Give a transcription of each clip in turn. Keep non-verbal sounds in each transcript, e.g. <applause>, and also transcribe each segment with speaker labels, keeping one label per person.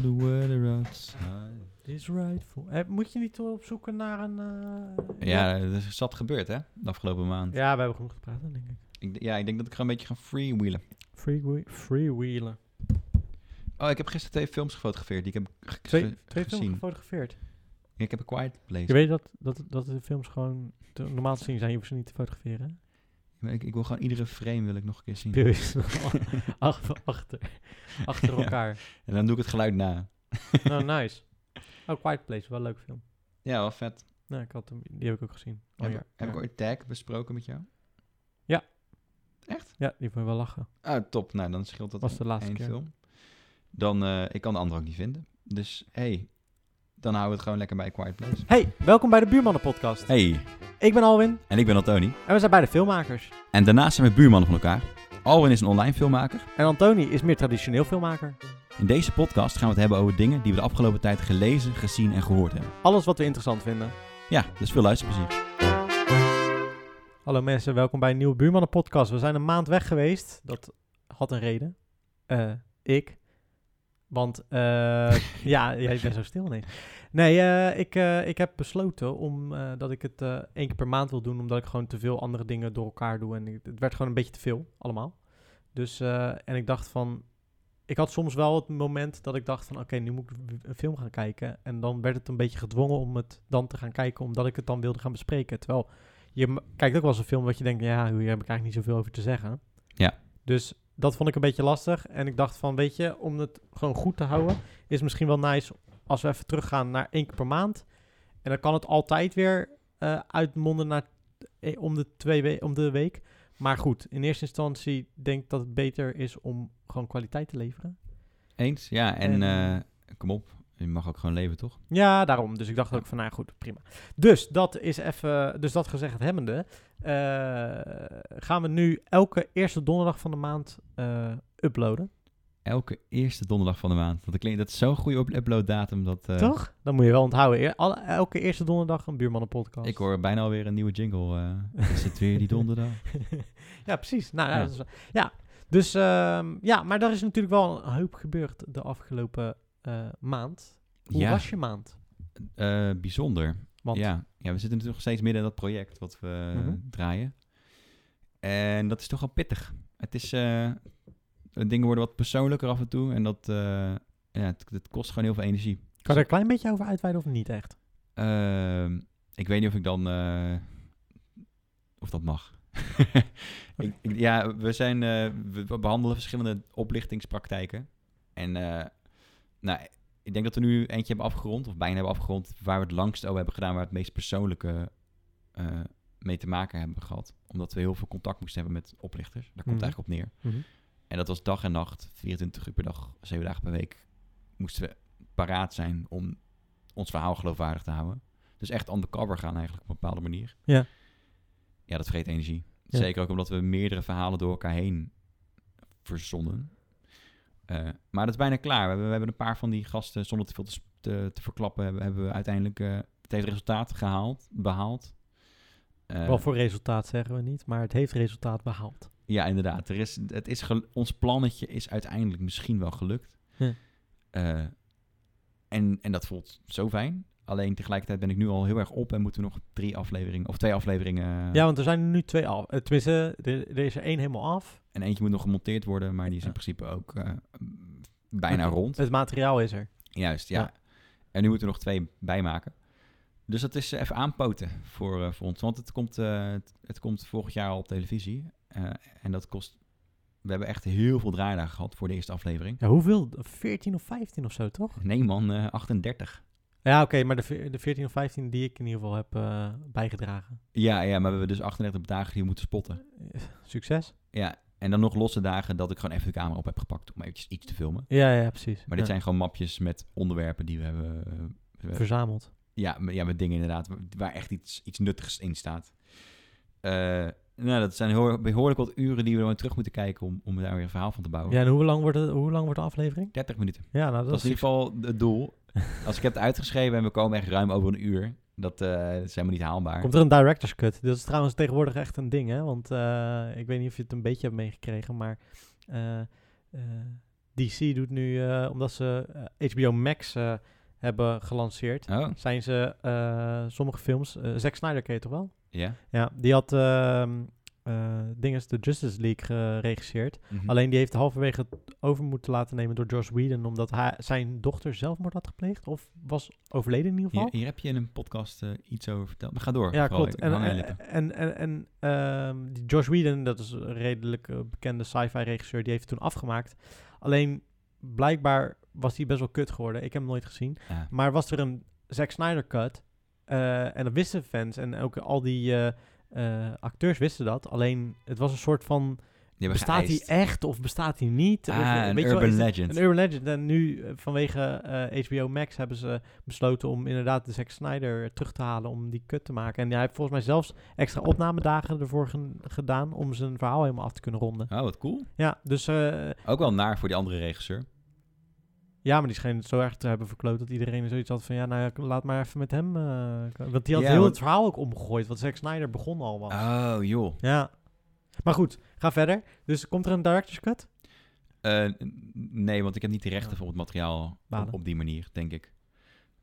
Speaker 1: the weather outside.
Speaker 2: Is right for... Eh, moet je niet opzoeken naar een... eh,
Speaker 1: Ja, er is zat gebeurd, hè? De afgelopen maand.
Speaker 2: Ja, we hebben genoeg gepraat, denk ik.
Speaker 1: Ik, d- ja, ik denk dat ik gewoon een beetje ga freewheelen.
Speaker 2: Freewhe- Freewheelen.
Speaker 1: Oh, ik heb gisteren twee films gefotografeerd die ik heb ge-
Speaker 2: Twee,
Speaker 1: ge-
Speaker 2: twee films
Speaker 1: gezien.
Speaker 2: gefotografeerd.
Speaker 1: Ik heb een Quiet Place.
Speaker 2: Je weet dat, dat, dat de films gewoon te- normaal te zien zijn. Je hoeft ze niet te fotograferen.
Speaker 1: Hmm.
Speaker 2: hè?
Speaker 1: Maar Ik, ik wil gewoon iedere frame wil ik nog een keer zien.
Speaker 2: Wil je ze <laughs> nog achter, achter, achter
Speaker 1: <laughs> Ja.
Speaker 2: elkaar.
Speaker 1: En dan doe ik het geluid na.
Speaker 2: Nou, nice. Oh, Quiet Place, wel een leuk film.
Speaker 1: Ja, wel vet.
Speaker 2: Nou, ik had hem, die heb ik ook gezien. Oh,
Speaker 1: heb,
Speaker 2: ja.
Speaker 1: heb ik
Speaker 2: ja.
Speaker 1: ooit Tag besproken met jou?
Speaker 2: Ja, die vond je wel lachen.
Speaker 1: Ah, top. Nou, dan scheelt dat
Speaker 2: Was de laatste
Speaker 1: één
Speaker 2: keer.
Speaker 1: film. Dan, eh, ik kan de andere ook niet vinden. Dus, hey, dan houden we het gewoon lekker bij Quiet Place.
Speaker 2: Hey, welkom bij de Buurmannen Podcast.
Speaker 1: Hey,
Speaker 2: Ik ben Alwin
Speaker 1: en ik ben Antoni.
Speaker 2: en we zijn beide filmmakers.
Speaker 1: En daarnaast zijn we buurmannen van elkaar. Alwin is een online filmmaker.
Speaker 2: En Antoni is meer traditioneel filmmaker.
Speaker 1: In deze podcast gaan we het hebben over dingen die we de afgelopen tijd gelezen, gezien en gehoord hebben.
Speaker 2: Alles wat we interessant vinden.
Speaker 1: Ja, dus veel luisterplezier.
Speaker 2: Hallo mensen, welkom bij een nieuwe Buurmannen Podcast. We zijn een maand weg geweest. Dat had een reden. Eh, ik. Want, eh, <laughs> ja, jij bent zo stil ineens. Nee, eh, ik, eh, ik heb besloten om, eh, dat ik het eh, één keer per maand wil doen, omdat ik gewoon te veel andere dingen door elkaar doe. En ik- het werd gewoon een beetje te veel, allemaal. Dus, eh, en ik dacht van, ik had soms wel het moment dat ik dacht van, oké, nu moet ik een film gaan kijken. En dan werd het een beetje gedwongen om het dan te gaan kijken, omdat ik het dan wilde gaan bespreken. Terwijl je m- kijkt ook wel eens een film wat je denkt, ja, hier heb ik eigenlijk niet zoveel over te zeggen.
Speaker 1: Ja.
Speaker 2: Dus dat vond ik een beetje lastig. En ik dacht van, weet je, om het gewoon goed te houden, is misschien wel nice als we even teruggaan naar één keer per maand. En dan kan het altijd weer eh, uitmonden naar eh, om de, twee we- om de week. Maar goed, in eerste instantie denk ik dat het beter is om gewoon kwaliteit te leveren.
Speaker 1: Eens? Ja, en
Speaker 2: En-
Speaker 1: eh, kom op. Je mag ook gewoon leven, toch?
Speaker 2: Ja, daarom. Dus ik dacht ook van, nou ja, goed, prima. Dus dat is even, dus dat gezegd hebbende, eh, gaan we nu elke eerste donderdag van de maand eh, uploaden.
Speaker 1: Elke eerste donderdag van de maand. Dat klinkt, dat is zo'n goede up- uploaddatum. Dat, eh,
Speaker 2: Toch? Dan moet je wel onthouden. Eer- alle- elke eerste donderdag een buurmannenpodcast.
Speaker 1: Ik hoor bijna alweer een nieuwe jingle. eh. <laughs> is het weer die donderdag?
Speaker 2: ja, precies. Nou, ja.
Speaker 1: Ja.
Speaker 2: dat is wel- ja. Dus ehm, ja, maar daar is natuurlijk wel een hoop gebeurd de afgelopen eh, maand. Hoe
Speaker 1: ja,
Speaker 2: was je maand?
Speaker 1: eh, bijzonder.
Speaker 2: Want
Speaker 1: Ja. ja, we zitten natuurlijk nog steeds midden in dat project wat we eh,
Speaker 2: Mhm.
Speaker 1: draaien. En dat is toch wel pittig. Het is, eh, dingen worden wat persoonlijker af en toe. En dat eh, ja, het, het kost gewoon heel veel energie.
Speaker 2: kan je er een klein beetje over uitweiden of niet echt?
Speaker 1: Ehm, ik weet niet of ik dan... eh, of dat mag. ik, ik- ja, we, zijn, eh, we, we behandelen verschillende oplichtingspraktijken. En eh, nou, ik denk dat we nu eentje hebben afgerond, of bijna hebben afgerond, waar we het langst over hebben gedaan, waar we het meest persoonlijke eh, mee te maken hebben gehad. Omdat we heel veel contact moesten hebben met oplichters. Daar komt het
Speaker 2: Mhm.
Speaker 1: eigenlijk op neer. En dat was dag en nacht, 24 uur per dag, 7 dagen per week, moesten we paraat zijn om ons verhaal geloofwaardig te houden. Dus echt undercover gaan eigenlijk op een bepaalde manier.
Speaker 2: Ja.
Speaker 1: Ja, dat vreet energie.
Speaker 2: Ja.
Speaker 1: Zeker ook omdat we meerdere verhalen door elkaar heen verzonnen. Eh, maar dat is bijna klaar. We hebben, we hebben een paar van die gasten, zonder te veel te, s- te, te verklappen, hebben, hebben we uiteindelijk eh, het heeft resultaat gehaald, behaald. Eh,
Speaker 2: Wel voor resultaat zeggen we niet, maar het heeft resultaat behaald.
Speaker 1: ja, inderdaad. Er is, het is gel- ons plannetje is uiteindelijk misschien wel gelukt.
Speaker 2: Ja.
Speaker 1: Eh, en, en dat voelt zo fijn. Alleen tegelijkertijd ben ik nu al heel erg op en moeten we nog drie afleveringen of twee afleveringen.
Speaker 2: Ja, want er zijn er nu twee af. Eh, Tenminste, er, er is er één helemaal af.
Speaker 1: En eentje moet nog gemonteerd worden, maar die is
Speaker 2: Ja.
Speaker 1: in principe ook eh,
Speaker 2: <laughs>
Speaker 1: bijna rond.
Speaker 2: Het materiaal is er.
Speaker 1: Juist, ja.
Speaker 2: Ja.
Speaker 1: En nu moeten we nog twee bijmaken. Dus dat is eh, even aanpoten voor, eh, voor ons. Want het komt, eh, het, het komt volgend jaar al op televisie. Eh, en dat kost. We hebben echt heel veel draaidagen gehad voor de eerste aflevering.
Speaker 2: Ja, hoeveel? 14 of 15 of zo, toch?
Speaker 1: Nee man, eh, 38.
Speaker 2: Ja, oké, maar de, ve- de 14 of 15 die ik in ieder geval heb eh, bijgedragen.
Speaker 1: Ja, ja, maar we hebben dus 38 dagen die we moeten spotten.
Speaker 2: Eh, Succes.
Speaker 1: Ja, en dan nog losse dagen dat ik gewoon even de camera op heb gepakt om eventjes iets te filmen.
Speaker 2: Ja, ja, precies.
Speaker 1: Maar dit
Speaker 2: Ja.
Speaker 1: zijn gewoon mapjes met onderwerpen die we hebben... eh, we-
Speaker 2: verzameld.
Speaker 1: ja, met- ja, met dingen inderdaad, wa- waar echt iets, iets nuttigs in staat. Eh, nou, dat zijn hoor- behoorlijk wat uren die we dan terug moeten kijken om, om daar weer een verhaal van te bouwen.
Speaker 2: Ja, en hoe lang wordt, het, hoe lang wordt de aflevering?
Speaker 1: 30 minuten.
Speaker 2: Ja, nou, dat,
Speaker 1: Dat is in
Speaker 2: is
Speaker 1: ieder geval het
Speaker 2: <laughs>
Speaker 1: doel. Als ik heb het uitgeschreven en we komen echt ruim over een uur, dat, eh, dat is helemaal niet haalbaar.
Speaker 2: Komt er een director's cut? Dat is trouwens tegenwoordig echt een ding, hè? Want eh, ik weet niet of je het een beetje hebt meegekregen, maar eh, eh, DC doet nu, eh, omdat ze eh, HBO Max eh, hebben gelanceerd,
Speaker 1: Oh,
Speaker 2: zijn ze eh, sommige films, eh, Zack Snyder ken je toch wel?
Speaker 1: ja.
Speaker 2: Ja, die had ehm eh dinges de Justice League geregisseerd.
Speaker 1: Mhm.
Speaker 2: Alleen die heeft halverwege het over moeten laten nemen door Josh Whedon, omdat hij, zijn dochter zelfmoord had gepleegd of was overleden in ieder
Speaker 1: Hier,
Speaker 2: geval.
Speaker 1: hier heb je in een podcast eh, iets over verteld. Maar ga door.
Speaker 2: Ja,
Speaker 1: vooral.
Speaker 2: klopt.
Speaker 1: Ik
Speaker 2: En, eh,
Speaker 1: hang aan je
Speaker 2: en,
Speaker 1: lippen.
Speaker 2: en, en, ehm, die Josh Whedon, dat is een redelijk eh, bekende sci-fi regisseur, die heeft het toen afgemaakt. Alleen, blijkbaar was hij best wel kut geworden. Ik heb hem nooit gezien.
Speaker 1: Ja.
Speaker 2: Maar was er een Zack Snyder cut, eh, en dat wisten fans en ook al die eh, eh, acteurs wisten dat. Alleen, het was een soort van,
Speaker 1: Die hebben
Speaker 2: bestaat hij
Speaker 1: geëist.
Speaker 2: echt of bestaat hij niet? Of, eh,
Speaker 1: Ah, een
Speaker 2: weet je wel,
Speaker 1: urban
Speaker 2: is het-
Speaker 1: legend.
Speaker 2: een urban legend. En nu eh, vanwege eh, HBO Max hebben ze besloten om inderdaad de Zack Snyder terug te halen om die kut te maken. En hij heeft volgens mij zelfs extra opnamedagen ervoor gen- gedaan om zijn verhaal helemaal af te kunnen ronden.
Speaker 1: Oh, wat cool.
Speaker 2: Ja, dus eh,
Speaker 1: Ook wel naar voor die andere regisseur.
Speaker 2: ja, maar die scheen het zo erg te hebben verkloot dat iedereen zoiets had van ja, nou ja, laat maar even met hem. eh, k- want die had
Speaker 1: Ja,
Speaker 2: heel
Speaker 1: want-
Speaker 2: het verhaal ook omgegooid, want Zack Snyder begon al wat.
Speaker 1: Oh, joh.
Speaker 2: Ja. Maar goed, ga verder. Dus komt er een director's cut?
Speaker 1: Eh, n- nee, want ik heb niet de rechten
Speaker 2: Ja.
Speaker 1: voor het materiaal op,
Speaker 2: Balen.
Speaker 1: op die manier, denk ik.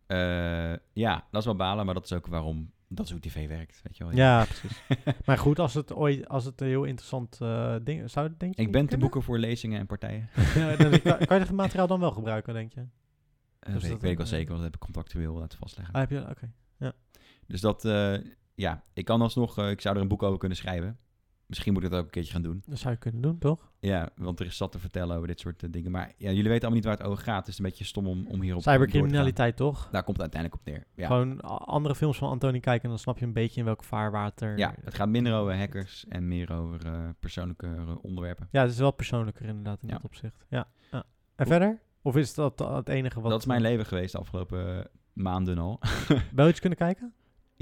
Speaker 1: Eh, ja, dat is wel balen, maar dat is ook waarom dat is hoe tv werkt, weet je wel.
Speaker 2: Ja,
Speaker 1: <laughs>
Speaker 2: precies. maar goed, als het ooit, als het een heel interessant eh ding zou, het, denk je
Speaker 1: Ik ben te
Speaker 2: kunnen?
Speaker 1: boeken voor lezingen en partijen.
Speaker 2: <laughs> Ja, dan- kan,
Speaker 1: <laughs>
Speaker 2: kan je dat materiaal dan wel gebruiken, denk je?
Speaker 1: Eh, weet,
Speaker 2: Dus dat
Speaker 1: ik, weet ik wel
Speaker 2: ook, eh,
Speaker 1: zeker, want dat heb ik contractueel laten vastleggen.
Speaker 2: Ah, heb je, oké.
Speaker 1: Dus dat, eh, ja, ik kan alsnog, eh, ik zou er een boek over kunnen schrijven. Misschien moet ik dat ook een keertje gaan doen.
Speaker 2: Dat zou je kunnen doen, toch?
Speaker 1: Ja, want er is zat te vertellen over dit soort eh, dingen. Maar ja, jullie weten allemaal niet waar het over gaat. Het is een beetje stom om, om hierop door te gaan.
Speaker 2: Cybercriminaliteit, toch?
Speaker 1: Daar komt het uiteindelijk op neer. Ja.
Speaker 2: Gewoon a- andere films van Antoni kijken en dan snap je een beetje in welk vaarwater...
Speaker 1: Ja, het gaat minder over hackers en meer over eh, persoonlijke eh, onderwerpen.
Speaker 2: Ja, het is wel persoonlijker inderdaad in
Speaker 1: Ja.
Speaker 2: dat opzicht. Ja. ja. En verder? Of is dat a- het enige wat...
Speaker 1: Dat is mijn leven geweest de afgelopen eh, maanden al. <laughs>
Speaker 2: Wel iets kunnen kijken?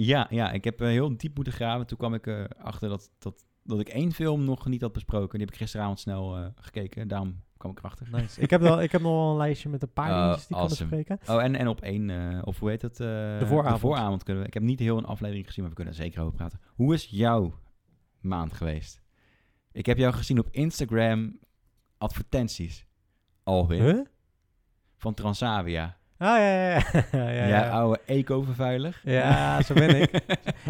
Speaker 1: ja, ja, ik heb eh, heel diep moeten graven. Toen kwam ik eh, achter dat, dat, dat ik één film nog niet had besproken. Die heb ik gisteravond snel eh, gekeken. Daarom kwam ik erachter.
Speaker 2: Nice. ik, heb wel, ik heb nog wel een lijstje met een paar
Speaker 1: Oh,
Speaker 2: dingetjes die ik
Speaker 1: awesome.
Speaker 2: kunnen bespreken.
Speaker 1: Oh, en, en op één, eh, of hoe heet het? eh,
Speaker 2: vooravond.
Speaker 1: vooravond kunnen we. Ik heb niet heel een aflevering gezien, maar we kunnen er zeker over praten. Hoe is jouw maand geweest? Ik heb jou gezien op Instagram advertenties. Alweer.
Speaker 2: Huh?
Speaker 1: Van Transavia.
Speaker 2: Ah, ja, ja, <laughs> ja. ja,
Speaker 1: Ja,
Speaker 2: ja,
Speaker 1: oh.
Speaker 2: ja.
Speaker 1: oude eco-vervuiler.
Speaker 2: Ja, zo ben ik.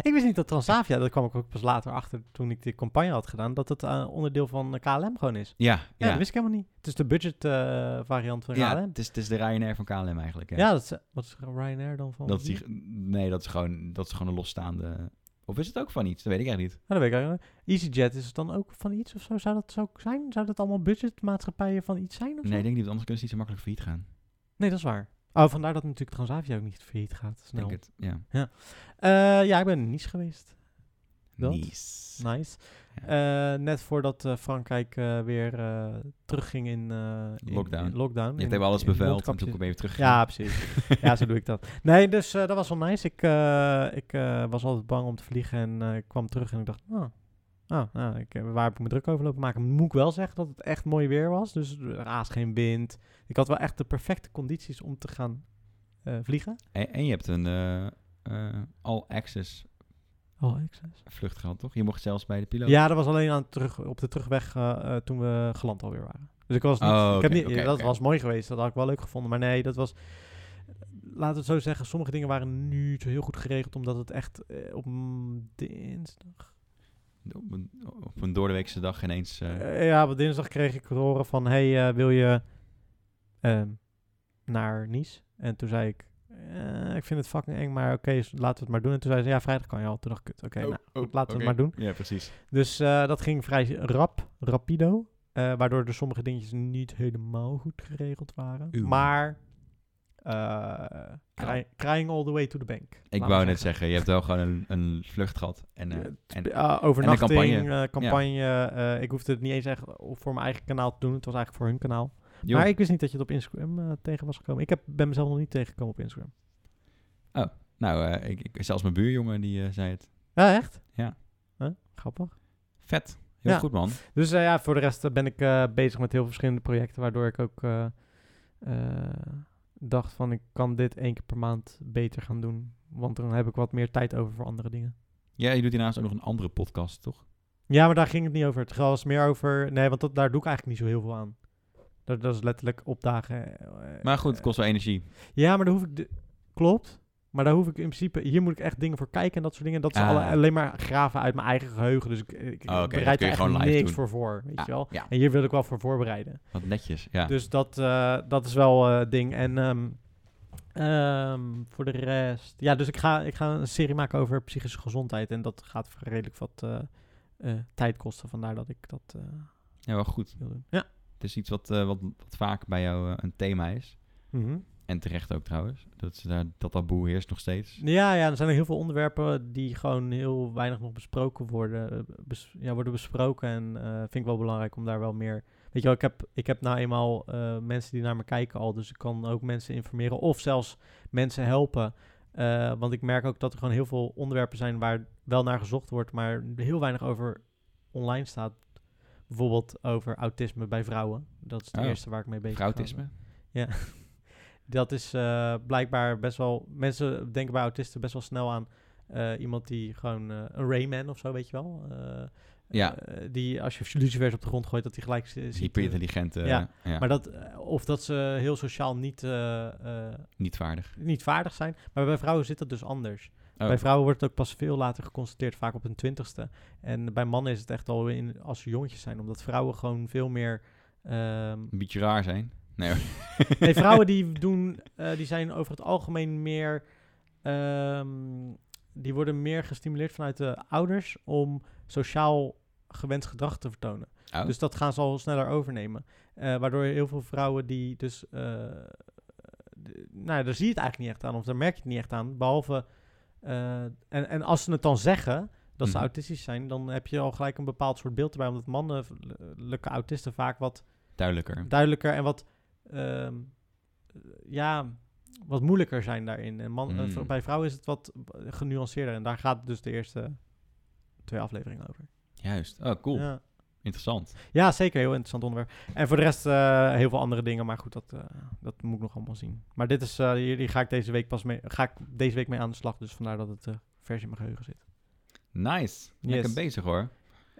Speaker 2: ik wist niet dat Transavia, dat kwam ik ook pas later achter toen ik die campagne had gedaan, dat het eh, onderdeel van eh, KLM gewoon is.
Speaker 1: Ja,
Speaker 2: Ja,
Speaker 1: ja.
Speaker 2: dat wist ik helemaal niet. Het is de budget eh, variant van
Speaker 1: Ja,
Speaker 2: KLM.
Speaker 1: het is, het is de Ryanair van KLM eigenlijk.
Speaker 2: Ja,
Speaker 1: Ja.
Speaker 2: dat is, eh, wat is Ryanair dan van?
Speaker 1: dat is die, nee, dat is, gewoon, dat is gewoon een losstaande... Of is het ook van iets? Dat weet ik echt niet.
Speaker 2: Ja, dat weet ik eigenlijk niet. EasyJet, is het dan ook van iets of zo? Zou dat zo zijn? Zou dat allemaal budgetmaatschappijen van iets zijn of zo?
Speaker 1: Nee, ik denk niet, want anders kunnen ze niet zo makkelijk failliet gaan.
Speaker 2: Nee, dat is waar. Oh, vandaar dat natuurlijk Transavia ook niet failliet gaat snel.
Speaker 1: Denk het, ja.
Speaker 2: Eh, ja, ik ben in Nice geweest. Dat?
Speaker 1: Nice.
Speaker 2: Nice. Eh, net voordat eh, Frankrijk eh, weer eh, terugging in, eh, in-
Speaker 1: Lockdown.
Speaker 2: in lockdown.
Speaker 1: Je hebt
Speaker 2: In-
Speaker 1: even alles
Speaker 2: in
Speaker 1: beveld en
Speaker 2: mondkapjes.
Speaker 1: toen kom je weer terug.
Speaker 2: Ja, precies. ja, zo doe ik dat. Nee, dus eh, dat was wel nice. Ik, eh, ik eh, was altijd bang om te vliegen en eh, ik kwam terug en ik dacht, oh, oh, nou, ik, eh, waar heb ik me druk over lopen maken? Moet ik wel zeggen dat het echt mooi weer was. Dus raas geen wind. Ik had wel echt de perfecte condities om te gaan eh, vliegen.
Speaker 1: En, en je hebt een eh, eh, all-access
Speaker 2: Oh, excess.
Speaker 1: vlucht gehad, toch? Je mocht zelfs bij de piloot.
Speaker 2: Ja, dat was alleen aan terug, op de terugweg eh, eh, toen we geland alweer waren. Dus ik was niet...
Speaker 1: Oh,
Speaker 2: ik
Speaker 1: oké,
Speaker 2: heb niet
Speaker 1: oké,
Speaker 2: dat
Speaker 1: oké.
Speaker 2: was mooi geweest, dat had ik wel leuk gevonden. Maar nee, dat was... Laten we het zo zeggen, sommige dingen waren nu niet zo heel goed geregeld, omdat het echt eh, op mm, dinsdag...
Speaker 1: Op een, op een doordeweekse dag ineens... eh,
Speaker 2: Eh, ja, op dinsdag kreeg ik te horen van, hey, eh, wil je ehm, naar Nice? En toen zei ik, eh, ik vind het fucking eng, maar oké, dus laten we het maar doen. En toen zei ze, ja, vrijdag kan je al. Toen dacht ik, kut, oké,
Speaker 1: oh,
Speaker 2: nou,
Speaker 1: oh,
Speaker 2: goed, laten we
Speaker 1: oké.
Speaker 2: het maar doen.
Speaker 1: Ja, precies.
Speaker 2: Dus eh, dat ging vrij rap, rapido. eh, waardoor er sommige dingetjes niet helemaal goed geregeld waren.
Speaker 1: Oeh.
Speaker 2: Maar eh, cry- crying all the way to the bank.
Speaker 1: Ik wou net zeggen, je hebt wel gewoon een, een vlucht gehad. En, eh, en
Speaker 2: overnachting,
Speaker 1: campagne.
Speaker 2: campagne. campagne eh, ik hoefde het niet eens echt voor mijn eigen kanaal te doen. Het was eigenlijk voor hun kanaal.
Speaker 1: joh,
Speaker 2: Maar ik wist niet dat je het op Instagram eh, tegen was gekomen. Ik heb, ben mezelf nog niet tegengekomen op Instagram.
Speaker 1: nou, eh, ik, ik- zelfs mijn buurjongen die eh, zei het.
Speaker 2: Ja, echt?
Speaker 1: Ja.
Speaker 2: Huh? Grappig.
Speaker 1: Vet. Heel
Speaker 2: Ja.
Speaker 1: goed, man.
Speaker 2: Dus eh, ja, voor de rest eh, ben ik eh, bezig met heel veel verschillende projecten, waardoor ik ook eh, eh, dacht van ik kan dit één keer per maand beter gaan doen. Want dan heb ik wat meer tijd over voor andere dingen.
Speaker 1: Ja, je doet hiernaast ook nog een andere podcast, toch?
Speaker 2: Ja, maar daar ging het niet over. Het was meer over. Nee, want dat, daar doe ik eigenlijk niet zo heel veel aan. Dat, dat is letterlijk opdagen. eh,
Speaker 1: Maar goed, het
Speaker 2: eh,
Speaker 1: kost wel energie.
Speaker 2: Ja, maar daar hoef ik... De, klopt. Maar daar hoef ik in principe... Hier moet ik echt dingen voor kijken en dat soort dingen. Dat is
Speaker 1: Ah.
Speaker 2: alle- alleen maar graven uit mijn eigen geheugen. Dus ik, ik
Speaker 1: Oh, oké, dat
Speaker 2: bereid
Speaker 1: kun
Speaker 2: er
Speaker 1: je
Speaker 2: echt
Speaker 1: gewoon live
Speaker 2: niks
Speaker 1: doen.
Speaker 2: voor voor, weet
Speaker 1: Ja,
Speaker 2: je wel.
Speaker 1: ja.
Speaker 2: En hier wil ik wel voor voorbereiden.
Speaker 1: Wat netjes, ja.
Speaker 2: Dus dat, eh, dat is wel eh, ding. En ehm, ehm, voor de rest... Ja, dus ik ga, ik ga een serie maken over psychische gezondheid. En dat gaat voor redelijk wat eh, eh, tijd kosten. Vandaar dat ik dat eh,
Speaker 1: ja, wel goed.
Speaker 2: wil doen. Ja.
Speaker 1: Het is iets wat, eh, wat, wat vaak bij jou eh, een thema is. En terecht ook trouwens. Dat, is daar, dat taboe heerst nog steeds.
Speaker 2: Ja, ja, er zijn heel veel onderwerpen die gewoon heel weinig nog besproken worden, eh, bes- ja, worden besproken. En eh, vind ik wel belangrijk om daar wel meer... Weet je wel, ik heb, ik heb nou eenmaal eh, mensen die naar me kijken al, dus ik kan ook mensen informeren of zelfs mensen helpen. Eh, want ik merk ook dat er gewoon heel veel onderwerpen zijn waar wel naar gezocht wordt, maar heel weinig over online staat. Bijvoorbeeld over autisme bij vrouwen. Dat is het
Speaker 1: Oh.
Speaker 2: eerste waar ik mee bezig ben.
Speaker 1: Autisme.
Speaker 2: Dat is eh, blijkbaar best wel. Mensen denken bij autisten best wel snel aan eh, iemand die gewoon eh, een Rayman of zo, weet je wel. Eh,
Speaker 1: Ja.
Speaker 2: eh, die als je lucifers op de grond gooit, dat die gelijk zi- ziet. eh,
Speaker 1: Hyperintelligente.
Speaker 2: Ja,
Speaker 1: Ja,
Speaker 2: Maar dat, eh, of dat ze heel sociaal niet, eh, eh,
Speaker 1: Niet vaardig.
Speaker 2: niet vaardig zijn. Maar bij vrouwen zit dat dus anders.
Speaker 1: Oh.
Speaker 2: Bij vrouwen wordt het ook pas veel later geconstateerd, vaak op hun twintigste. En bij mannen is het echt al in, als ze jongetjes zijn, omdat vrouwen gewoon veel meer. ehm,
Speaker 1: Een beetje raar zijn. Nee, hoor.
Speaker 2: Nee, vrouwen die doen, eh, die zijn over het algemeen meer, ehm, die worden meer gestimuleerd vanuit de ouders om sociaal gewenst gedrag te vertonen.
Speaker 1: Oh.
Speaker 2: Dus dat gaan ze al sneller overnemen. Eh, waardoor heel veel vrouwen die dus, eh, d- nou ja, daar zie je het eigenlijk niet echt aan of daar merk je het niet echt aan. Behalve, eh, en, en als ze het dan zeggen dat ze
Speaker 1: Mhm.
Speaker 2: autistisch zijn, dan heb je al gelijk een bepaald soort beeld erbij. Omdat mannelijke autisten vaak wat
Speaker 1: duidelijker.
Speaker 2: duidelijker en wat, ehm, eh, ja, wat moeilijker zijn daarin. En man, eh,
Speaker 1: Mm.
Speaker 2: vr- bij vrouwen is het wat genuanceerder. En daar gaat dus de eerste twee afleveringen over.
Speaker 1: Juist. Oh, cool.
Speaker 2: Ja.
Speaker 1: Interessant.
Speaker 2: ja, zeker. Heel interessant onderwerp. En voor de rest eh, heel veel andere dingen. Maar goed, dat, eh, dat moet ik nog allemaal zien. Maar dit is, eh hier, hier ga ik deze week pas mee, ga ik deze week mee aan de slag. Dus vandaar dat het eh, vers in mijn geheugen zit.
Speaker 1: Nice. Lekker
Speaker 2: Yes.
Speaker 1: bezig hoor.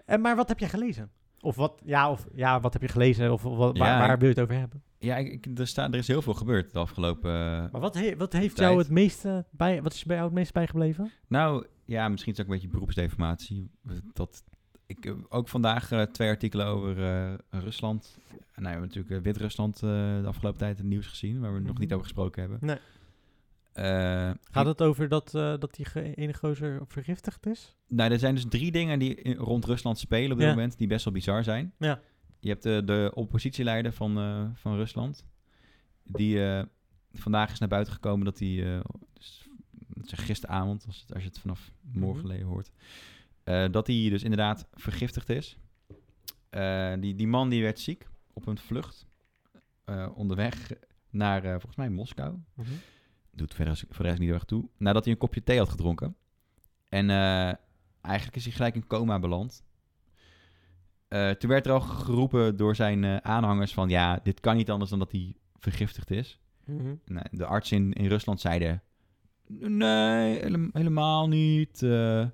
Speaker 2: En, maar wat heb je gelezen? Of wat, ja, of, ja, wat heb je gelezen? Of wat, waar,
Speaker 1: Ja,
Speaker 2: waar
Speaker 1: ik-
Speaker 2: wil je het over hebben?
Speaker 1: Ja, ik, ik- er, staat er is heel veel gebeurd de afgelopen... eh,
Speaker 2: Maar wat, he- wat heeft
Speaker 1: Tijd.
Speaker 2: jou het meeste bij, wat is bij jou het meest bijgebleven?
Speaker 1: Nou, ja, misschien is het ook een beetje beroepsdeformatie. Dat, ik, eh, ook vandaag eh, twee artikelen over eh, Rusland. Nou, we hebben natuurlijk eh, Wit-Rusland eh, de afgelopen tijd in het nieuws gezien... waar we nog
Speaker 2: Mhm.
Speaker 1: niet over gesproken hebben.
Speaker 2: Nee.
Speaker 1: Eh,
Speaker 2: Gaat het over dat, eh, dat die ge- ene gozer vergiftigd is?
Speaker 1: Nou, er zijn dus drie dingen die in- rond Rusland spelen op dit
Speaker 2: Ja.
Speaker 1: moment die best wel bizar zijn.
Speaker 2: Ja.
Speaker 1: Je hebt de, de oppositieleider van, eh, van Rusland. Die eh, vandaag is naar buiten gekomen dat hij, eh, dus, dat is gisteravond, als, het, als je het vanaf morgen
Speaker 2: Mhm.
Speaker 1: le- hoort, eh, dat hij dus inderdaad vergiftigd is. Eh, die, die man die werd ziek op een vlucht eh, onderweg naar, eh, volgens mij, Moskou
Speaker 2: Mhm.
Speaker 1: doet verder als- voor de rest niet heel erg toe. Nadat hij een kopje thee had gedronken. En eh, eigenlijk is hij gelijk in coma beland. Eh, toen werd er al geroepen door zijn eh, aanhangers van... ja, dit kan niet anders dan dat hij vergiftigd is. Nou, de artsen in, in Rusland zeiden... nee, hele- helemaal niet. eh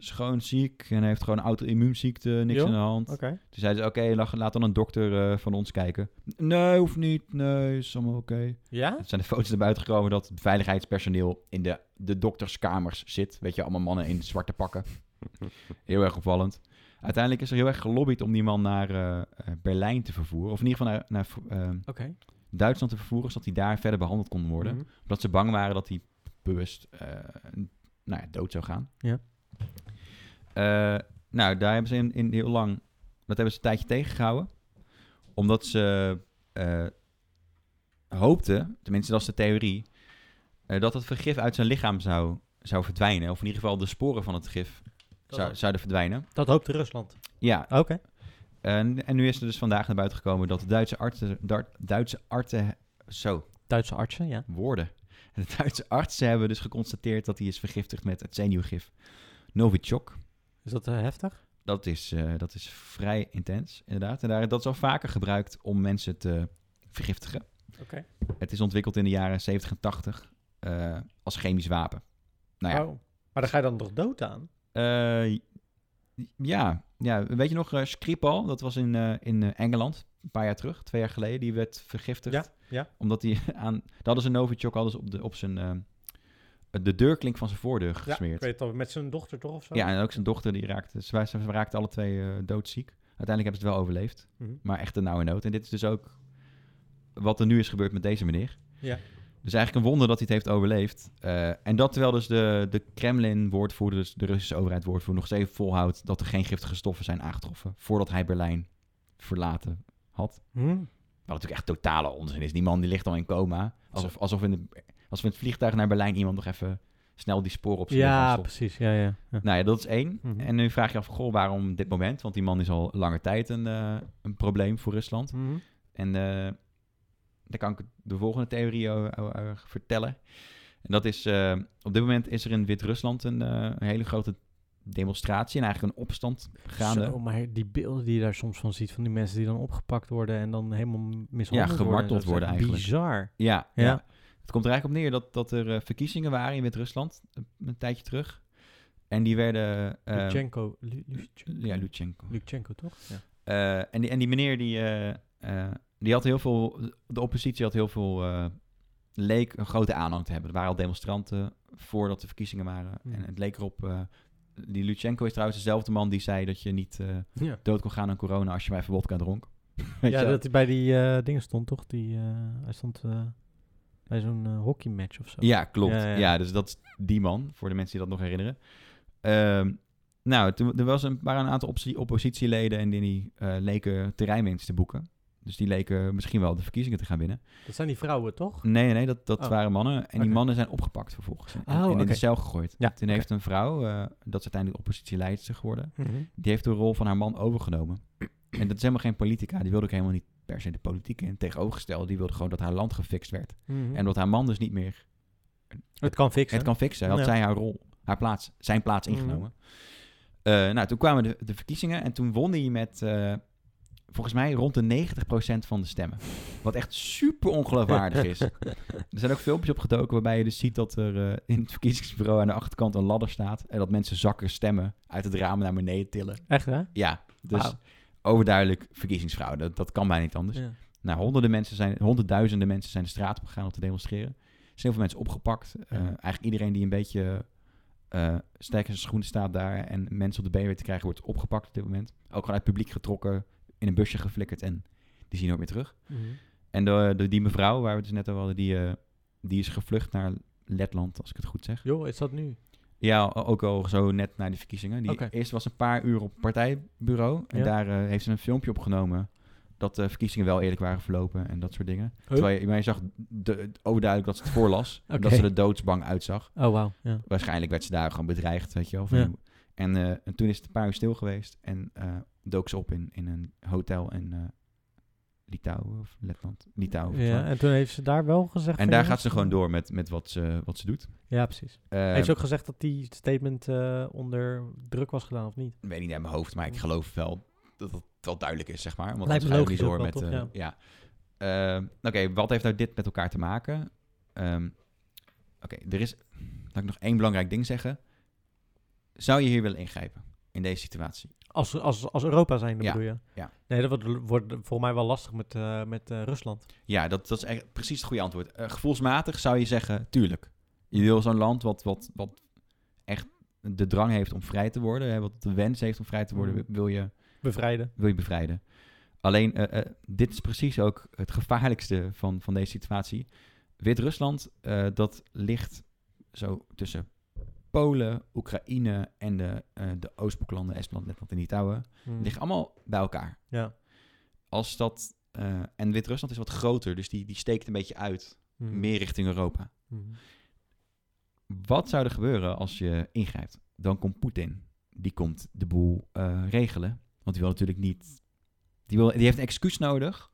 Speaker 1: is gewoon ziek en hij heeft gewoon auto-immuunziekte, niks
Speaker 2: Joh,
Speaker 1: aan de hand.
Speaker 2: Oké.
Speaker 1: Toen zeiden ze, oké, la- laat dan een dokter eh, van ons kijken. Nee, hoeft niet. Nee, is allemaal oké.
Speaker 2: Ja?
Speaker 1: Er zijn de foto's erbij uitgekomen dat het veiligheidspersoneel in de, de dokterskamers zit. Weet je, allemaal mannen in zwarte pakken. Heel erg opvallend. Uiteindelijk is er heel erg gelobbyd om die man naar eh, eh, Berlijn te vervoeren. Of in ieder geval naar, naar eh,
Speaker 2: Oké.
Speaker 1: Duitsland te vervoeren, zodat hij daar verder behandeld kon worden.
Speaker 2: Mhm.
Speaker 1: Omdat ze bang waren dat hij bewust eh, nou ja, dood zou gaan.
Speaker 2: Ja.
Speaker 1: Eh, nou, daar hebben ze in, in heel lang... Dat hebben ze een tijdje tegengehouden. Omdat ze eh, hoopten, tenminste dat is de theorie... eh, dat het vergif uit zijn lichaam zou, zou verdwijnen. Of in ieder geval de sporen van het gif
Speaker 2: Dat
Speaker 1: zou,
Speaker 2: ook.
Speaker 1: zouden verdwijnen.
Speaker 2: Dat hoopte Rusland.
Speaker 1: Ja,
Speaker 2: Oké.
Speaker 1: en, en nu is er dus vandaag naar buiten gekomen... dat de Duitse artsen... Dar- Duitse artsen zo,
Speaker 2: Duitse artsen, ja.
Speaker 1: woorden. En de Duitse artsen hebben dus geconstateerd dat hij is vergiftigd met het zenuwgif Novichok.
Speaker 2: Is dat eh, heftig?
Speaker 1: Dat is, eh, dat is vrij intens, inderdaad. En daar, dat is al vaker gebruikt om mensen te vergiftigen.
Speaker 2: Oké.
Speaker 1: Het is ontwikkeld in de jaren 70 en 80 eh, als chemisch wapen. Nou ja,
Speaker 2: Oh. Maar daar ga je dan toch dood aan?
Speaker 1: eh, ja, ja, weet je nog, eh, Skripal, dat was in, eh, in eh, Engeland. een paar jaar terug, twee jaar geleden, die werd vergiftigd.
Speaker 2: Ja, ja.
Speaker 1: Omdat hij <laughs> aan... Daar hadden ze Novichok hadden ze op, de, op zijn... eh, de deurklink van zijn voordeur
Speaker 2: Ja,
Speaker 1: gesmeerd.
Speaker 2: ik weet het al. Met zijn dochter toch of zo?
Speaker 1: Ja, en ook zijn dochter die raakte. Ze, ze raakten alle twee eh, doodziek. Uiteindelijk hebben ze het wel overleefd.
Speaker 2: Mhm.
Speaker 1: Maar echt een nauwe nood. En dit is dus ook wat er nu is gebeurd met deze meneer.
Speaker 2: Ja.
Speaker 1: Dus eigenlijk een wonder dat hij het heeft overleefd. Eh, en dat terwijl dus de, de Kremlin-woordvoerder, dus de Russische overheid-woordvoerder, nog steeds volhoudt dat er geen giftige stoffen zijn aangetroffen voordat hij Berlijn verlaten had.
Speaker 2: Hm?
Speaker 1: Wat natuurlijk echt totale onzin is. Die man die ligt al in coma. Alsof, alsof in, de, alsof in het vliegtuig naar Berlijn iemand nog even snel die sporen op zijn lichaam
Speaker 2: Ja,
Speaker 1: stopt.
Speaker 2: precies. Ja, ja. ja.
Speaker 1: Nou ja, dat is één.
Speaker 2: Mhm.
Speaker 1: En nu vraag je af, goh, waarom dit moment? Want die man is al lange tijd een, eh, een probleem voor Rusland.
Speaker 2: Mhm.
Speaker 1: En eh, daar kan ik de volgende theorie o- o- o- vertellen. En dat is, eh, op dit moment is er in Wit-Rusland een, eh, een hele grote demonstratie en eigenlijk een opstand gaande.
Speaker 2: Zo, maar die beelden die je daar soms van ziet, van die mensen die dan opgepakt worden en dan helemaal mishandeld worden. en zo,
Speaker 1: gemarteld
Speaker 2: dat is
Speaker 1: worden
Speaker 2: echt
Speaker 1: eigenlijk.
Speaker 2: Bizar.
Speaker 1: Ja,
Speaker 2: Ja.
Speaker 1: ja. Het komt er eigenlijk op neer dat, dat er eh, verkiezingen waren in Wit-Rusland een, een tijdje terug. En die werden... eh,
Speaker 2: Lutsenko. Lu- Lutsenko?
Speaker 1: Ja, Lutsenko.
Speaker 2: Lutsenko, toch? Ja.
Speaker 1: Eh, en, die, en die meneer die, eh, eh, die had heel veel, de oppositie had heel veel, eh, leek een grote aanhang te hebben. Er waren al demonstranten voordat de verkiezingen waren.
Speaker 2: Hmm.
Speaker 1: En het leek erop, eh, die Lutsenko is trouwens dezelfde man die zei dat je niet eh,
Speaker 2: Ja.
Speaker 1: dood kon gaan aan corona als je maar even wodka dronk. <laughs> Weet je
Speaker 2: Ja,
Speaker 1: wel?
Speaker 2: dat hij bij die eh, dingen stond, toch? Die, eh, hij stond eh, bij zo'n eh, hockeymatch of zo.
Speaker 1: ja klopt.
Speaker 2: Ja,
Speaker 1: Ja,
Speaker 2: ja.
Speaker 1: dus dat is die man, voor de mensen die dat nog herinneren. Ehm, nou, toen, er was een, waren een aantal opposi- oppositieleden en die, die eh, leken terreinwinst te boeken. Dus die leken misschien wel de verkiezingen te gaan winnen.
Speaker 2: Dat zijn die vrouwen, toch?
Speaker 1: Nee, nee, nee, dat, dat
Speaker 2: Oh.
Speaker 1: waren mannen. En die
Speaker 2: Oké.
Speaker 1: mannen zijn opgepakt vervolgens. En,
Speaker 2: Oh,
Speaker 1: en in
Speaker 2: oké.
Speaker 1: de cel gegooid.
Speaker 2: Ja,
Speaker 1: Toen heeft een vrouw, eh, dat is uiteindelijk oppositieleidster geworden...
Speaker 2: Mhm.
Speaker 1: die heeft de rol van haar man overgenomen. <clears throat> en dat is helemaal geen politica. Die wilde ook helemaal niet per se de politiek in. Tegenovergestelde, die wilde gewoon dat haar land gefixt werd.
Speaker 2: Mhm.
Speaker 1: En dat haar man dus niet meer
Speaker 2: het kan fixen.
Speaker 1: het kan fixen. Had
Speaker 2: Ja.
Speaker 1: zij haar rol, haar plaats, zijn plaats
Speaker 2: Mhm.
Speaker 1: ingenomen. Eh, nou, toen kwamen de, de verkiezingen en toen won hij met... eh, Volgens mij rond de 90% van de stemmen. Wat echt super ongeloofwaardig
Speaker 2: <laughs>
Speaker 1: is. Er zijn ook filmpjes opgedoken waarbij je dus ziet dat er eh, in het verkiezingsbureau aan de achterkant een ladder staat. En dat mensen zakken stemmen uit het raam naar beneden tillen.
Speaker 2: Echt, hè?
Speaker 1: Ja, dus
Speaker 2: Wauw.
Speaker 1: overduidelijk verkiezingsfraude. Dat, dat kan bijna niet anders.
Speaker 2: Ja.
Speaker 1: Nou, honderden mensen zijn, honderdduizenden mensen zijn de straat op gegaan om te demonstreren. Er zijn heel veel mensen opgepakt. Eh,
Speaker 2: Ja.
Speaker 1: Eigenlijk iedereen die een beetje eh sterk in zijn schoenen staat daar en mensen op de been weet te krijgen, wordt opgepakt op dit moment. Ook gewoon uit het publiek getrokken, in een busje geflikkerd en die zien nooit meer terug.
Speaker 2: Mhm.
Speaker 1: En de, de- die mevrouw, waar we het dus net over hadden, die, eh, die is gevlucht naar Letland, als ik het goed zeg.
Speaker 2: Joh, is dat nu?
Speaker 1: Ja, o- ook al zo net na de verkiezingen. Die
Speaker 2: Oké.
Speaker 1: Eerst was een paar uur op partijbureau. En
Speaker 2: Ja.
Speaker 1: daar eh, heeft ze een filmpje opgenomen dat de verkiezingen wel eerlijk waren verlopen en dat soort dingen. Terwijl je, maar je zag de, overduidelijk dat ze het voorlas.
Speaker 2: Oké.
Speaker 1: Dat ze er doodsbang uitzag.
Speaker 2: Oh, wauw. Ja.
Speaker 1: Waarschijnlijk werd ze daar gewoon bedreigd, weet je wel. van-
Speaker 2: Ja.
Speaker 1: En, eh, en toen is het een paar uur stil geweest en eh, dook ze op in, in een hotel in eh, Litouwen of Letland. Litouwen. volgens mij.
Speaker 2: ja. En toen heeft ze daar wel gezegd...
Speaker 1: Oh, En
Speaker 2: van,
Speaker 1: daar
Speaker 2: jongens,
Speaker 1: gaat ze gewoon door met, met wat, ze, wat ze doet.
Speaker 2: Ja, precies.
Speaker 1: Eh,
Speaker 2: heeft ze ook gezegd dat die statement eh, onder druk was gedaan, of niet?
Speaker 1: Ik weet niet uit mijn hoofd, maar ik geloof wel dat dat wel duidelijk is, zeg maar. Want
Speaker 2: Lijkt me
Speaker 1: anders ga je ook
Speaker 2: logisch
Speaker 1: niet
Speaker 2: ook
Speaker 1: door
Speaker 2: wel,
Speaker 1: met... eh, ja. Ehm, Oké, wat heeft nou dit met elkaar te maken? Ehm, Oké, er is... Laat ik nog één belangrijk ding zeggen. Zou je hier willen ingrijpen? In deze situatie?
Speaker 2: Als, als, als Europa zijn,
Speaker 1: Ja,
Speaker 2: bedoel je?
Speaker 1: ja.
Speaker 2: Nee, dat wordt, wordt volgens mij wel lastig met, eh, met eh, Rusland.
Speaker 1: Ja, dat, dat is echt precies het goede antwoord. Eh, gevoelsmatig zou je zeggen, tuurlijk. Je wil zo'n land wat, wat, wat echt de drang heeft om vrij te worden, hè, wat de wens heeft om vrij te worden,
Speaker 2: Mhm.
Speaker 1: wil je
Speaker 2: Bevrijden.
Speaker 1: wil je bevrijden. Alleen, eh, eh, dit is precies ook het gevaarlijkste van, van deze situatie. Wit-Rusland, eh, dat ligt zo tussen Polen, Oekraïne en de, eh de Oostbloklanden, Estland, Letland en Litouwen.
Speaker 2: Hmm.
Speaker 1: Liggen allemaal bij elkaar.
Speaker 2: Ja.
Speaker 1: Als dat, eh, en Wit-Rusland is wat groter, dus die, die steekt een beetje uit,
Speaker 2: Hmm.
Speaker 1: meer richting Europa.
Speaker 2: Hmm.
Speaker 1: Wat zou er gebeuren als je ingrijpt? Dan komt Poetin. Die komt de boel eh, regelen. Want die wil natuurlijk niet. Die, wil, die heeft een excuus nodig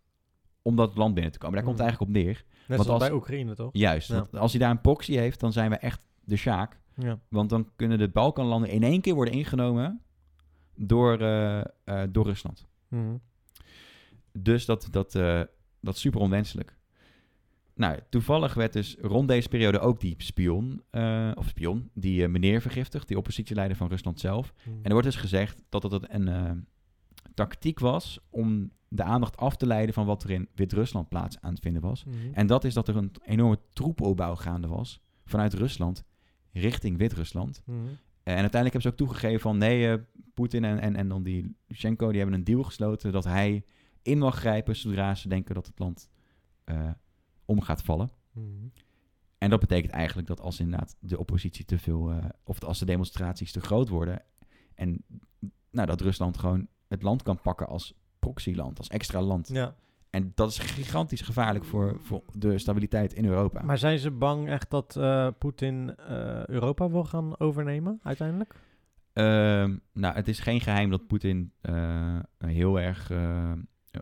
Speaker 1: om dat land binnen te komen. Daar komt het
Speaker 2: Mm.
Speaker 1: eigenlijk op neer.
Speaker 2: Net
Speaker 1: Want
Speaker 2: zoals
Speaker 1: als-
Speaker 2: bij Oekraïne, toch?
Speaker 1: Juist.
Speaker 2: Ja.
Speaker 1: want als hij daar een proxy heeft, dan zijn we echt de Sjaak.
Speaker 2: Ja.
Speaker 1: Want dan kunnen de Balkanlanden in één keer worden ingenomen door, eh, eh, door Rusland.
Speaker 2: Mhm.
Speaker 1: Dus dat, dat, eh, dat is super onwenselijk. Nou, toevallig werd dus rond deze periode ook die spion, eh, of spion, die eh, meneer vergiftigd, die oppositieleider van Rusland zelf. En er wordt dus gezegd dat het een eh, tactiek was om de aandacht af te leiden van wat er in Wit-Rusland plaats aan het vinden was.
Speaker 2: Mhm.
Speaker 1: En dat is dat er een enorme troepopbouw gaande was vanuit Rusland richting Wit-Rusland.
Speaker 2: Mhm.
Speaker 1: En uiteindelijk hebben ze ook toegegeven van nee, eh, Poetin en, en, en dan die Lutsenko, die hebben een deal gesloten dat hij in mag grijpen zodra ze denken dat het land eh, om gaat vallen.
Speaker 2: Mhm.
Speaker 1: En dat betekent eigenlijk dat als inderdaad de oppositie te veel, eh, of als de demonstraties te groot worden, en nou, dat Rusland gewoon het land kan pakken als proxyland, als extra land.
Speaker 2: Ja.
Speaker 1: En dat is gigantisch gevaarlijk voor, voor de stabiliteit in Europa.
Speaker 2: Maar zijn ze bang echt dat eh, Poetin eh, Europa wil gaan overnemen uiteindelijk?
Speaker 1: Ehm, nou, het is geen geheim dat Poetin eh, heel erg eh,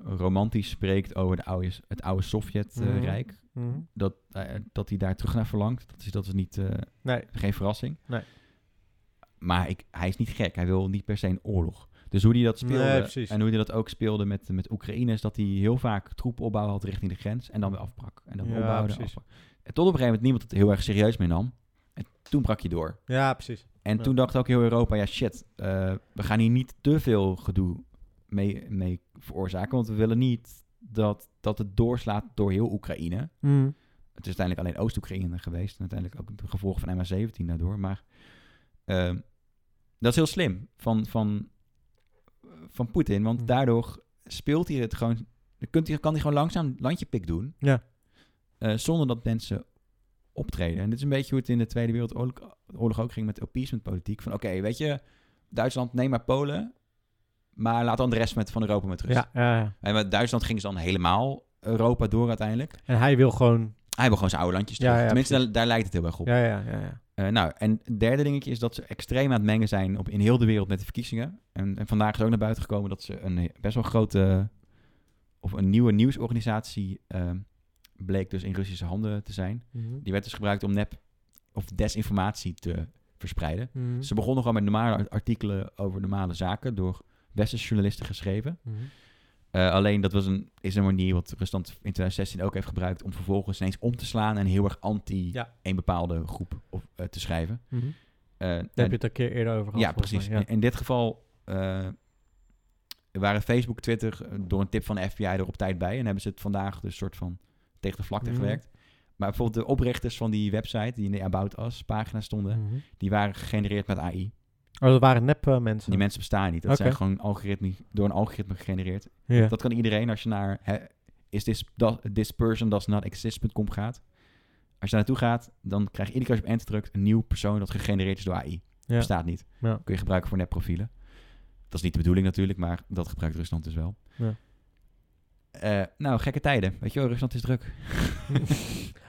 Speaker 1: romantisch spreekt over de oude, het oude
Speaker 2: Mhm.
Speaker 1: Sovjet-rijk. dat, eh, dat hij daar terug naar verlangt. Dat is, dat is niet, eh,
Speaker 2: Nee.
Speaker 1: geen verrassing.
Speaker 2: Nee.
Speaker 1: Maar ik, hij is niet gek. Hij wil niet per se een oorlog. Dus hoe hij dat speelde
Speaker 2: Nee, precies.
Speaker 1: en hoe hij dat ook speelde met, met Oekraïne... is dat hij heel vaak troepen opbouw had richting de grens... en dan weer afbrak. En dan weer
Speaker 2: Ja,
Speaker 1: opbouwde en
Speaker 2: precies.
Speaker 1: afbrak. En tot op een gegeven moment niemand het heel erg serieus meer nam. En toen brak je door.
Speaker 2: Ja, precies.
Speaker 1: En
Speaker 2: Ja.
Speaker 1: toen dacht ook heel Europa, ja shit, eh, we gaan hier niet te veel gedoe mee, mee veroorzaken. Want we willen niet dat, dat het doorslaat door heel Oekraïne.
Speaker 2: Mhm.
Speaker 1: Het is uiteindelijk alleen Oost-Oekraïne geweest. En uiteindelijk ook het gevolg van MH17 daardoor. Maar ehm, dat is heel slim van, van, van Poetin. Want
Speaker 2: Hm. daardoor
Speaker 1: daardoor speelt hij het gewoon... Dan kunt hij, kan hij gewoon langzaam landje pik doen.
Speaker 2: Ja.
Speaker 1: Eh, zonder dat mensen optreden. En dit is een beetje hoe het in de Tweede Wereldoorlog oorlog ook ging met appeasement politiek. Van oké, weet je, Duitsland neem maar Polen. Maar laat dan de rest met, van Europa met rust.
Speaker 2: Ja, ja, ja.
Speaker 1: En met Duitsland gingen ze dan helemaal Europa door uiteindelijk.
Speaker 2: en hij wil gewoon...
Speaker 1: Hij wil gewoon zijn oude landjes terug.
Speaker 2: Ja, ja,
Speaker 1: Tenminste,
Speaker 2: precies.
Speaker 1: daar, daar lijkt het heel erg op.
Speaker 2: Ja, ja, ja. ja.
Speaker 1: Eh, nou, en het derde dingetje is dat ze extreem aan het mengen zijn op, in heel de wereld met de verkiezingen. En, en vandaag is ook naar buiten gekomen dat ze een best wel grote, of een nieuwe nieuwsorganisatie eh, bleek dus in Russische handen te zijn.
Speaker 2: Mhm.
Speaker 1: Die werd dus gebruikt om nep of desinformatie te verspreiden.
Speaker 2: Mhm.
Speaker 1: Ze begonnen gewoon met normale ar- artikelen over normale zaken door westerse journalisten geschreven.
Speaker 2: Mhm.
Speaker 1: Eh, alleen dat was een, is een manier wat Rusland in 2016 ook heeft gebruikt om vervolgens ineens om te slaan en heel erg anti
Speaker 2: Ja.
Speaker 1: een bepaalde groep of, eh, te schrijven.
Speaker 2: Mhm.
Speaker 1: Eh,
Speaker 2: Daar
Speaker 1: en-
Speaker 2: heb je het een keer eerder over gehad.
Speaker 1: ja,
Speaker 2: volgens
Speaker 1: precies.
Speaker 2: mij,
Speaker 1: In, in dit geval eh, waren Facebook, Twitter eh, door een tip van de FBI er op tijd bij en hebben ze het vandaag dus soort van tegen de vlakte
Speaker 2: Mhm.
Speaker 1: gewerkt. Maar bijvoorbeeld de oprichters van die website die in de About Us pagina stonden,
Speaker 2: Ja. Mhm.
Speaker 1: die waren gegenereerd met AI.
Speaker 2: Oh, dat waren nep eh, mensen.
Speaker 1: Die mensen bestaan niet. Dat
Speaker 2: Oké.
Speaker 1: zijn gewoon algoritme, door een algoritme gegenereerd.
Speaker 2: Ja.
Speaker 1: Dat kan iedereen als je naar hè, is this, does- this person does not exist.com gaat. Als je daar naartoe gaat, dan krijg je iedere keer als je op enter drukt een nieuw persoon dat gegenereerd is door AI.
Speaker 2: Ja.
Speaker 1: Bestaat niet.
Speaker 2: Ja.
Speaker 1: Kun je gebruiken voor nepprofielen. Dat is niet de bedoeling natuurlijk, maar dat gebruikt Rusland dus wel.
Speaker 2: Ja.
Speaker 1: Eh, nou, gekke tijden. Weet je wel, Rusland is
Speaker 2: <laughs>
Speaker 1: druk.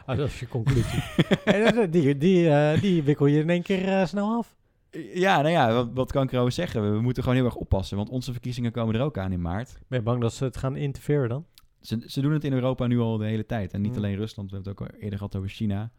Speaker 2: Ah, dat is je <laughs> conclusie. En dat- <laughs> die, die, eh, die wikkel je in één keer eh, snel af.
Speaker 1: Ja, nou ja, wat, wat kan ik erover zeggen? We moeten gewoon heel erg oppassen, want onze verkiezingen komen er ook aan in maart.
Speaker 2: Ben je bang dat ze het gaan interfereren dan?
Speaker 1: Ze, ze doen het in Europa nu al de hele tijd. En niet
Speaker 2: Mm.
Speaker 1: alleen Rusland, we hebben het ook al eerder gehad over China.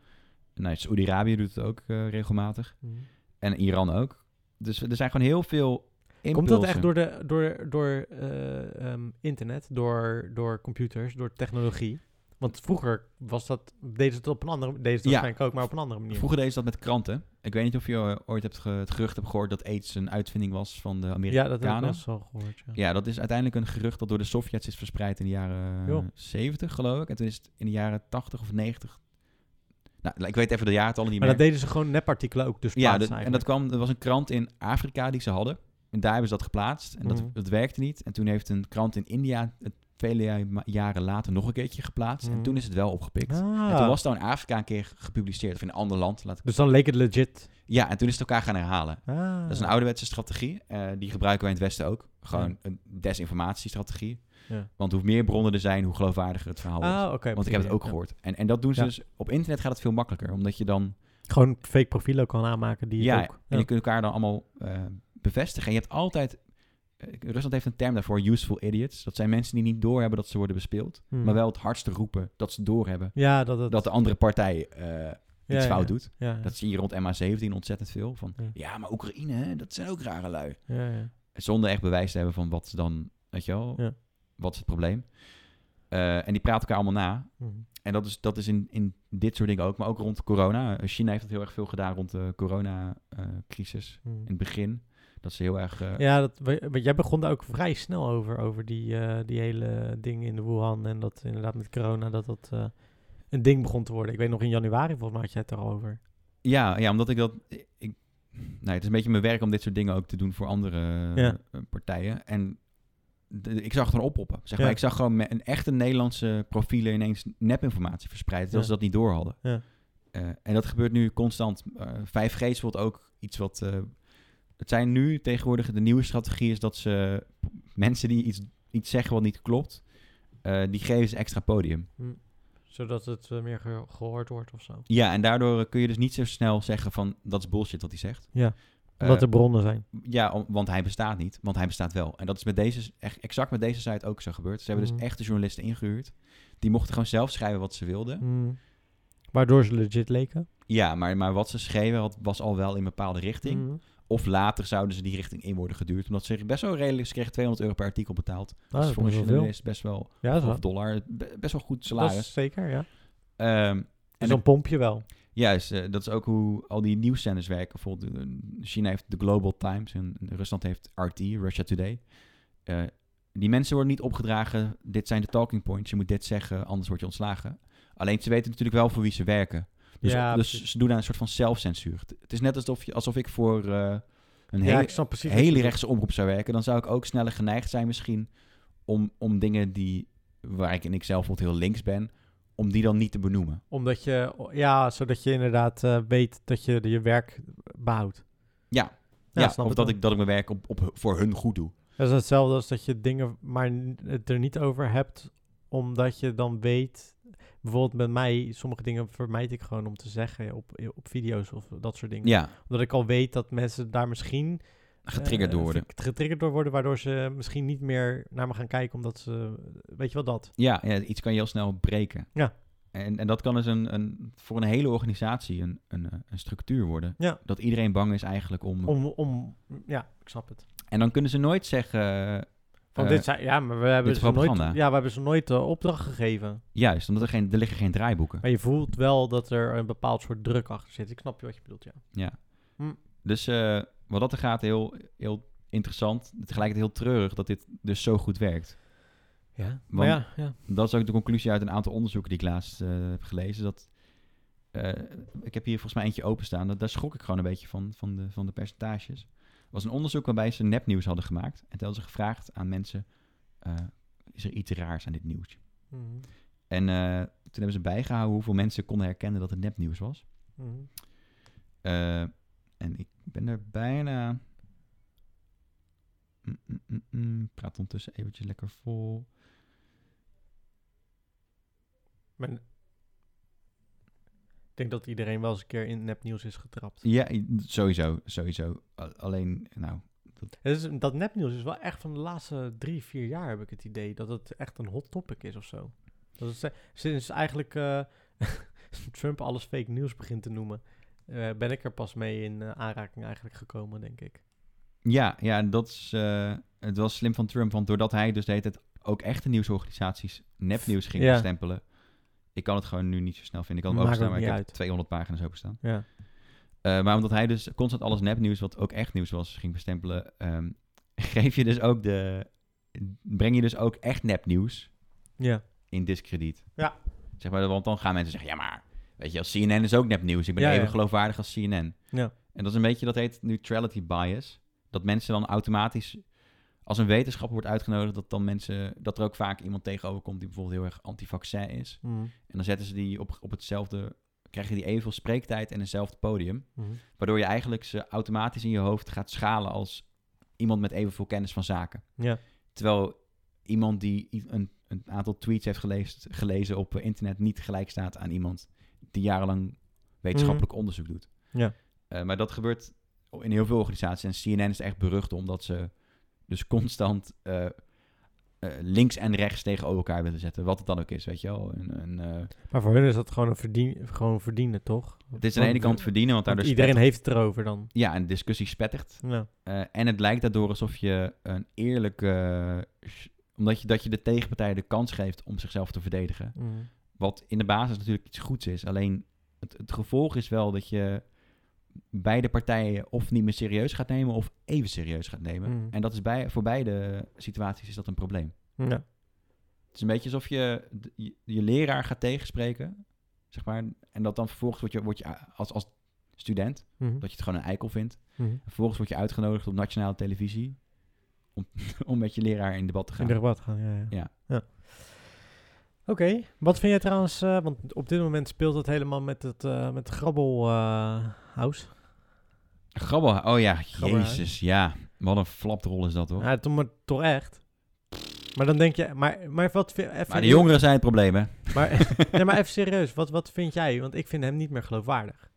Speaker 1: Nou, Saudi-Arabië doet het ook eh, regelmatig.
Speaker 2: Mhm.
Speaker 1: En Iran ook. Dus er zijn gewoon heel veel impulsen.
Speaker 2: Komt dat echt door, de, door, door eh, ehm, internet, door, door computers, door technologie? Want vroeger was dat, deden ze het op een andere manier. Deden ze het
Speaker 1: Ja.
Speaker 2: waarschijnlijk ook, maar op een andere manier.
Speaker 1: Vroeger deden ze dat met kranten. Ik weet niet of je eh, ooit hebt ge- het gerucht hebt gehoord dat AIDS een uitvinding was van de
Speaker 2: ja,
Speaker 1: Amerikanen.
Speaker 2: dat heb ik wel zo gehoord. Ja.
Speaker 1: Ja, dat is uiteindelijk een gerucht dat door de Sovjets is verspreid in de jaren
Speaker 2: Joh.
Speaker 1: 70, geloof ik. En toen is het in de jaren 80 of 90. Nou, ik weet even de jaartallen niet
Speaker 2: maar dat
Speaker 1: meer.
Speaker 2: deden ze gewoon nepartikelen ook, dus
Speaker 1: ja, dat-
Speaker 2: plaatsen
Speaker 1: en dat kwam, er was een krant in Afrika die ze hadden. En daar hebben ze dat geplaatst. En dat,
Speaker 2: Mhm.
Speaker 1: dat werkte niet. En toen heeft een krant in India het vele ja- jaren later nog een keertje geplaatst.
Speaker 2: Mhm.
Speaker 1: En toen is het wel opgepikt.
Speaker 2: eigenlijk. Ah.
Speaker 1: En toen was het al in Afrika een keer gepubliceerd, of in een ander land. Laat ik...
Speaker 2: Dus dan leek het legit.
Speaker 1: Ja, en toen is het elkaar gaan herhalen.
Speaker 2: Ah.
Speaker 1: Dat is een ouderwetse strategie. eh, die gebruiken wij in het Westen ook. Gewoon een desinformatiestrategie.
Speaker 2: Ja.
Speaker 1: Want hoe meer bronnen er zijn, hoe geloofwaardiger het verhaal
Speaker 2: Ah,
Speaker 1: is.
Speaker 2: oké.
Speaker 1: Want ik heb het ook
Speaker 2: ja.
Speaker 1: gehoord. En, en dat doen ze
Speaker 2: Ja.
Speaker 1: dus... Op internet gaat het veel makkelijker. Omdat je dan...
Speaker 2: Gewoon fake profielen ook kan aanmaken die
Speaker 1: Ja,
Speaker 2: het ook...
Speaker 1: en je kunt elkaar dan allemaal eh, bevestigen. En je hebt altijd... eh, Rusland heeft een term daarvoor, useful idiots. Dat zijn mensen die niet doorhebben dat ze worden bespeeld.
Speaker 2: Hmm.
Speaker 1: Maar wel het hardste roepen dat ze doorhebben.
Speaker 2: Ja, dat het...
Speaker 1: Dat de andere partij eh,
Speaker 2: ja,
Speaker 1: iets
Speaker 2: ja,
Speaker 1: fout
Speaker 2: ja.
Speaker 1: doet.
Speaker 2: Ja, ja.
Speaker 1: Dat zie je rond MH17 ontzettend veel. Van,
Speaker 2: Ja.
Speaker 1: ja. maar Oekraïne, hè, dat zijn ook rare lui.
Speaker 2: Ja, ja.
Speaker 1: Zonder echt bewijs te hebben van wat ze dan, weet je wel,
Speaker 2: Ja.
Speaker 1: wat is het probleem. Eh, en die praten elkaar allemaal na.
Speaker 2: Mhm.
Speaker 1: En dat is, dat is in, in dit soort dingen ook, maar ook Eh, rond corona. China heeft dat heel erg veel gedaan rond de coronacrisis
Speaker 2: Mhm.
Speaker 1: in het begin. Dat ze heel erg... eh,
Speaker 2: Ja, dat, we- want jij begon daar ook vrij snel over, over die, eh, die hele ding in de Wuhan. En dat inderdaad met corona, dat dat eh, een ding begon te worden. Ik weet nog in januari volgens mij had jij het er al over.
Speaker 1: Ja, ja, omdat ik dat. Ik, nou, het is een beetje mijn werk om dit soort dingen ook te doen voor andere
Speaker 2: Ja.
Speaker 1: eh, partijen. En de- ik zag het gewoon oppoppen. Zeg
Speaker 2: Ja.
Speaker 1: maar. Ik zag gewoon me- een echte Nederlandse profielen ineens nepinformatie verspreiden. Terwijl
Speaker 2: Ja.
Speaker 1: ze dat niet door hadden.
Speaker 2: Ja.
Speaker 1: Eh, en dat gebeurt nu constant. Eh, 5G is bijvoorbeeld ook iets wat. eh, het zijn nu tegenwoordig de nieuwe strategie is dat ze mensen die iets, iets zeggen wat niet klopt, eh, die geven ze extra podium.
Speaker 2: Zodat het eh, meer gehoord wordt of zo.
Speaker 1: Ja, en daardoor eh, kun je dus niet zo snel zeggen van dat is bullshit wat hij zegt.
Speaker 2: Ja,
Speaker 1: Eh,
Speaker 2: Omdat er bronnen zijn.
Speaker 1: Ja, om- want hij bestaat niet, want hij bestaat wel. En dat is met deze, echt exact met deze site ook zo gebeurd. Ze hebben
Speaker 2: Mhm.
Speaker 1: dus echte journalisten ingehuurd. Die mochten gewoon zelf schrijven wat ze wilden.
Speaker 2: Mm. Waardoor ze legit leken.
Speaker 1: Ja, maar, maar wat ze schreven had, was al wel in een bepaalde richting.
Speaker 2: Mm.
Speaker 1: Of later zouden ze die richting in worden geduwd. Omdat ze best wel redelijk, ze kregen 200 euro per artikel betaald.
Speaker 2: Ah,
Speaker 1: dat is
Speaker 2: dat
Speaker 1: voor een
Speaker 2: is wel veel.
Speaker 1: journalist best wel,
Speaker 2: Ja, dat is
Speaker 1: of
Speaker 2: wel-
Speaker 1: dollar, be- best wel goed
Speaker 2: dat
Speaker 1: salaris.
Speaker 2: is zeker, ja. Dus
Speaker 1: Ehm,
Speaker 2: En
Speaker 1: En
Speaker 2: zo'n
Speaker 1: ik-
Speaker 2: pompje wel. Juist.
Speaker 1: Juist, eh, dat is ook hoe al die nieuwszenders werken. Bijvoorbeeld, eh, China heeft de Global Times en Rusland heeft RT, Russia Today. Eh, die mensen worden niet opgedragen, dit zijn de talking points, je moet dit zeggen, anders word je ontslagen. Alleen ze weten natuurlijk wel voor wie ze werken. Dus,
Speaker 2: Ja,
Speaker 1: dus
Speaker 2: precies.
Speaker 1: ze doen aan een soort van zelfcensuur. Het- Het is net alsof, je, alsof ik voor eh, een
Speaker 2: ja,
Speaker 1: hele,
Speaker 2: ik snap precies. wat je
Speaker 1: hele
Speaker 2: bedoelt.
Speaker 1: rechtse omroep zou werken. Dan zou ik ook sneller geneigd zijn misschien om, om dingen die, waar ik en ik zelf bijvoorbeeld heel links ben, om die dan niet te benoemen.
Speaker 2: Omdat je, ja, zodat je inderdaad eh, weet dat je je werk behoudt.
Speaker 1: Ja. Ja,
Speaker 2: snap
Speaker 1: of
Speaker 2: ik
Speaker 1: dat
Speaker 2: wel.
Speaker 1: ik, dat ik mijn werk op, op, voor hun goed doe.
Speaker 2: Dat is hetzelfde als dat je dingen maar n- het er niet over hebt, omdat je dan weet... Bijvoorbeeld bij mij, sommige dingen vermijd ik gewoon om te zeggen op, op video's of dat soort dingen.
Speaker 1: Ja,
Speaker 2: Omdat ik al weet dat mensen daar misschien...
Speaker 1: getriggerd
Speaker 2: eh,
Speaker 1: door worden.
Speaker 2: Getriggerd door worden, waardoor ze misschien niet meer naar me gaan kijken, omdat ze... Weet je wel, dat.
Speaker 1: Ja, ja, iets kan je heel snel breken.
Speaker 2: Ja.
Speaker 1: En, en dat kan dus een, een, voor een hele organisatie een, een, eh, een structuur worden.
Speaker 2: Ja.
Speaker 1: Dat iedereen bang is eigenlijk om...
Speaker 2: Om, om, ja, ik snap het.
Speaker 1: En dan kunnen ze nooit zeggen... eh,
Speaker 2: Want
Speaker 1: eh,
Speaker 2: dit zijn, ja, maar we hebben,
Speaker 1: dit
Speaker 2: ze
Speaker 1: is
Speaker 2: nooit, ja,
Speaker 1: propaganda.
Speaker 2: we hebben ze nooit de opdracht gegeven.
Speaker 1: Juist, omdat er, geen, er liggen geen draaiboeken.
Speaker 2: Maar je voelt wel dat er een bepaald soort druk achter zit. Ik snap je wat je bedoelt, ja.
Speaker 1: Ja.
Speaker 2: Hm.
Speaker 1: Dus eh, wat dat er gaat, heel, heel interessant. Tegelijkertijd heel treurig dat dit dus zo goed werkt.
Speaker 2: Ja, maar
Speaker 1: Want-
Speaker 2: ja, ja.
Speaker 1: Dat is ook de conclusie uit een aantal onderzoeken die ik laatst eh, heb gelezen. Dat, eh, ik heb hier volgens mij eentje openstaan. Dat, daar schrok ik gewoon een beetje van, van de, van de percentages. Er was een onderzoek waarbij ze nepnieuws hadden gemaakt. En toen hadden ze gevraagd aan mensen, eh, is er iets raars aan dit nieuwtje?
Speaker 2: Mhm.
Speaker 1: En eh, toen hebben ze bijgehouden hoeveel mensen konden herkennen dat het nepnieuws was.
Speaker 2: Mhm.
Speaker 1: Eh, en ik ben er bijna. Mm, mm, mm, mm. Ik Praat ondertussen eventjes lekker vol.
Speaker 2: Maar ik denk dat iedereen wel eens een keer in nepnieuws is getrapt.
Speaker 1: Ja, i- sowieso, sowieso. A- Alleen, nou,
Speaker 2: Het is, dat nepnieuws is wel echt van de laatste drie, vier jaar heb ik het idee. Dat het echt een hot topic is of zo. Dat het, eh, sinds eigenlijk eh, <laughs> Trump alles fake nieuws begint te noemen... eh, ben ik er pas mee in eh, aanraking eigenlijk gekomen, denk ik.
Speaker 1: ja, ja, dat is, eh, het was slim van Trump, want doordat hij dus deed het ook echte nieuwsorganisaties nepnieuws ging
Speaker 2: Ja.
Speaker 1: stempelen. Ik kan het gewoon nu niet zo snel vinden. Ik kan hem
Speaker 2: Maakt
Speaker 1: openstaan,
Speaker 2: ook
Speaker 1: maar ik
Speaker 2: niet
Speaker 1: heb 200
Speaker 2: uit.
Speaker 1: pagina's openstaan.
Speaker 2: Ja.
Speaker 1: Eh, maar omdat hij dus constant alles nepnieuws, wat ook echt nieuws was, ging bestempelen, ehm, <laughs> geef je dus ook de, breng je dus ook echt nepnieuws
Speaker 2: Ja.
Speaker 1: in discrediet.
Speaker 2: Ja.
Speaker 1: Zeg maar, want dan gaan mensen zeggen, ja maar, weet je, als CNN is ook nepnieuws. Ik ben
Speaker 2: Ja,
Speaker 1: even
Speaker 2: ja.
Speaker 1: geloofwaardig als CNN.
Speaker 2: Ja.
Speaker 1: En dat is een beetje, dat heet neutrality bias. Dat mensen dan automatisch, als een wetenschapper wordt uitgenodigd, dat dan mensen, dat er ook vaak iemand tegenover komt die bijvoorbeeld heel erg anti-vaccin is.
Speaker 2: Mhm.
Speaker 1: En dan zetten ze die op, op hetzelfde, krijgen die evenveel spreektijd en hetzelfde podium.
Speaker 2: Mhm.
Speaker 1: Waardoor je eigenlijk ze automatisch in je hoofd gaat schalen als iemand met evenveel kennis van zaken.
Speaker 2: Ja.
Speaker 1: Terwijl iemand die i- een, een aantal tweets heeft gelezen, gelezen op eh, internet niet gelijk staat aan iemand die jarenlang wetenschappelijk onderzoek doet.
Speaker 2: Mhm. Ja.
Speaker 1: Eh, maar dat gebeurt in heel veel organisaties. En CNN is echt berucht omdat ze dus constant eh, eh, links en rechts tegenover elkaar willen zetten. Wat het dan ook is, weet je wel. Een, een, eh,
Speaker 2: Maar voor hun is dat gewoon, een verdien, gewoon verdienen, toch?
Speaker 1: het is aan de ene kant verdienen, want daardoor...
Speaker 2: iedereen
Speaker 1: spet-
Speaker 2: heeft het erover dan.
Speaker 1: Ja, en de discussie spettert.
Speaker 2: Ja.
Speaker 1: Eh, en het lijkt daardoor alsof je een eerlijke. eh, sh- omdat je, dat je de tegenpartij de kans geeft om zichzelf te verdedigen.
Speaker 2: Mhm.
Speaker 1: Wat in de basis natuurlijk iets goeds is. Alleen het, het gevolg is wel dat je beide partijen of niet meer serieus gaat nemen of even serieus gaat nemen.
Speaker 2: Mm.
Speaker 1: En dat is bij, voor beide situaties is dat een probleem.
Speaker 2: Ja.
Speaker 1: Het is een beetje alsof je d- je, je leraar gaat tegenspreken, zeg maar. En dat dan vervolgens word je, word je a- als, als student,
Speaker 2: Mhm.
Speaker 1: dat je het gewoon een eikel vindt.
Speaker 2: Mhm.
Speaker 1: En vervolgens word je uitgenodigd op nationale televisie om, <laughs> om met je leraar in debat te
Speaker 2: In
Speaker 1: gaan.
Speaker 2: de debat gaan, ja. ja.
Speaker 1: Ja.
Speaker 2: Oké, wat vind jij trouwens, eh, want op dit moment speelt het helemaal met het, eh, met Grabbel eh, House.
Speaker 1: Grabbel, oh ja,
Speaker 2: Grabbel, hè?
Speaker 1: jezus, ja. Wat een flapdrol is dat, hoor.
Speaker 2: Ja, toch, maar, toch echt. Maar dan denk je, maar, maar wat vind even-
Speaker 1: maar de jongeren zijn het probleem, hè.
Speaker 2: Maar,
Speaker 1: <laughs>
Speaker 2: nee, maar even serieus, wat, wat vind jij? Want ik vind hem niet meer geloofwaardig.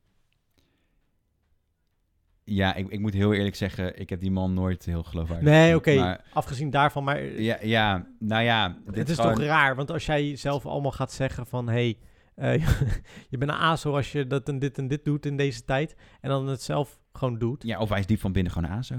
Speaker 1: Ja, ik, ik moet heel eerlijk zeggen, ik heb die man nooit heel geloofwaardig.
Speaker 2: Nee, oké,
Speaker 1: gevonden. Maar
Speaker 2: afgezien daarvan, maar eh,
Speaker 1: Ja, ja, nou ja. Dit
Speaker 2: het is
Speaker 1: gewoon-
Speaker 2: toch raar, want als jij zelf allemaal gaat zeggen van, hey, eh, <laughs> je bent een aso als je dat en dit en dit doet in deze tijd, en dan het zelf gewoon doet.
Speaker 1: Ja, of hij is diep van binnen gewoon aan zo.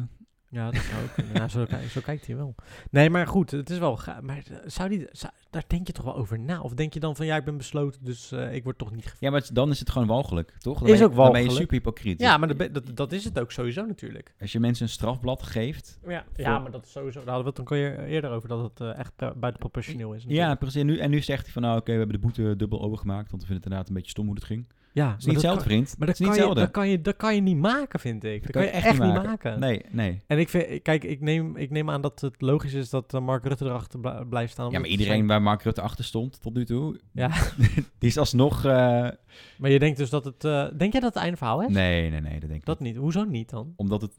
Speaker 2: Ja, dat zou ook. kunnen. nou, zo, ki- zo kijkt hij wel. Nee, maar goed, het is wel. ga- Maar eh, zou die, zou- daar denk je toch wel over na? Of denk je dan van ja, ik ben besloten, dus eh, ik word toch niet. ge-
Speaker 1: Ja, maar het- dan is het gewoon walgelijk, toch? Dan
Speaker 2: Is
Speaker 1: ben je-
Speaker 2: ook
Speaker 1: Dan ben je
Speaker 2: walgelijk.
Speaker 1: super hypocriet.
Speaker 2: Ja, maar dat, be- dat, dat is het ook sowieso natuurlijk.
Speaker 1: Als je mensen een strafblad geeft...
Speaker 2: Ja, ja
Speaker 1: Voor-
Speaker 2: maar dat is sowieso. Daar hadden we het een keer eerder over dat het eh, echt bu- buiten proportioneel is.
Speaker 1: Ja,
Speaker 2: natuurlijk.
Speaker 1: precies. En nu, en nu zegt hij van, nou oké, we hebben de boete dubbel overgemaakt, want we vinden het inderdaad een beetje stom hoe het ging. Het
Speaker 2: ja
Speaker 1: is niet hetzelfde, vriend.
Speaker 2: Maar
Speaker 1: het is
Speaker 2: dat
Speaker 1: niet
Speaker 2: kan, je,
Speaker 1: hetzelfde.
Speaker 2: dat, kan je, dat kan je niet maken, vind ik. Dat kan je echt niet maken.
Speaker 1: Nee, nee.
Speaker 2: En ik vind, kijk, ik neem, ik neem aan dat het logisch is dat eh, Mark Rutte erachter bla- blijft staan.
Speaker 1: Ja,
Speaker 2: omdat
Speaker 1: maar
Speaker 2: het
Speaker 1: iedereen waar Mark Rutte achter stond tot nu toe,
Speaker 2: Ja.
Speaker 1: <laughs> die is alsnog... eh,
Speaker 2: zijn- Maar je denkt dus dat het. eh, denk jij dat het einde verhaal is?
Speaker 1: Nee, nee, nee, dat denk ik
Speaker 2: Dat
Speaker 1: niet.
Speaker 2: niet. Hoezo niet dan?
Speaker 1: Omdat het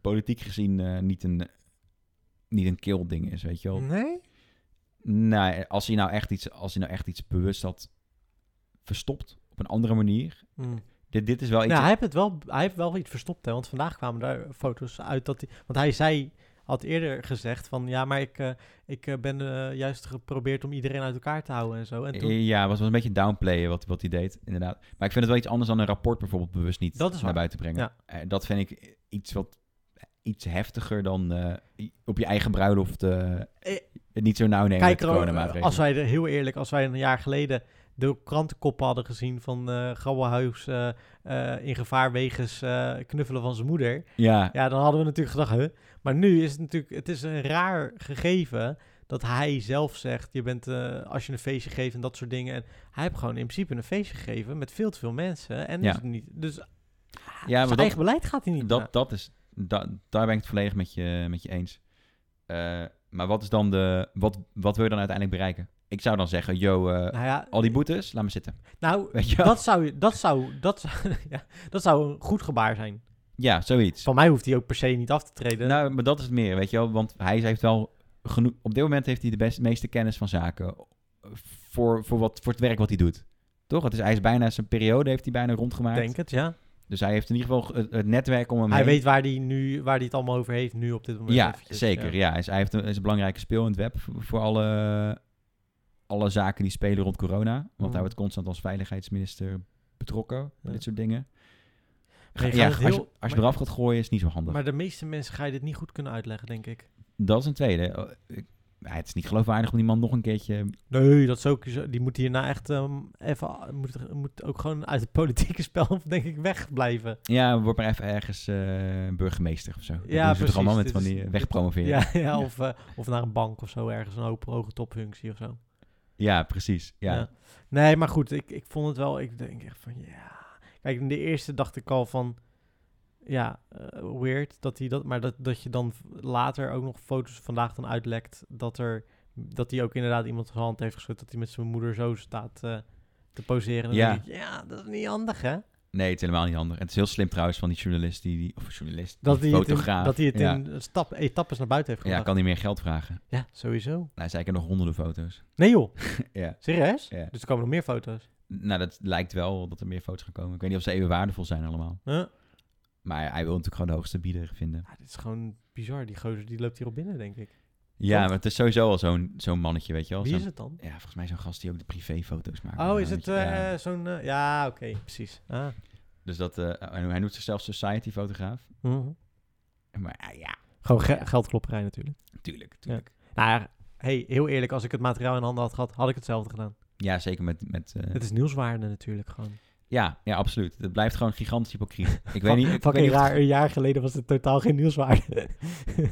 Speaker 1: politiek gezien eh, niet een, niet een kill ding is, weet je wel.
Speaker 2: Nee?
Speaker 1: Nee, als hij, nou echt iets, als hij nou echt iets bewust had verstopt op een andere manier. Dit, dit is wel iets...
Speaker 2: Ja, Mm. Nou, hij, heeft het wel, hij heeft wel iets verstopt, hè, want vandaag kwamen daar foto's uit dat hij... Want hij zei, had eerder gezegd van... Ja, maar ik, eh, ik eh, ben eh, juist geprobeerd om iedereen uit elkaar te houden en zo. En toen,
Speaker 1: Eh, Ja, het was wel een beetje downplayen wat, wat hij deed, inderdaad. Maar ik vind het wel iets anders dan een rapport bijvoorbeeld bewust niet
Speaker 2: Dat is waar.
Speaker 1: naar buiten brengen.
Speaker 2: Ja.
Speaker 1: Eh, dat vind ik iets wat eh, iets heftiger dan eh, i- op je eigen bruiloft eh,
Speaker 2: Eh,
Speaker 1: het niet zo nauw nemen
Speaker 2: kijk,
Speaker 1: met
Speaker 2: er
Speaker 1: de
Speaker 2: ook-
Speaker 1: coronamaatregelen.
Speaker 2: als wij er heel eerlijk, als wij een jaar geleden de krantenkoppen hadden gezien van eh Grabbelhuis eh, eh, in gevaar wegens eh, knuffelen van zijn moeder.
Speaker 1: Ja,
Speaker 2: Ja, dan hadden we natuurlijk gedacht, huh? Maar nu is het natuurlijk, het is een raar gegeven dat hij zelf zegt, je bent, eh, als je een feestje geeft en dat soort dingen. En hij heeft gewoon in principe een feestje gegeven met veel te veel mensen. En
Speaker 1: Ja.
Speaker 2: is het niet, dus
Speaker 1: ja
Speaker 2: zijn
Speaker 1: maar dat,
Speaker 2: eigen beleid gaat hij niet na.
Speaker 1: dat, dat is, da- daar ben ik het volledig met je, met je eens. Eh, maar wat is dan de, wat, wat wil je dan uiteindelijk bereiken? Ik zou dan zeggen, yo, eh,
Speaker 2: Nou ja,
Speaker 1: al die boetes, laat me zitten. <laughs>
Speaker 2: nou,
Speaker 1: Weet je wel?
Speaker 2: dat zou, je- dat zou, dat zou, <laughs> ja, dat zou een goed gebaar zijn.
Speaker 1: Ja, zoiets.
Speaker 2: Van mij hoeft hij ook per se niet af te treden.
Speaker 1: Nou, maar dat is het meer, weet je wel. Want hij heeft wel genoeg... Op dit moment heeft hij de best, meeste kennis van zaken. Voor, voor, wat, voor het werk wat hij doet. Toch? Het is, hij is bijna zijn periode heeft hij bijna
Speaker 2: ik
Speaker 1: rondgemaakt.
Speaker 2: denk het, ja.
Speaker 1: Dus hij heeft in ieder geval het, het netwerk om hem
Speaker 2: Hij
Speaker 1: heen.
Speaker 2: weet waar hij nu, waar hij het allemaal over heeft nu op dit moment.
Speaker 1: Ja,
Speaker 2: eventjes,
Speaker 1: zeker. Ja. Hij, is, hij heeft een, hij is een belangrijke speel in het web voor, voor alle, alle zaken die spelen rond corona. Want
Speaker 2: Mm.
Speaker 1: hij wordt constant als veiligheidsminister betrokken bij
Speaker 2: Ja.
Speaker 1: dit soort dingen.
Speaker 2: Maar je
Speaker 1: Ga- ja,
Speaker 2: gaat het
Speaker 1: als, je,
Speaker 2: heel-
Speaker 1: als je
Speaker 2: maar-
Speaker 1: eraf gaat gooien is het niet zo handig.
Speaker 2: Maar de meeste mensen ga je dit niet goed kunnen uitleggen, denk ik.
Speaker 1: Dat is een tweede. Eh, ik- Het is niet geloofwaardig om die man nog een keertje
Speaker 2: Nee, dat is ook zo. Die moet hierna echt ehm, even... Moet, moet ook gewoon uit het politieke spel, <laughs> denk ik, wegblijven.
Speaker 1: Ja, word maar even ergens eh, burgemeester of zo. Ja,
Speaker 2: Ja,
Speaker 1: doen ze toch allemaal met van
Speaker 2: precies. Dit
Speaker 1: die
Speaker 2: is-
Speaker 1: eh, wegpromoveren. Ja,
Speaker 2: Ja, <laughs> ja, Of, eh, of naar een bank of zo, ergens een hoge, hoge topfunctie of zo.
Speaker 1: precies. Ja.
Speaker 2: Ja. Nee, maar goed, ik, ik vond het wel... Ik denk echt van, ja... Kijk, in de eerste dacht ik al van... Ja, eh, weird dat hij dat... Maar dat, dat je dan later ook nog foto's vandaag dan uitlekt... dat er... Dat hij ook inderdaad iemand zijn hand heeft geschud... dat hij met zijn moeder zo staat eh, te poseren. En dan
Speaker 1: Ja.
Speaker 2: denk ik, ja, dat is niet handig, hè?
Speaker 1: Nee, het is helemaal niet handig. Het is heel slim trouwens van die journalist, die, die, of journalist,
Speaker 2: Dat hij
Speaker 1: die
Speaker 2: het in,
Speaker 1: fotograaf.
Speaker 2: dat hij het
Speaker 1: ja.
Speaker 2: in stap, etappes naar buiten heeft
Speaker 1: Ja,
Speaker 2: gebracht.
Speaker 1: kan niet meer geld vragen. Nou,
Speaker 2: Ja, sowieso.
Speaker 1: hij zei, ik heb nog honderden foto's. <laughs>
Speaker 2: Nee joh,
Speaker 1: ja.
Speaker 2: serieus?
Speaker 1: ja.
Speaker 2: Dus er komen nog meer foto's.
Speaker 1: Nou, dat lijkt wel dat er meer foto's gaan komen. Ik weet niet of ze even waardevol zijn allemaal.
Speaker 2: Huh?
Speaker 1: Maar hij wil natuurlijk gewoon de hoogste bieder vinden.
Speaker 2: Ja, Ah, dit is gewoon bizar. Die gozer die loopt hierop binnen, denk ik.
Speaker 1: Ja,
Speaker 2: Toch?
Speaker 1: maar het is sowieso al zo'n zo'n mannetje, weet je wel.
Speaker 2: Wie
Speaker 1: Zo'n-
Speaker 2: is het dan?
Speaker 1: Ja, volgens mij zo'n gast die ook de privéfoto's maakt.
Speaker 2: Oh,
Speaker 1: Ja,
Speaker 2: is
Speaker 1: weet
Speaker 2: het
Speaker 1: je, ja.
Speaker 2: eh, zo'n... eh, ja, oké, precies. Ah.
Speaker 1: Dus dat, eh, hij noemt zichzelf society-fotograaf.
Speaker 2: Mhm.
Speaker 1: Maar ah, ja,
Speaker 2: Gewoon ge- geldklopperij natuurlijk.
Speaker 1: tuurlijk, tuurlijk.
Speaker 2: Ja. Nou ja, hey, heel eerlijk, als ik het materiaal in handen had gehad, had ik hetzelfde gedaan.
Speaker 1: Ja, zeker met... met eh,
Speaker 2: Het is nieuwswaarde natuurlijk gewoon.
Speaker 1: Ja, ja, absoluut. Het blijft gewoon gigantisch
Speaker 2: <laughs>
Speaker 1: hypocriet. Ik weet
Speaker 2: Fuck-
Speaker 1: niet. Ik
Speaker 2: fucking
Speaker 1: weet niet of het-
Speaker 2: raar, een jaar geleden was het totaal geen
Speaker 1: <laughs>
Speaker 2: nieuwswaarde.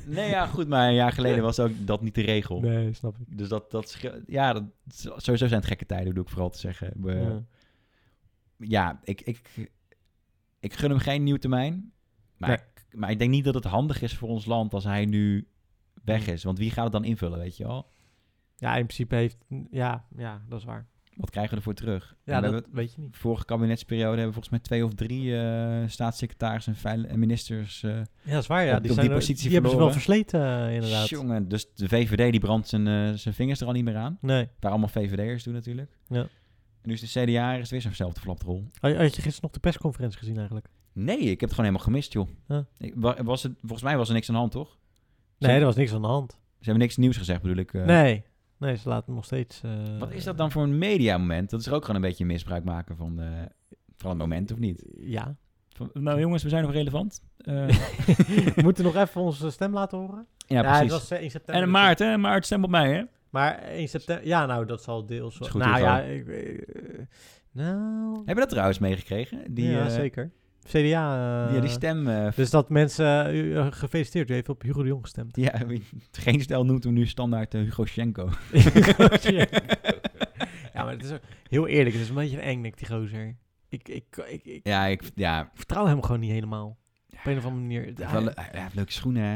Speaker 1: Nee, ja, goed, maar een jaar geleden was ook dat niet de regel.
Speaker 2: <laughs> nee, snap ik.
Speaker 1: Dus dat, dat scheelt- Ja, dat, sowieso zijn het gekke tijden, bedoel ik vooral te zeggen. We- ja,
Speaker 2: Ja.
Speaker 1: ik, ik, ik gun hem geen nieuw termijn. Maar,
Speaker 2: Nee.
Speaker 1: ik, maar ik denk niet dat het handig is voor ons land als hij nu weg is. Want wie gaat het dan invullen, weet je wel?
Speaker 2: Ja, in principe heeft... Ja, ja, dat is waar.
Speaker 1: Wat krijgen we ervoor terug?
Speaker 2: Ja,
Speaker 1: En we
Speaker 2: dat
Speaker 1: hebben,
Speaker 2: weet je niet.
Speaker 1: vorige kabinetsperiode hebben we volgens mij twee of drie eh, staatssecretarissen en, veil- en ministers eh,
Speaker 2: Ja, dat is waar, ja.
Speaker 1: Op-
Speaker 2: Die,
Speaker 1: op
Speaker 2: zijn
Speaker 1: die
Speaker 2: er-
Speaker 1: positie
Speaker 2: die hebben ze wel
Speaker 1: verloren.
Speaker 2: versleten, eh, inderdaad.
Speaker 1: Jongen, dus de VVD die brandt zijn, eh, zijn vingers er al niet meer aan.
Speaker 2: Nee.
Speaker 1: Waar allemaal VVD'ers doen natuurlijk.
Speaker 2: Ja.
Speaker 1: En nu is de CDA is het weer zo'nzelfde flapdrol.
Speaker 2: Had je, had je gisteren nog de persconferentie gezien eigenlijk?
Speaker 1: Nee, ik heb het gewoon helemaal gemist, joh.
Speaker 2: Ja.
Speaker 1: Ik- wa- was het, volgens mij was er niks aan de hand, toch?
Speaker 2: Nee, er was niks aan de hand.
Speaker 1: Ze hebben niks nieuws gezegd, bedoel ik. eh.
Speaker 2: Nee. Nee, ze laten nog steeds... eh,
Speaker 1: Wat is dat dan voor een mediamoment? Dat is er ook gewoon een beetje misbruik maken van, de, van het moment, of niet?
Speaker 2: Ja. <laughs>
Speaker 1: Van, nou jongens, we zijn nog relevant. <laughs> Eh,
Speaker 2: We moeten nog even onze stem laten horen.
Speaker 1: ja,
Speaker 2: het
Speaker 1: precies.
Speaker 2: was eh, 1 september.
Speaker 1: En Maart, hè? Maart stemt op mij, hè?
Speaker 2: Maar 1 september... Ja, nou, dat zal deels...
Speaker 1: Dat
Speaker 2: wel.
Speaker 1: is goed
Speaker 2: nou
Speaker 1: hiervan.
Speaker 2: ja, ik... eh, nou...
Speaker 1: Hebben we dat trouwens meegekregen? Die,
Speaker 2: ja,
Speaker 1: eh,
Speaker 2: zeker. CDA... eh,
Speaker 1: die, die stem... eh,
Speaker 2: Dus dat mensen... eh, u- eh, gefeliciteerd, u heeft op Hugo de Jong gestemd.
Speaker 1: <laughs> ja, wie- geen stel noemt hem nu standaard eh, Hugo Schenko.
Speaker 2: <laughs> ja, maar het is ook heel eerlijk. Het is een beetje een engnek, die gozer. Ik, ik, ik, ik
Speaker 1: Ja, ik, ja,
Speaker 2: vertrouw hem gewoon niet helemaal. Op een of andere manier.
Speaker 1: hij, heeft
Speaker 2: Hij-
Speaker 1: wel- hij- hij heeft leuke schoenen, hè?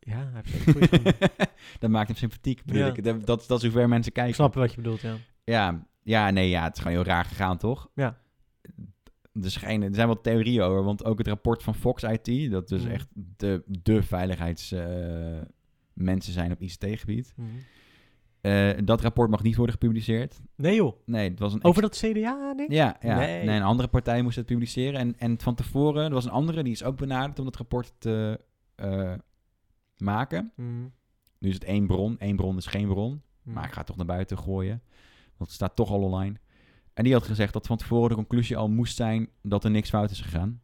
Speaker 2: ja, hij heeft zeker goede schoenen.
Speaker 1: <laughs> dat maakt hem sympathiek, bedoel
Speaker 2: Ja.
Speaker 1: ik. Dat, dat, dat is hoe ver mensen
Speaker 2: <laughs> Ik
Speaker 1: kijken.
Speaker 2: snap wat je bedoelt, ja.
Speaker 1: Ja, ja, nee, ja, het is gewoon heel raar gegaan, toch?
Speaker 2: Ja.
Speaker 1: Er, schijnen, er zijn wat theorieën over, want ook het rapport van Fox IT, dat dus
Speaker 2: Mhm.
Speaker 1: echt de, de veiligheidsmensen mensen zijn op ICT-gebied.
Speaker 2: Mhm.
Speaker 1: Eh, dat rapport mag niet worden gepubliceerd.
Speaker 2: Nee joh,
Speaker 1: Nee, het was een...
Speaker 2: over dat CDA ding?
Speaker 1: Ja, ja. Nee.
Speaker 2: Nee.
Speaker 1: een andere partij moest het publiceren. En, en van tevoren, er was een andere, die is ook benaderd om dat rapport te eh, maken.
Speaker 2: Mhm.
Speaker 1: Nu is het één bron, één bron is geen bron.
Speaker 2: Hmm.
Speaker 1: Maar ik ga het toch naar buiten gooien. Want het staat toch al online. En die had gezegd dat van tevoren de conclusie al moest zijn dat er niks fout is gegaan.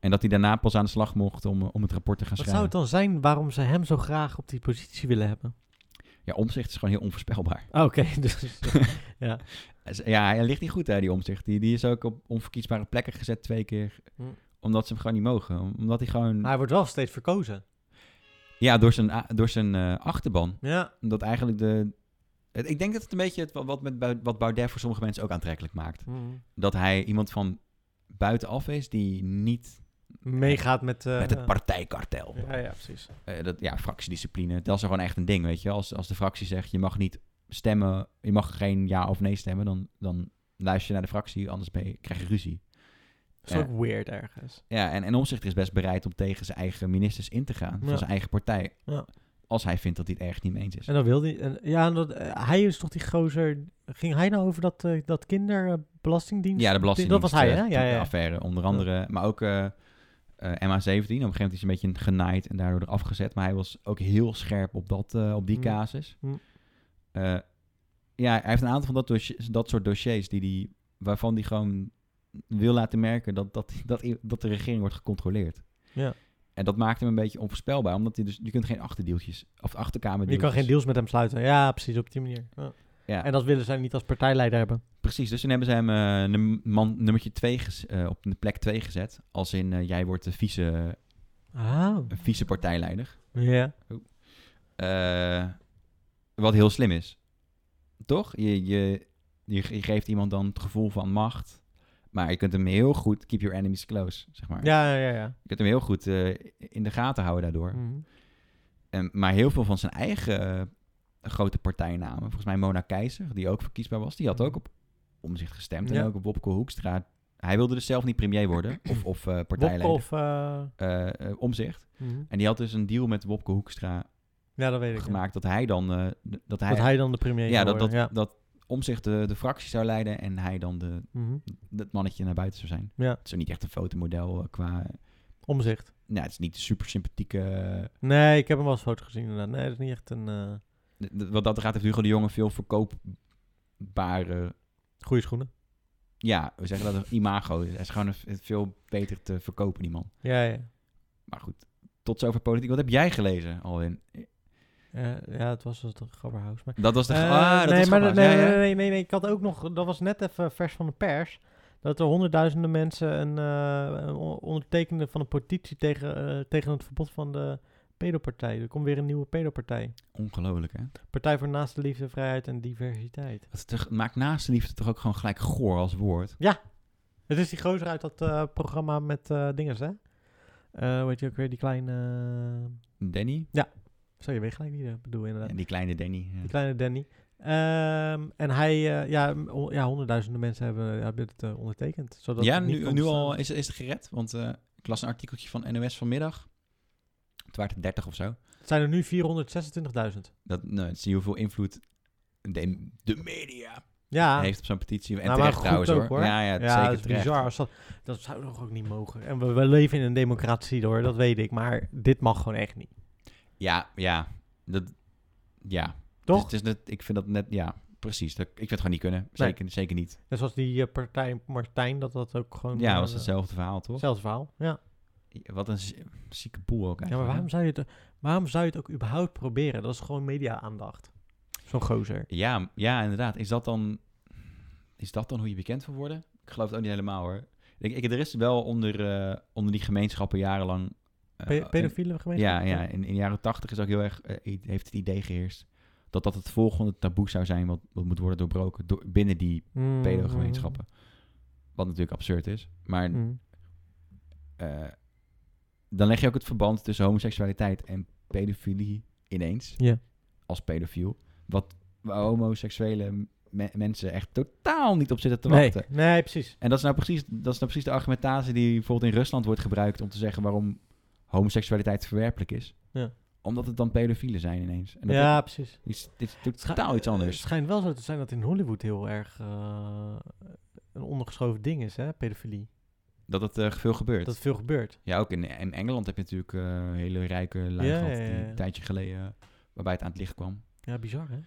Speaker 1: En dat hij daarna pas aan de slag mocht om, eh, om het rapport te gaan
Speaker 2: Wat zou
Speaker 1: schrijven.
Speaker 2: het dan zijn waarom ze hem zo graag op die positie willen hebben?
Speaker 1: Ja, omzicht is gewoon heel onvoorspelbaar.
Speaker 2: Oh, Oké, <laughs> dus ja.
Speaker 1: Hij is- Ja, hij ligt niet goed, hè, die omzicht. Die, die is ook op onverkiesbare plekken gezet twee keer.
Speaker 2: Hm.
Speaker 1: Omdat ze hem gewoon niet mogen. Omdat hij gewoon...
Speaker 2: Maar hij wordt wel steeds verkozen.
Speaker 1: Ja, door zijn, a- door zijn eh, achterban.
Speaker 2: Ja,
Speaker 1: Omdat eigenlijk de... het- ik denk dat het een beetje het, wat- wat, met, Bou- wat Baudet voor sommige mensen ook aantrekkelijk maakt.
Speaker 2: Mhm.
Speaker 1: Dat hij iemand van buitenaf is die niet
Speaker 2: meegaat met... eh,
Speaker 1: Met het partijkartel.
Speaker 2: Ja, ja, precies.
Speaker 1: Eh, dat, ja, fractiediscipline. Dat is gewoon echt een ding, weet je. Als, als de fractie zegt, je mag niet stemmen, je mag geen ja of nee stemmen, dan, dan luister je naar de fractie, anders ben je, krijg je ruzie.
Speaker 2: Dat is
Speaker 1: Ja.
Speaker 2: ook weird ergens.
Speaker 1: Ja, en, en Omzicht is best bereid om tegen zijn eigen ministers in te gaan, van
Speaker 2: Ja.
Speaker 1: zijn eigen partij.
Speaker 2: Ja.
Speaker 1: Als hij vindt dat hij het erg niet mee eens is.
Speaker 2: En dan wil hij... En, ja, en dat, eh, hij is toch die gozer... Ging hij nou over dat, eh, dat kinderbelastingdienst?
Speaker 1: Ja, de belastingdienst.
Speaker 2: Dat was hij,
Speaker 1: eh,
Speaker 2: hè? Ja, ja, ja.
Speaker 1: Affaire, onder andere. Maar ook eh eh, MA17. Op een gegeven moment is hij een beetje genaaid en daardoor eraf gezet. Maar hij was ook heel scherp op, dat, eh, op die
Speaker 2: Mm.
Speaker 1: casus.
Speaker 2: Mm.
Speaker 1: Eh, ja, hij heeft een aantal van dat, dossier- dat soort dossiers die die, waarvan hij gewoon wil laten merken dat, dat, dat, dat de regering wordt gecontroleerd.
Speaker 2: Ja.
Speaker 1: En dat maakt hem een beetje onvoorspelbaar, omdat hij dus, je kunt geen achterdeeltjes of achterkamer
Speaker 2: Je kan geen deals met hem sluiten. Ja, precies, op die manier. Ja.
Speaker 1: Ja.
Speaker 2: En dat willen zij niet als partijleider hebben.
Speaker 1: Precies, dus toen hebben ze hem eh, num- man, nummertje 2 op de plek 2 gezet. Als in eh, jij wordt de vice, eh,
Speaker 2: Ah.
Speaker 1: vice partijleider.
Speaker 2: Ja.
Speaker 1: Eh, wat heel slim is. Toch? Je, je, je, ge- je geeft iemand dan het gevoel van macht. Maar je kunt hem heel goed, keep your enemies close, zeg maar.
Speaker 2: Ja, ja, ja.
Speaker 1: Je kunt hem heel goed eh, in de gaten houden daardoor.
Speaker 2: Mhm.
Speaker 1: En, maar heel veel van zijn eigen eh, grote partijnamen. Volgens mij Mona Keizer, die ook verkiesbaar was. Die had ook op omzicht gestemd.
Speaker 2: Mhm. Ja.
Speaker 1: En ook op Wopke Hoekstra. Hij wilde dus zelf niet premier
Speaker 2: <clears throat>
Speaker 1: worden. Of, of eh, partijleider.
Speaker 2: Wopke of... eh,
Speaker 1: Eh, eh, omzicht.
Speaker 2: mhm.
Speaker 1: En die had dus een deal met Wopke Hoekstra
Speaker 2: Ja, dat weet ik. ja.
Speaker 1: gemaakt. Dat hij dan... eh, d- dat hij,
Speaker 2: Dat hij dan de premier
Speaker 1: ja,
Speaker 2: zou
Speaker 1: dat, dat,
Speaker 2: worden, ja.
Speaker 1: dat omzicht de, de fractie zou leiden. En hij dan de,
Speaker 2: Mhm.
Speaker 1: het mannetje naar buiten zou zijn.
Speaker 2: Ja.
Speaker 1: Het is niet echt een fotomodel eh, qua...
Speaker 2: Omzicht.
Speaker 1: Nou, het is niet eh, de super sympathieke...
Speaker 2: Nee, ik heb hem wel eens foto gezien inderdaad. Nee, dat is niet echt een eh,
Speaker 1: d- d- wat dat gaat heeft Hugo de Jonge veel verkoopbare
Speaker 2: goede schoenen.
Speaker 1: Ja, we zeggen dat een imago is. Hij is gewoon een- veel beter te verkopen, die man.
Speaker 2: Ja, ja.
Speaker 1: Maar goed, tot zover politiek. Wat heb jij gelezen, Alwin?
Speaker 2: Eh, ja, het was het Grabberhaus. Maar...
Speaker 1: Dat was de...
Speaker 2: Eh,
Speaker 1: ah, dat
Speaker 2: nee,
Speaker 1: was
Speaker 2: maar
Speaker 1: grappig.
Speaker 2: nee,
Speaker 1: Ja, ja.
Speaker 2: nee, nee, nee, nee, ik had ook nog, dat was net even vers van de pers. dat er honderdduizenden mensen een, eh, een on- ondertekenen van een petitie tegen, eh, tegen het verbod van de pedopartij. Er komt weer een nieuwe pedopartij.
Speaker 1: Ongelooflijk, hè?
Speaker 2: Partij voor Naaste Liefde, Vrijheid en Diversiteit.
Speaker 1: Dat toch- maakt naast de liefde toch ook gewoon gelijk goor als woord.
Speaker 2: Het is die gozer uit dat eh, programma met eh dingers, hè? Eh weet je ook weer, die kleine... eh,
Speaker 1: Danny?
Speaker 2: Zo, je weet gelijk wie ik bedoel, inderdaad.
Speaker 1: Ja, die kleine Danny. ja.
Speaker 2: Die kleine Danny. Ehm, en hij, eh, ja, m- on- ja, honderdduizenden mensen hebben, hebben het eh, ondertekend. Zodat
Speaker 1: ja,
Speaker 2: het niet eh,
Speaker 1: nu,
Speaker 2: kon
Speaker 1: nu al
Speaker 2: bestaan.
Speaker 1: is, is het gered. Want eh, ik las een artikeltje van NOS vanmiddag. Het waren er 30 of zo.
Speaker 2: Het zijn er nu 426.000.
Speaker 1: Dat, nou, zie je hoeveel invloed de, de media
Speaker 2: Ja,
Speaker 1: heeft op zo'n petitie. En
Speaker 2: Nou, maar
Speaker 1: terecht
Speaker 2: goed
Speaker 1: trouwens
Speaker 2: ook,
Speaker 1: hoor.
Speaker 2: hoor.
Speaker 1: Ja, ja, het is
Speaker 2: ja
Speaker 1: zeker
Speaker 2: dat is
Speaker 1: terecht.
Speaker 2: bizar. Als dat, dat zou toch ook niet mogen. En we, we leven in een democratie hoor, dat weet ik. Maar dit mag gewoon echt niet.
Speaker 1: Ja, ja. Dat, ja. Dus
Speaker 2: Toch?
Speaker 1: Het is, het is net, ik vind dat net, ja, precies. Dat, ik vind het gewoon niet kunnen. Zeker, zeker niet.
Speaker 2: Net zoals die eh, partij Martijn, dat dat ook gewoon...
Speaker 1: Ja,
Speaker 2: eh,
Speaker 1: was hetzelfde verhaal toch?
Speaker 2: Hetzelfde verhaal, ja.
Speaker 1: Wat een zie- zieke boel ook eigenlijk.
Speaker 2: Ja, maar
Speaker 1: hè?
Speaker 2: waarom zou, je het, waarom zou je het ook überhaupt proberen? Dat is gewoon media-aandacht. Zo'n gozer.
Speaker 1: Ja, m- ja, inderdaad. Is dat, dan, is dat dan hoe je bekend wil worden? Ik geloof het ook niet helemaal hoor. Ik, ik, er is wel onder, eh, onder die gemeenschappen jarenlang. eh,
Speaker 2: Pe-
Speaker 1: in-
Speaker 2: pedofiele
Speaker 1: ja,
Speaker 2: gemeenschap?
Speaker 1: ja, in, in de jaren tachtig is ook heel erg, eh, i- heeft het idee geheerst dat dat het volgende taboe zou zijn wat, wat moet worden doorbroken door, binnen die
Speaker 2: Mm,
Speaker 1: pedogemeenschappen. Wat natuurlijk absurd is. Maar
Speaker 2: mm.
Speaker 1: eh, dan leg je ook het verband tussen homoseksualiteit en pedofilie ineens.
Speaker 2: Ja.
Speaker 1: Als pedofiel. Wat waar homoseksuele me- mensen echt totaal niet op zitten te
Speaker 2: Nee,
Speaker 1: wachten.
Speaker 2: nee, precies.
Speaker 1: En dat is, nou precies, dat is nou precies de argumentatie die bijvoorbeeld in Rusland wordt gebruikt om te zeggen waarom homoseksualiteit verwerpelijk is.
Speaker 2: Ja.
Speaker 1: Omdat het dan pedofielen zijn ineens. En dat
Speaker 2: ja, eh, precies.
Speaker 1: is, dit is totaal iets
Speaker 2: Het
Speaker 1: anders.
Speaker 2: schijnt wel zo te zijn dat in Hollywood heel erg eh, een ondergeschoven ding is, hè, pedofilie.
Speaker 1: Dat het eh, veel gebeurt.
Speaker 2: Dat veel gebeurt.
Speaker 1: Ja, ook in, in Engeland heb je natuurlijk eh, hele rijke lui
Speaker 2: Ja,
Speaker 1: gehad
Speaker 2: ja, ja,
Speaker 1: die
Speaker 2: ja.
Speaker 1: een tijdje geleden eh, waarbij het aan het licht kwam.
Speaker 2: Ja, bizar, hè?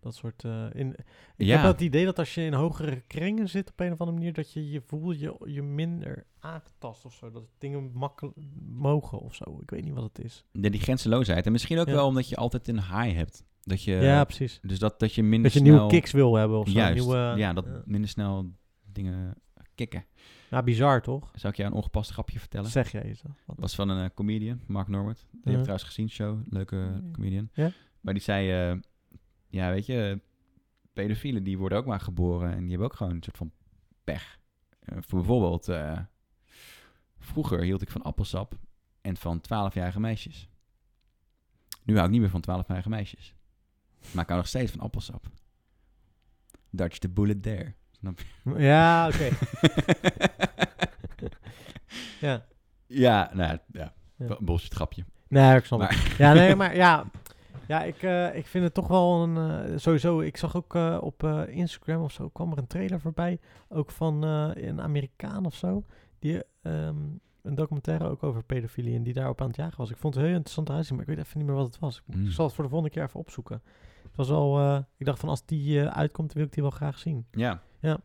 Speaker 2: Dat soort... eh, in, ik
Speaker 1: Ja.
Speaker 2: heb wel het idee dat als je in hogere kringen zit op een of andere manier, dat je je voelt je, je minder aangetast of zo. Dat dingen makkelijk mogen of zo. Ik weet niet wat het is.
Speaker 1: De, die grenzeloosheid. En misschien ook
Speaker 2: Ja.
Speaker 1: wel omdat je altijd een high hebt. Dat je,
Speaker 2: ja, precies.
Speaker 1: Dus dat, dat je minder
Speaker 2: Dat je
Speaker 1: snel...
Speaker 2: nieuwe kicks wil hebben of zo.
Speaker 1: Juist,
Speaker 2: nieuwe, eh,
Speaker 1: ja, dat
Speaker 2: ja.
Speaker 1: minder snel dingen kicken.
Speaker 2: Ja, nou, bizar toch?
Speaker 1: Zou ik jou een ongepast grapje vertellen?
Speaker 2: Zeg jij eens. dan. Wat-
Speaker 1: was van een eh, comedian, Mark Norbert. Die heb
Speaker 2: Ja.
Speaker 1: ik trouwens gezien, show. Leuke eh,
Speaker 2: Ja.
Speaker 1: comedian.
Speaker 2: Ja.
Speaker 1: Maar die zei... eh, ja, weet je... Pedofielen, die worden ook maar geboren. En die hebben ook gewoon een soort van pech. Eh, voor bijvoorbeeld... eh, vroeger hield ik van appelsap en van 12-jarige meisjes. Nu hou ik niet meer van 12-jarige meisjes. Maar ik hou nog steeds van appelsap. Dutch the bullet there. <laughs> Snap je?
Speaker 2: Ja,
Speaker 1: <laughs>
Speaker 2: oké. ja.
Speaker 1: ja, nou ja.
Speaker 2: Ja.
Speaker 1: ja. Bullshit grapje.
Speaker 2: Nee, ik snap
Speaker 1: Maar-
Speaker 2: het. Ja,
Speaker 1: <laughs>
Speaker 2: nee, maar ja. Ja, ik, eh, ik vind het toch wel een... eh, sowieso, ik zag ook eh, op eh, Instagram of zo... kwam er een trailer voorbij. Ook van eh, een Amerikaan of zo. Die ehm, een documentaire ook over pedofilie... en die daarop aan het jagen was. Ik vond het een heel interessant uitzien... maar ik weet even niet meer wat het was. Ik,
Speaker 1: Mm.
Speaker 2: zal het voor de volgende keer even opzoeken. Het was al... eh, ik dacht van, als die eh, uitkomt... wil ik die wel graag zien.
Speaker 1: Ja.
Speaker 2: Ja.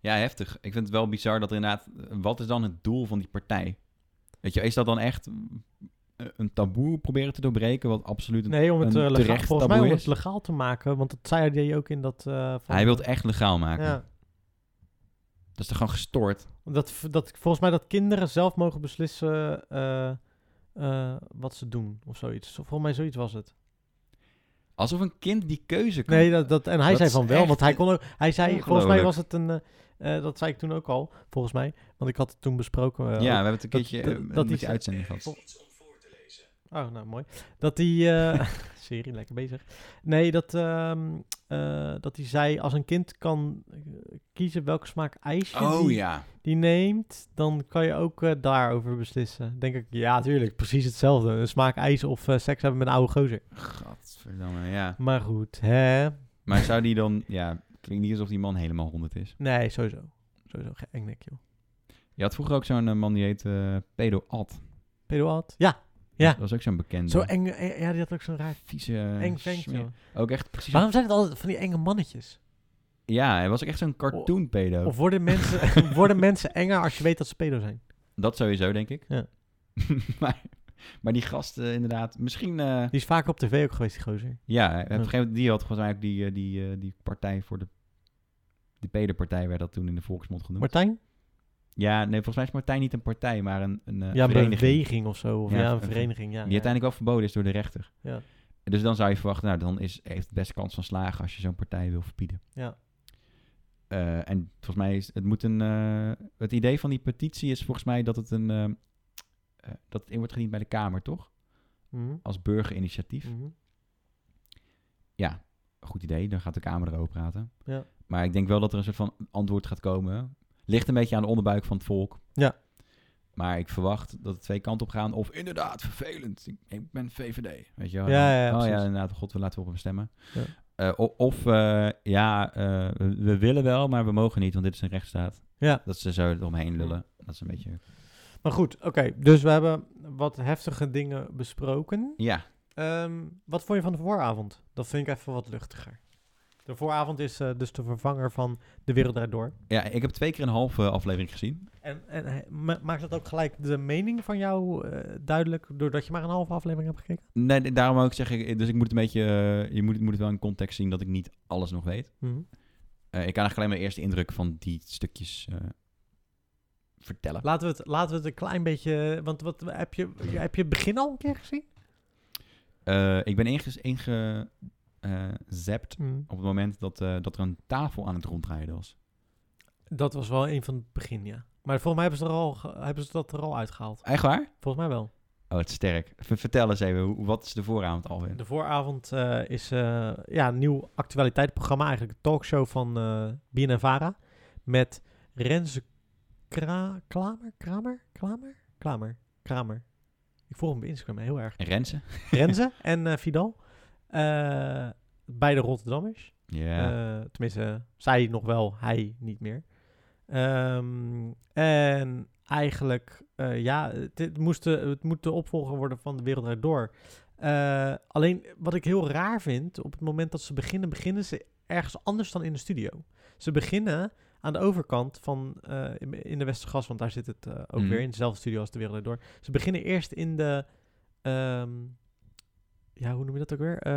Speaker 1: Ja, heftig. Ik vind het wel bizar dat er inderdaad... Wat is dan het doel van die partij? Weet je, is dat dan echt mm, een taboe proberen te doorbreken? Wat absoluut... een-
Speaker 2: Nee, om het,
Speaker 1: een
Speaker 2: eh, legaal,
Speaker 1: terecht
Speaker 2: volgens mij
Speaker 1: taboe
Speaker 2: om het
Speaker 1: is.
Speaker 2: legaal te maken. Want dat zei hij ook in dat... eh, van-
Speaker 1: Hij wil het echt legaal maken.
Speaker 2: Ja,
Speaker 1: Dat is toch gewoon gestoord?
Speaker 2: dat, dat, volgens mij dat kinderen zelf mogen beslissen eh, eh, wat ze doen of zoiets. Zo- Volgens mij zoiets was het.
Speaker 1: Alsof een kind die keuze kan...
Speaker 2: Nee, dat, dat, en hij
Speaker 1: Dat
Speaker 2: zei
Speaker 1: is
Speaker 2: van wel,
Speaker 1: echt
Speaker 2: want hij kon ook... Hij zei, volgens mij
Speaker 1: ongelooflijk.
Speaker 2: was het een... eh, eh, dat zei ik toen ook al, volgens mij. Want ik had het toen besproken. eh,
Speaker 1: ja,
Speaker 2: ook.
Speaker 1: we hebben het een
Speaker 2: dat-
Speaker 1: keertje
Speaker 2: dat-
Speaker 1: eh,
Speaker 2: dat
Speaker 1: met
Speaker 2: die-
Speaker 1: die uitzending gehad.
Speaker 2: Oh, nou mooi. Dat die... eh <laughs> serie, lekker bezig. Nee, dat, ehm, eh, dat hij zei, als een kind kan eh, kiezen welke smaak ijsje
Speaker 1: Oh
Speaker 2: die,
Speaker 1: ja.
Speaker 2: die neemt, dan kan je ook eh, daarover beslissen. Denk ik, ja, tuurlijk, precies hetzelfde. Een smaak ijs of eh, seks hebben met een oude gozer.
Speaker 1: Gadverdamme, ja.
Speaker 2: Maar goed, hè?
Speaker 1: Maar zou die dan... Ja, klinkt niet alsof die man helemaal honderd is.
Speaker 2: Nee, sowieso. Sowieso, geen engnek, joh.
Speaker 1: Je had vroeger ook zo'n eh, man die heet eh, Pedo Ad.
Speaker 2: Pedoat? Ja, Ja.
Speaker 1: Dat was ook zo'n bekende.
Speaker 2: zo eng. eh, Ja, die had ook zo'n raar
Speaker 1: Vieze...
Speaker 2: eng
Speaker 1: smeer-
Speaker 2: ventje. joh.
Speaker 1: Ook echt precies
Speaker 2: Waarom zijn het altijd van die enge mannetjes?
Speaker 1: Ja, hij was ook echt zo'n cartoon pedo.
Speaker 2: Of worden
Speaker 1: <laughs>
Speaker 2: mensen, worden mensen enger als je weet dat ze pedo zijn?
Speaker 1: Dat sowieso, denk ik.
Speaker 2: Ja.
Speaker 1: <laughs> maar, maar die gast eh, inderdaad, misschien... eh,
Speaker 2: Die is vaker op tv ook geweest, die gozer.
Speaker 1: ja, op een gegeven moment, die had volgens mij ook die, eh, die, eh, die partij voor de De Pederpartij werd dat toen in de volksmond genoemd.
Speaker 2: Martijn?
Speaker 1: ja, nee, volgens mij is Martijn niet een partij, maar een, een eh,
Speaker 2: ja, een
Speaker 1: vereniging.
Speaker 2: beweging of zo. Of
Speaker 1: Ja,
Speaker 2: ja,
Speaker 1: een
Speaker 2: een
Speaker 1: ver-
Speaker 2: vereniging. Ja,
Speaker 1: Die
Speaker 2: ja.
Speaker 1: uiteindelijk wel verboden is door de rechter.
Speaker 2: Ja.
Speaker 1: Dus dan zou je verwachten, nou, dan is, heeft het best kans van slagen als je zo'n partij wil verbieden.
Speaker 2: Ja.
Speaker 1: Eh, en volgens mij is het moet een. eh, het idee van die petitie is volgens mij dat het een. eh, eh, dat het in wordt gediend bij de Kamer, toch?
Speaker 2: Mhm,
Speaker 1: Als burgerinitiatief.
Speaker 2: mhm.
Speaker 1: Ja, goed idee. Dan gaat de Kamer erover praten.
Speaker 2: Ja.
Speaker 1: Maar ik denk wel dat er een soort van antwoord gaat komen. Ligt een beetje aan de onderbuik van het volk.
Speaker 2: Ja.
Speaker 1: Maar ik verwacht dat het twee kanten op gaan. Of inderdaad, vervelend. Ik, ik ben VVD. Weet je wel?
Speaker 2: Ja, ja, ja,
Speaker 1: oh ja,
Speaker 2: precies.
Speaker 1: inderdaad. God, we laten we op hem stemmen.
Speaker 2: Ja.
Speaker 1: Eh, o- of, eh, ja, eh, we- we willen wel, maar we mogen niet, want dit is een rechtsstaat.
Speaker 2: Ja.
Speaker 1: Dat ze zo eromheen lullen. Dat is een beetje...
Speaker 2: Maar goed, oké. Dus we hebben wat heftige dingen besproken.
Speaker 1: Ja,
Speaker 2: Ehm, wat vond je van de vooravond? Dat vind ik even wat luchtiger. De vooravond is eh, dus de vervanger van De Wereld Draait Door.
Speaker 1: ja ik heb twee keer een halve aflevering gezien.
Speaker 2: En, en eh, ma- maakt dat ook gelijk de mening van jou eh, duidelijk doordat je maar een halve aflevering hebt gekeken?
Speaker 1: Nee, d- daarom ook zeg ik... Dus ik moet het een beetje... eh, je moet, moet het wel in context zien dat ik niet alles nog weet.
Speaker 2: Mhm.
Speaker 1: Eh, ik kan eigenlijk alleen mijn eerste indruk van die stukjes eh, vertellen.
Speaker 2: Laten, we het, laten we het een klein beetje. Want wat, heb, je, heb je het begin al een keer gezien?
Speaker 1: Eh, ik ben ingezapt inge, eh, zapt
Speaker 2: Mhm.
Speaker 1: op het moment dat, eh, dat er een tafel aan het rondrijden was.
Speaker 2: Dat was wel een van het begin, ja. Maar volgens mij hebben ze, er al, ge- hebben ze dat er al uitgehaald.
Speaker 1: Echt waar?
Speaker 2: Volgens mij wel.
Speaker 1: Oh, het is sterk. V- vertel eens even, hoe- wat is de vooravond alweer?
Speaker 2: De vooravond eh, is eh, ja, een nieuw actualiteitsprogramma, eigenlijk een talkshow van eh BNNVARA. Met Renze Kra Klamer? Kramer? Klamer? Klamer? Kramer. Ik volg hem op Instagram
Speaker 1: <laughs>
Speaker 2: heel erg.
Speaker 1: Rensen?
Speaker 2: Renze en eh, Vidal. Eh, beide Rotterdammers.
Speaker 1: Ja.
Speaker 2: Eh, tenminste, zij nog wel, hij niet meer. Ehm, en eigenlijk, eh, ja, dit moest de, het moet de opvolger worden van De Wereld Draait Door. Eh, alleen, wat ik heel raar vind, op het moment dat ze beginnen, beginnen ze ergens anders dan in de studio. Ze beginnen aan de overkant van, eh, in- in de Westergas, want daar zit het eh, ook
Speaker 1: Mhm.
Speaker 2: weer, in dezelfde studio als De Wereld Draait Door. Ze beginnen eerst in de... ehm, ja, hoe noem je dat ook weer? Eh,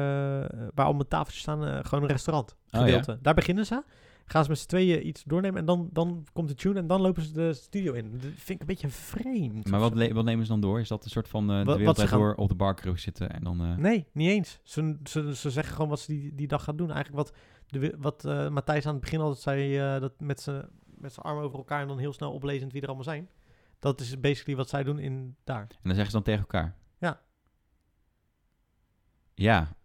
Speaker 2: waar allemaal tafeltjes staan, eh, gewoon een restaurant
Speaker 1: ja.
Speaker 2: gedeelte. Daar beginnen ze. Gaan ze met z'n tweeën iets doornemen en dan, dan komt de tune en dan lopen ze de studio in. Dat vind ik een beetje vreemd.
Speaker 1: maar
Speaker 2: of
Speaker 1: wat,
Speaker 2: zo.
Speaker 1: le- wat nemen ze dan door? Is dat een soort van eh,
Speaker 2: wat
Speaker 1: de wereld
Speaker 2: ze
Speaker 1: draait
Speaker 2: gaan-
Speaker 1: door op de barcrew zitten en dan... eh,
Speaker 2: Nee, niet eens. Ze, ze, ze zeggen gewoon wat ze die, die dag gaan doen. Eigenlijk wat, de, wi- wat eh, Matthijs aan het begin altijd zei, eh, dat met zijn met z'n armen over elkaar en dan heel snel oplezend wie er allemaal zijn. Dat is basically wat zij doen in daar.
Speaker 1: En dan zeggen ze dan tegen elkaar.
Speaker 2: Ja.
Speaker 1: Ja.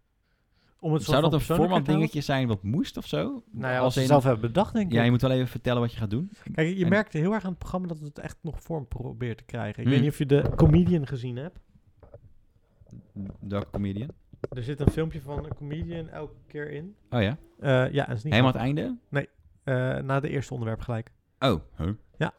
Speaker 2: Om het soort
Speaker 1: Zou dat
Speaker 2: van
Speaker 1: een
Speaker 2: persoonlijker
Speaker 1: format
Speaker 2: te houden.
Speaker 1: dingetje zijn wat moest of zo?
Speaker 2: Nou ja,
Speaker 1: Als
Speaker 2: wat ze
Speaker 1: in-
Speaker 2: zelf hebben bedacht, denk ik.
Speaker 1: Ja, je moet wel even vertellen wat je gaat doen.
Speaker 2: Kijk, je
Speaker 1: En-
Speaker 2: merkte heel erg aan het programma dat het echt nog vorm probeert te krijgen. Ik
Speaker 1: Hmm.
Speaker 2: weet niet of je de comedian gezien hebt.
Speaker 1: Welke comedian?
Speaker 2: Er zit een filmpje van een comedian elke keer in.
Speaker 1: Oh ja?
Speaker 2: Eh, ja, en het is niet
Speaker 1: Helemaal het einde?
Speaker 2: grappig. Eh, na de eerste onderwerp gelijk.
Speaker 1: Oh. Huh?
Speaker 2: Ja.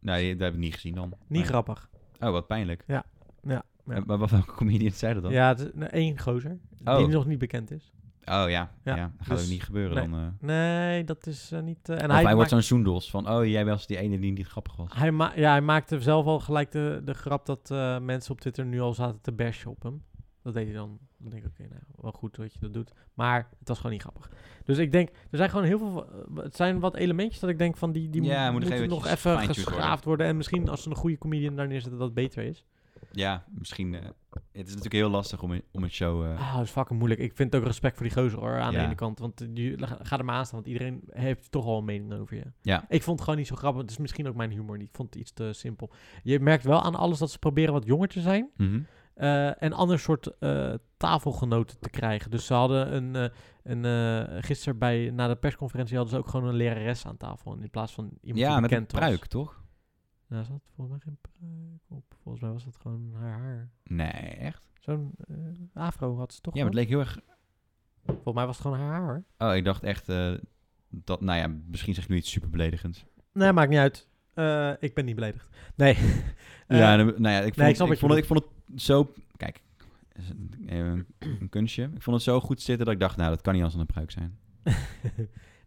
Speaker 1: Nee, dat heb ik niet gezien dan.
Speaker 2: Niet
Speaker 1: Nee.
Speaker 2: grappig.
Speaker 1: Oh, wat pijnlijk.
Speaker 2: Ja. Ja. Ja.
Speaker 1: Eh, Maar wat welke comedian zei dat dan?
Speaker 2: Ja, het is een- één gozer. Die
Speaker 1: Oh.
Speaker 2: nog niet bekend is.
Speaker 1: Oh ja, ja.
Speaker 2: Ja,
Speaker 1: dat gaat
Speaker 2: dus-
Speaker 1: ook niet gebeuren
Speaker 2: nee.
Speaker 1: dan. eh.
Speaker 2: Nee, dat is eh, niet... eh, en
Speaker 1: of hij,
Speaker 2: hij,
Speaker 1: wordt
Speaker 2: maakt,
Speaker 1: zo'n zoendos van, oh jij was die ene die niet grappig was.
Speaker 2: hij, ma- ja, hij maakte zelf al gelijk de, de grap dat eh, mensen op Twitter nu al zaten te bashen op hem. Dat deed hij dan. Dan denk ik, oké, nou, wel goed dat je dat doet. Maar het was gewoon niet grappig. Dus ik denk, er zijn gewoon heel veel... eh, Het zijn wat elementjes dat ik denk van die, die
Speaker 1: Ja,
Speaker 2: mo-
Speaker 1: moet nog
Speaker 2: moeten
Speaker 1: eventjes
Speaker 2: nog even
Speaker 1: gefine-tuned
Speaker 2: geschaafd worden. En misschien als ze een goede comedian daar neerzetten, dat het beter is.
Speaker 1: Ja, misschien. eh, het is natuurlijk heel lastig om, een- om een show... eh,
Speaker 2: Ah, dat is fucking moeilijk. Ik vind het ook respect voor die gozer hoor, aan
Speaker 1: Ja.
Speaker 2: de ene kant. Want eh, die, ga- ga er maar aan staan, want iedereen heeft toch al een mening over je.
Speaker 1: Ja.
Speaker 2: Ik vond het gewoon niet zo grappig. Het is misschien ook mijn humor niet. Ik vond het iets te simpel. Je merkt wel aan alles dat ze proberen wat jonger te zijn.
Speaker 1: mhm.
Speaker 2: eh, en ander soort eh, tafelgenoten te krijgen. Dus ze hadden een... eh, een eh, gisteren bij, na de persconferentie hadden ze ook gewoon een lerares aan tafel. In plaats van iemand
Speaker 1: Ja,
Speaker 2: die
Speaker 1: met een
Speaker 2: bekend
Speaker 1: pruik,
Speaker 2: was.
Speaker 1: toch?
Speaker 2: Nou, ze had volgens mij geen pruik op. Volgens mij was dat gewoon haar haar.
Speaker 1: Nee, echt?
Speaker 2: Zo'n eh, afro had ze toch
Speaker 1: Ja, maar het
Speaker 2: wel?
Speaker 1: leek heel erg...
Speaker 2: Volgens mij was het gewoon haar haar hoor.
Speaker 1: Oh, ik dacht echt eh, dat... Nou ja, misschien zeg ik nu iets super beledigends.
Speaker 2: Nee, maakt niet uit. Eh, ik ben niet beledigd. Nee. <laughs> Eh,
Speaker 1: ja, dan- nou ja, ik vond,
Speaker 2: nee,
Speaker 1: het,
Speaker 2: ik snap
Speaker 1: ik,
Speaker 2: wat je
Speaker 1: vond het, ik vond het zo... Kijk, is een, eh, een kunstje. Ik vond het zo goed zitten dat ik dacht, nou, dat kan niet anders dan een pruik zijn.
Speaker 2: <laughs>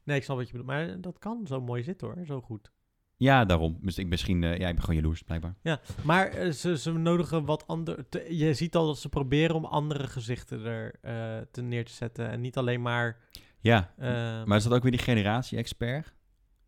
Speaker 2: nee, ik snap wat je bedoelt. Maar dat kan zo mooi zitten hoor, zo goed.
Speaker 1: Ja, daarom. Dus ik misschien... eh, ja, ik ben gewoon jaloers, blijkbaar.
Speaker 2: Maar eh, ze, ze nodigen wat ander. te- je ziet al dat ze proberen om andere gezichten er eh, te neer te zetten. En niet alleen maar
Speaker 1: Ja,
Speaker 2: Eh,
Speaker 1: maar is dat ook weer die generatie-expert?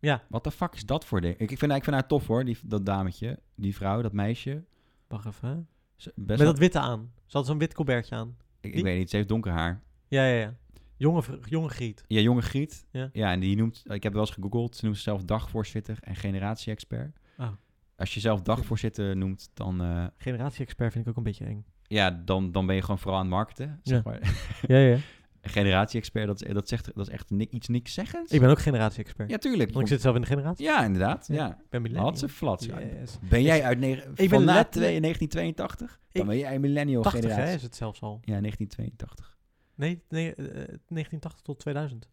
Speaker 2: Ja.
Speaker 1: Wat de fuck is dat voor ding? Ik, ik, vind, ik vind haar tof hoor, die, dat dametje, die vrouw, dat meisje.
Speaker 2: Wacht even. hè.
Speaker 1: Ze- Best
Speaker 2: Met
Speaker 1: wel-
Speaker 2: dat witte aan. Ze had zo'n wit colbertje aan.
Speaker 1: ik, ik
Speaker 2: die-
Speaker 1: weet niet, ze heeft donker haar.
Speaker 2: Ja, ja, ja. Jonge, vr- jonge Griet.
Speaker 1: Ja, jonge Griet.
Speaker 2: Ja.
Speaker 1: en die noemt, ik heb wel eens gegoogeld, ze noemt zichzelf dagvoorzitter en generatie-expert.
Speaker 2: Oh.
Speaker 1: Als je zelf dagvoorzitter noemt, dan, eh,
Speaker 2: Generatie-expert vind ik ook een beetje eng.
Speaker 1: ja, dan, dan ben je gewoon vooral aan het marketen. Zeg
Speaker 2: Ja.
Speaker 1: maar.
Speaker 2: <laughs>
Speaker 1: <laughs>
Speaker 2: ja, ja.
Speaker 1: Generatie-expert, dat, is- eh, dat, zegt, dat is echt ni- iets niks zeggends.
Speaker 2: Ik ben ook generatie-expert.
Speaker 1: Ja, tuurlijk.
Speaker 2: Want ik zit zelf in de generatie.
Speaker 1: Ja, inderdaad.
Speaker 2: Ja.
Speaker 1: Ja.
Speaker 2: Ik ben millennial.
Speaker 1: Had ze flat. ja.
Speaker 2: Yes.
Speaker 1: Ben jij uit negen-
Speaker 2: ben
Speaker 1: van na
Speaker 2: letterlijk-
Speaker 1: twee- 1982? Dan
Speaker 2: Ik-
Speaker 1: ben jij een millennial
Speaker 2: 80 hè,
Speaker 1: generatie.
Speaker 2: is het zelfs al.
Speaker 1: Ja, 1982.
Speaker 2: Nee, nee eh, 1980 tot 2000.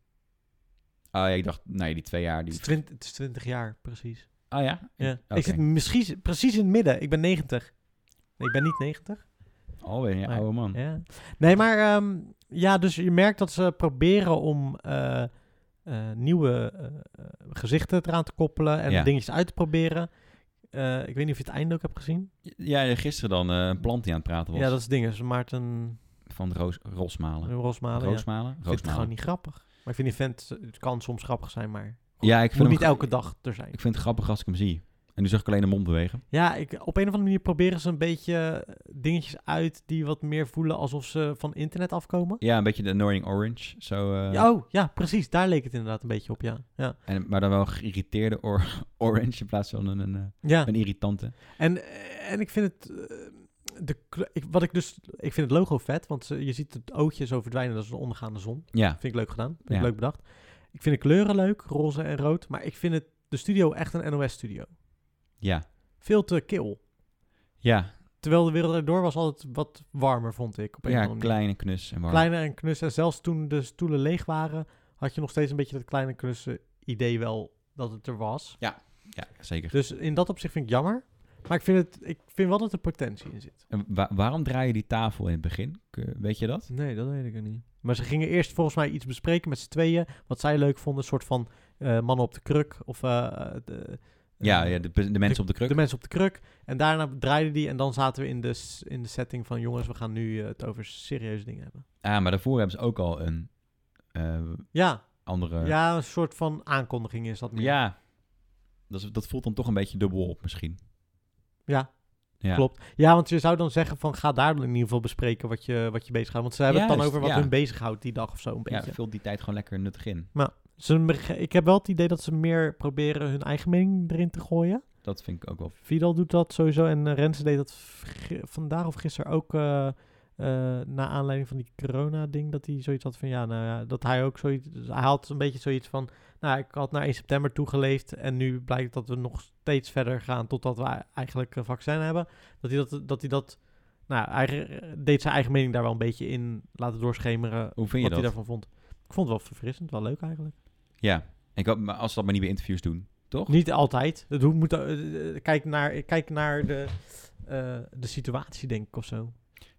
Speaker 1: Oh ja, ik dacht, nee, die twee jaar.
Speaker 2: Het
Speaker 1: Die...
Speaker 2: is, 20, het is 20 jaar, precies.
Speaker 1: Oh ja?
Speaker 2: Ja.
Speaker 1: Oké.
Speaker 2: Ik zit misschien precies in het midden. Ik ben 90. Nee, ik ben niet 90.
Speaker 1: Alweer een
Speaker 2: Nee.
Speaker 1: oude man.
Speaker 2: Ja. Nee, maar ehm, ja, dus je merkt dat ze proberen om eh, eh, nieuwe eh, eh, gezichten eraan te koppelen en
Speaker 1: Ja.
Speaker 2: dingetjes uit te proberen. Eh, ik weet niet of je het einde ook hebt gezien.
Speaker 1: Ja, gisteren dan eh, een plant die aan het praten was.
Speaker 2: Ja, dat is dingen. Maarten
Speaker 1: Van Roos, Rosmalen.
Speaker 2: Rosmalen. ja.
Speaker 1: Roosmalen?
Speaker 2: Ik vind het
Speaker 1: Roosmalen.
Speaker 2: gewoon niet grappig. Maar ik vind die vent, het kan soms grappig zijn, maar
Speaker 1: Ja, ik vind,
Speaker 2: het moet
Speaker 1: hem
Speaker 2: niet
Speaker 1: gra-
Speaker 2: elke dag er zijn.
Speaker 1: ik vind het grappig als ik hem zie. En nu zag ik alleen de mond bewegen.
Speaker 2: Ja, ik, op een of andere manier proberen ze een beetje eh, dingetjes uit die wat meer voelen alsof ze van internet afkomen.
Speaker 1: Ja, een beetje de Annoying Orange. Zo, eh,
Speaker 2: Ja, oh, ja, precies. Daar leek het inderdaad een beetje op, ja. Ja,
Speaker 1: en, maar dan wel geïrriteerde or- <laughs> orange in plaats van een, een, eh,
Speaker 2: ja.
Speaker 1: een irritante.
Speaker 2: En, eh, en ik vind het... eh, De, kle- ik, wat ik dus... Ik vind het logo vet, want ze- je ziet het ootje zo verdwijnen. Dat is de ondergaande zon.
Speaker 1: Ja,
Speaker 2: Vind ik leuk gedaan. Vind
Speaker 1: Ja.
Speaker 2: ik leuk bedacht. Ik vind de kleuren leuk, roze en rood. Maar ik vind het, de studio echt een NOS-studio.
Speaker 1: ja,
Speaker 2: Veel te kil.
Speaker 1: ja.
Speaker 2: Terwijl de wereld erdoor was altijd wat warmer, vond ik. Op een of
Speaker 1: Ja,
Speaker 2: andere manier.
Speaker 1: kleine knus en warm.
Speaker 2: Kleiner en knus. En zelfs toen de stoelen leeg waren, had je nog steeds een beetje dat kleine knusse idee wel dat het er was.
Speaker 1: Ja, zeker.
Speaker 2: Dus in dat opzicht vind ik jammer. Maar ik vind, het, ik vind wel dat er potentie in zit.
Speaker 1: En wa- waarom draai je die tafel in het begin? K- Weet je dat?
Speaker 2: Nee, dat weet ik er niet. Maar ze gingen eerst volgens mij iets bespreken met z'n tweeën. Wat zij leuk vonden. Een soort van eh, mannen op de kruk. Of eh, eh, de,
Speaker 1: Ja,
Speaker 2: eh,
Speaker 1: ja de, pe- de mensen op de kruk.
Speaker 2: de mensen op de kruk. En daarna draaiden die. En dan zaten we in de, s- in de setting van... jongens, we gaan nu eh, het over serieuze dingen hebben.
Speaker 1: ah, maar daarvoor hebben ze ook al een eh,
Speaker 2: Ja,
Speaker 1: andere...
Speaker 2: ja, een soort van aankondiging is dat meer.
Speaker 1: Ja. Dat, is- dat voelt dan toch een beetje dubbel op misschien.
Speaker 2: Ja,
Speaker 1: Ja.
Speaker 2: klopt. Ja, want je zou dan zeggen van ga daar dan in ieder geval bespreken wat je, wat je bezighoudt. Want ze hebben het dan
Speaker 1: Juist,
Speaker 2: over wat
Speaker 1: ja.
Speaker 2: hun bezighoudt die dag of zo een
Speaker 1: Ja,
Speaker 2: beetje.
Speaker 1: vult die tijd gewoon lekker nuttig in.
Speaker 2: Ze, bege- ik heb wel het idee dat ze meer proberen hun eigen mening erin te gooien.
Speaker 1: Dat vind ik ook wel...
Speaker 2: Vidal doet dat sowieso en eh, Renze deed dat v- vandaag of gisteren ook eh eh na aanleiding van die corona ding. Dat hij zoiets had van ja, nou ja, dat hij ook zoiets, dus hij had een beetje zoiets van nou ik had naar 1 september toegeleefd en nu blijkt dat we nog steeds verder gaan totdat we eigenlijk een vaccin hebben. Dat hij dat, dat, hij dat nou eigenlijk deed zijn eigen mening daar wel een beetje in laten doorschemeren
Speaker 1: Hoe vind
Speaker 2: wat
Speaker 1: je
Speaker 2: hij
Speaker 1: dat?
Speaker 2: daarvan vond. Ik vond het wel verfrissend, wel leuk eigenlijk.
Speaker 1: Ja. Ik hoop, maar als ze dat maar niet bij interviews doen, toch?
Speaker 2: Niet altijd. Het hoe moet, eh, eh, kijk, naar, kijk naar de, eh, de situatie, denk ik, of zo.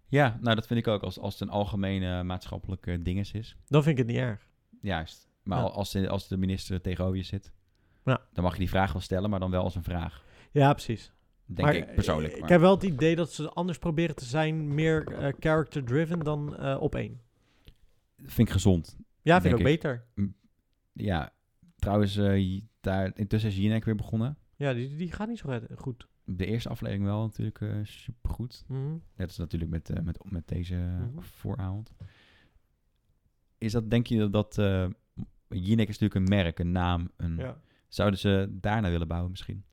Speaker 1: Ja, nou dat vind ik ook. Als, als het een algemene maatschappelijke dinges is.
Speaker 2: Dan vind ik het niet erg.
Speaker 1: Juist. Maar
Speaker 2: Ja.
Speaker 1: al- als, de, als de minister tegenover je zit,
Speaker 2: Ja.
Speaker 1: dan mag je die vraag wel stellen, maar dan wel als een vraag.
Speaker 2: Ja, precies.
Speaker 1: Denk ik persoonlijk.
Speaker 2: eh,
Speaker 1: maar-
Speaker 2: Ik heb wel het idee dat ze anders proberen te zijn, meer eh, character-driven dan eh, op één.
Speaker 1: Vind ik gezond.
Speaker 2: Ja,
Speaker 1: Denk
Speaker 2: vind ik ook beter.
Speaker 1: Ja, trouwens, eh, J- daar, intussen is Jinek weer begonnen.
Speaker 2: Ja, die, die gaat niet zo red- goed.
Speaker 1: De eerste aflevering wel natuurlijk eh, supergoed.
Speaker 2: Mhm.
Speaker 1: Net als natuurlijk met, eh, met, met deze
Speaker 2: Mhm.
Speaker 1: vooravond. Is dat, denk je dat- dat... eh Jinek is natuurlijk een merk, een naam. Een,
Speaker 2: Ja.
Speaker 1: Zouden ze daarna willen bouwen misschien?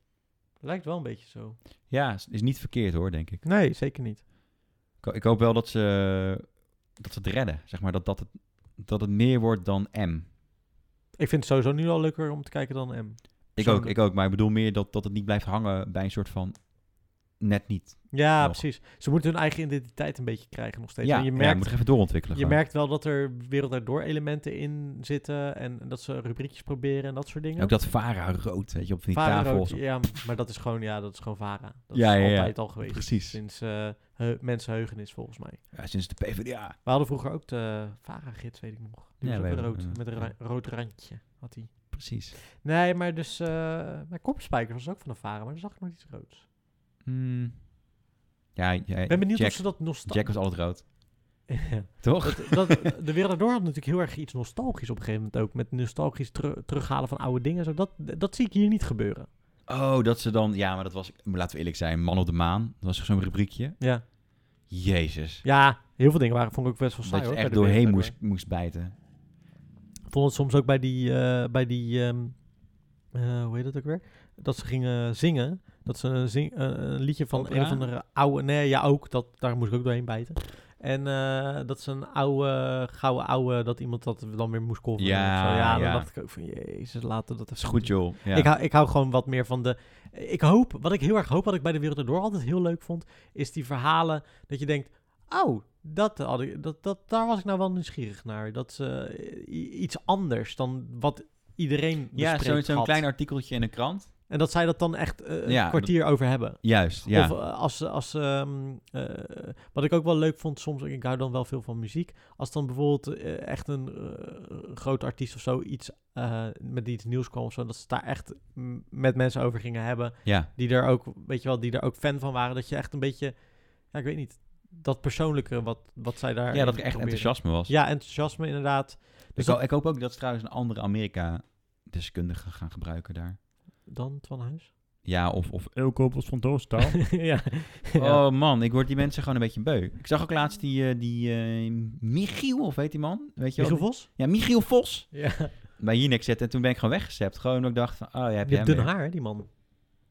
Speaker 2: Lijkt wel een beetje zo.
Speaker 1: Ja, is, is niet verkeerd hoor, denk ik.
Speaker 2: Nee, zeker niet.
Speaker 1: Ik, ho- ik hoop wel dat ze, dat ze het redden. Zeg maar dat, dat, het, dat het meer wordt dan M.
Speaker 2: Ik vind het sowieso nu al leuker om te kijken dan M.
Speaker 1: Ik ook,
Speaker 2: Persoonlijk.
Speaker 1: ik ook. Maar ik bedoel meer dat, dat het niet blijft hangen bij een soort van... Net niet.
Speaker 2: Ja,
Speaker 1: Nog.
Speaker 2: precies. Ze moeten hun eigen identiteit een beetje krijgen nog steeds.
Speaker 1: Ja,
Speaker 2: en je
Speaker 1: ja,
Speaker 2: merkt
Speaker 1: moet het even doorontwikkelen.
Speaker 2: Je
Speaker 1: gewoon.
Speaker 2: merkt wel dat er wereld daardoor elementen in zitten en dat ze rubriekjes proberen en dat soort dingen.
Speaker 1: Ook dat Vara rood, weet je, op van die
Speaker 2: Vara
Speaker 1: tafel.
Speaker 2: rood,
Speaker 1: zo.
Speaker 2: ja, maar dat is gewoon, ja, dat is gewoon Vara. Dat
Speaker 1: Ja, ja,
Speaker 2: is
Speaker 1: ja.
Speaker 2: altijd al geweest.
Speaker 1: Precies.
Speaker 2: Sinds eh heu- mensenheugenis volgens mij.
Speaker 1: Ja, sinds de PvdA.
Speaker 2: We hadden vroeger ook de Vara-gids, weet ik nog. Die
Speaker 1: Ja,
Speaker 2: was
Speaker 1: wij
Speaker 2: ook met
Speaker 1: ook,
Speaker 2: rood,
Speaker 1: ja.
Speaker 2: met een ra- rood randje had hij.
Speaker 1: Precies.
Speaker 2: Nee, maar dus, eh mijn kopspijker was ook van de Vara, maar daar zag ik nog iets roods.
Speaker 1: Hmm. Ja, ja,
Speaker 2: Ik ben benieuwd
Speaker 1: Jack,
Speaker 2: of ze dat
Speaker 1: Jack
Speaker 2: nostalgisch...
Speaker 1: was altijd rood.
Speaker 2: <laughs> Ja.
Speaker 1: Toch?
Speaker 2: Dat, dat- de wereld erdoor had natuurlijk heel erg iets nostalgisch op een gegeven moment ook. Met nostalgisch teru- terughalen van oude dingen. en Zo. Dat, dat zie ik hier niet gebeuren.
Speaker 1: Oh, dat ze dan... Ja, maar dat was... maar Laten we eerlijk zijn. Man op de maan. Dat was toch zo'n rubriekje.
Speaker 2: Ja.
Speaker 1: Jezus.
Speaker 2: ja, heel veel dingen waren, vond ik ook best wel saai.
Speaker 1: dat je
Speaker 2: hoor,
Speaker 1: echt
Speaker 2: bij de wereld
Speaker 1: doorheen
Speaker 2: erdoor.
Speaker 1: moest, moest bijten.
Speaker 2: Ik vond het soms ook bij die, eh, bij die ehm, eh, hoe heet dat ook weer? Dat ze gingen zingen. Dat ze een, zing, eh, een liedje van
Speaker 1: Opera?
Speaker 2: een of andere oude, nee, ja ook, dat, daar moest ik ook doorheen bijten. En eh, dat ze een oude, gouden oude, dat iemand dat dan weer moest coveren.
Speaker 1: Ja,
Speaker 2: of zo. ja, dan
Speaker 1: ja.
Speaker 2: dacht ik ook van, jezus, laten we dat
Speaker 1: Dat is
Speaker 2: even
Speaker 1: goed, joh. Ja.
Speaker 2: ik, hou, ik hou gewoon wat meer van de. Ik hoop, wat ik heel erg hoop, wat ik bij de Wereld Erdoor altijd heel leuk vond, is die verhalen dat je denkt: oh, dat had ik, dat, dat, daar was ik nou wel nieuwsgierig naar. Dat is eh, i- iets anders dan wat iedereen.
Speaker 1: ja,
Speaker 2: bespreekt
Speaker 1: zo- zo'n
Speaker 2: had.
Speaker 1: klein artikeltje in een krant.
Speaker 2: En dat zij dat dan echt eh,
Speaker 1: Ja,
Speaker 2: een kwartier over hebben.
Speaker 1: Juist, ja.
Speaker 2: Of eh, als, als ehm, eh, wat ik ook wel leuk vond soms, ik hou dan wel veel van muziek. Als dan bijvoorbeeld eh, echt een eh, groot artiest of zo iets eh, met iets nieuws kwam of zo, dat ze het daar echt mm, met mensen over gingen hebben.
Speaker 1: ja.
Speaker 2: Die er ook, weet je wel, die er ook fan van waren. Dat je echt een beetje, ja, ik weet niet, dat persoonlijke wat, wat zij daar.
Speaker 1: ja, dat er echt enthousiasme was.
Speaker 2: Ja, enthousiasme inderdaad. Dus
Speaker 1: ik, ho- ik hoop ook dat ze trouwens een andere Amerika-deskundige gaan gebruiken daar.
Speaker 2: Dan Twan Huis. <laughs>
Speaker 1: Ja, of... of
Speaker 3: Elko was van
Speaker 1: <laughs>
Speaker 3: Doostaal.
Speaker 2: ja.
Speaker 1: Oh man, ik word die mensen gewoon een beetje beu. Ik zag ook laatst die, eh, die eh, Michiel, of weet die man? Weet je wel?
Speaker 2: Michiel Vos?
Speaker 1: Ja, Michiel Vos.
Speaker 2: Ja.
Speaker 1: Bij Jinek zitten en toen ben ik gewoon weggezept. Gewoon omdat ik dacht van, oh, ja, heb je
Speaker 2: Je hebt dun haar, hè, die man.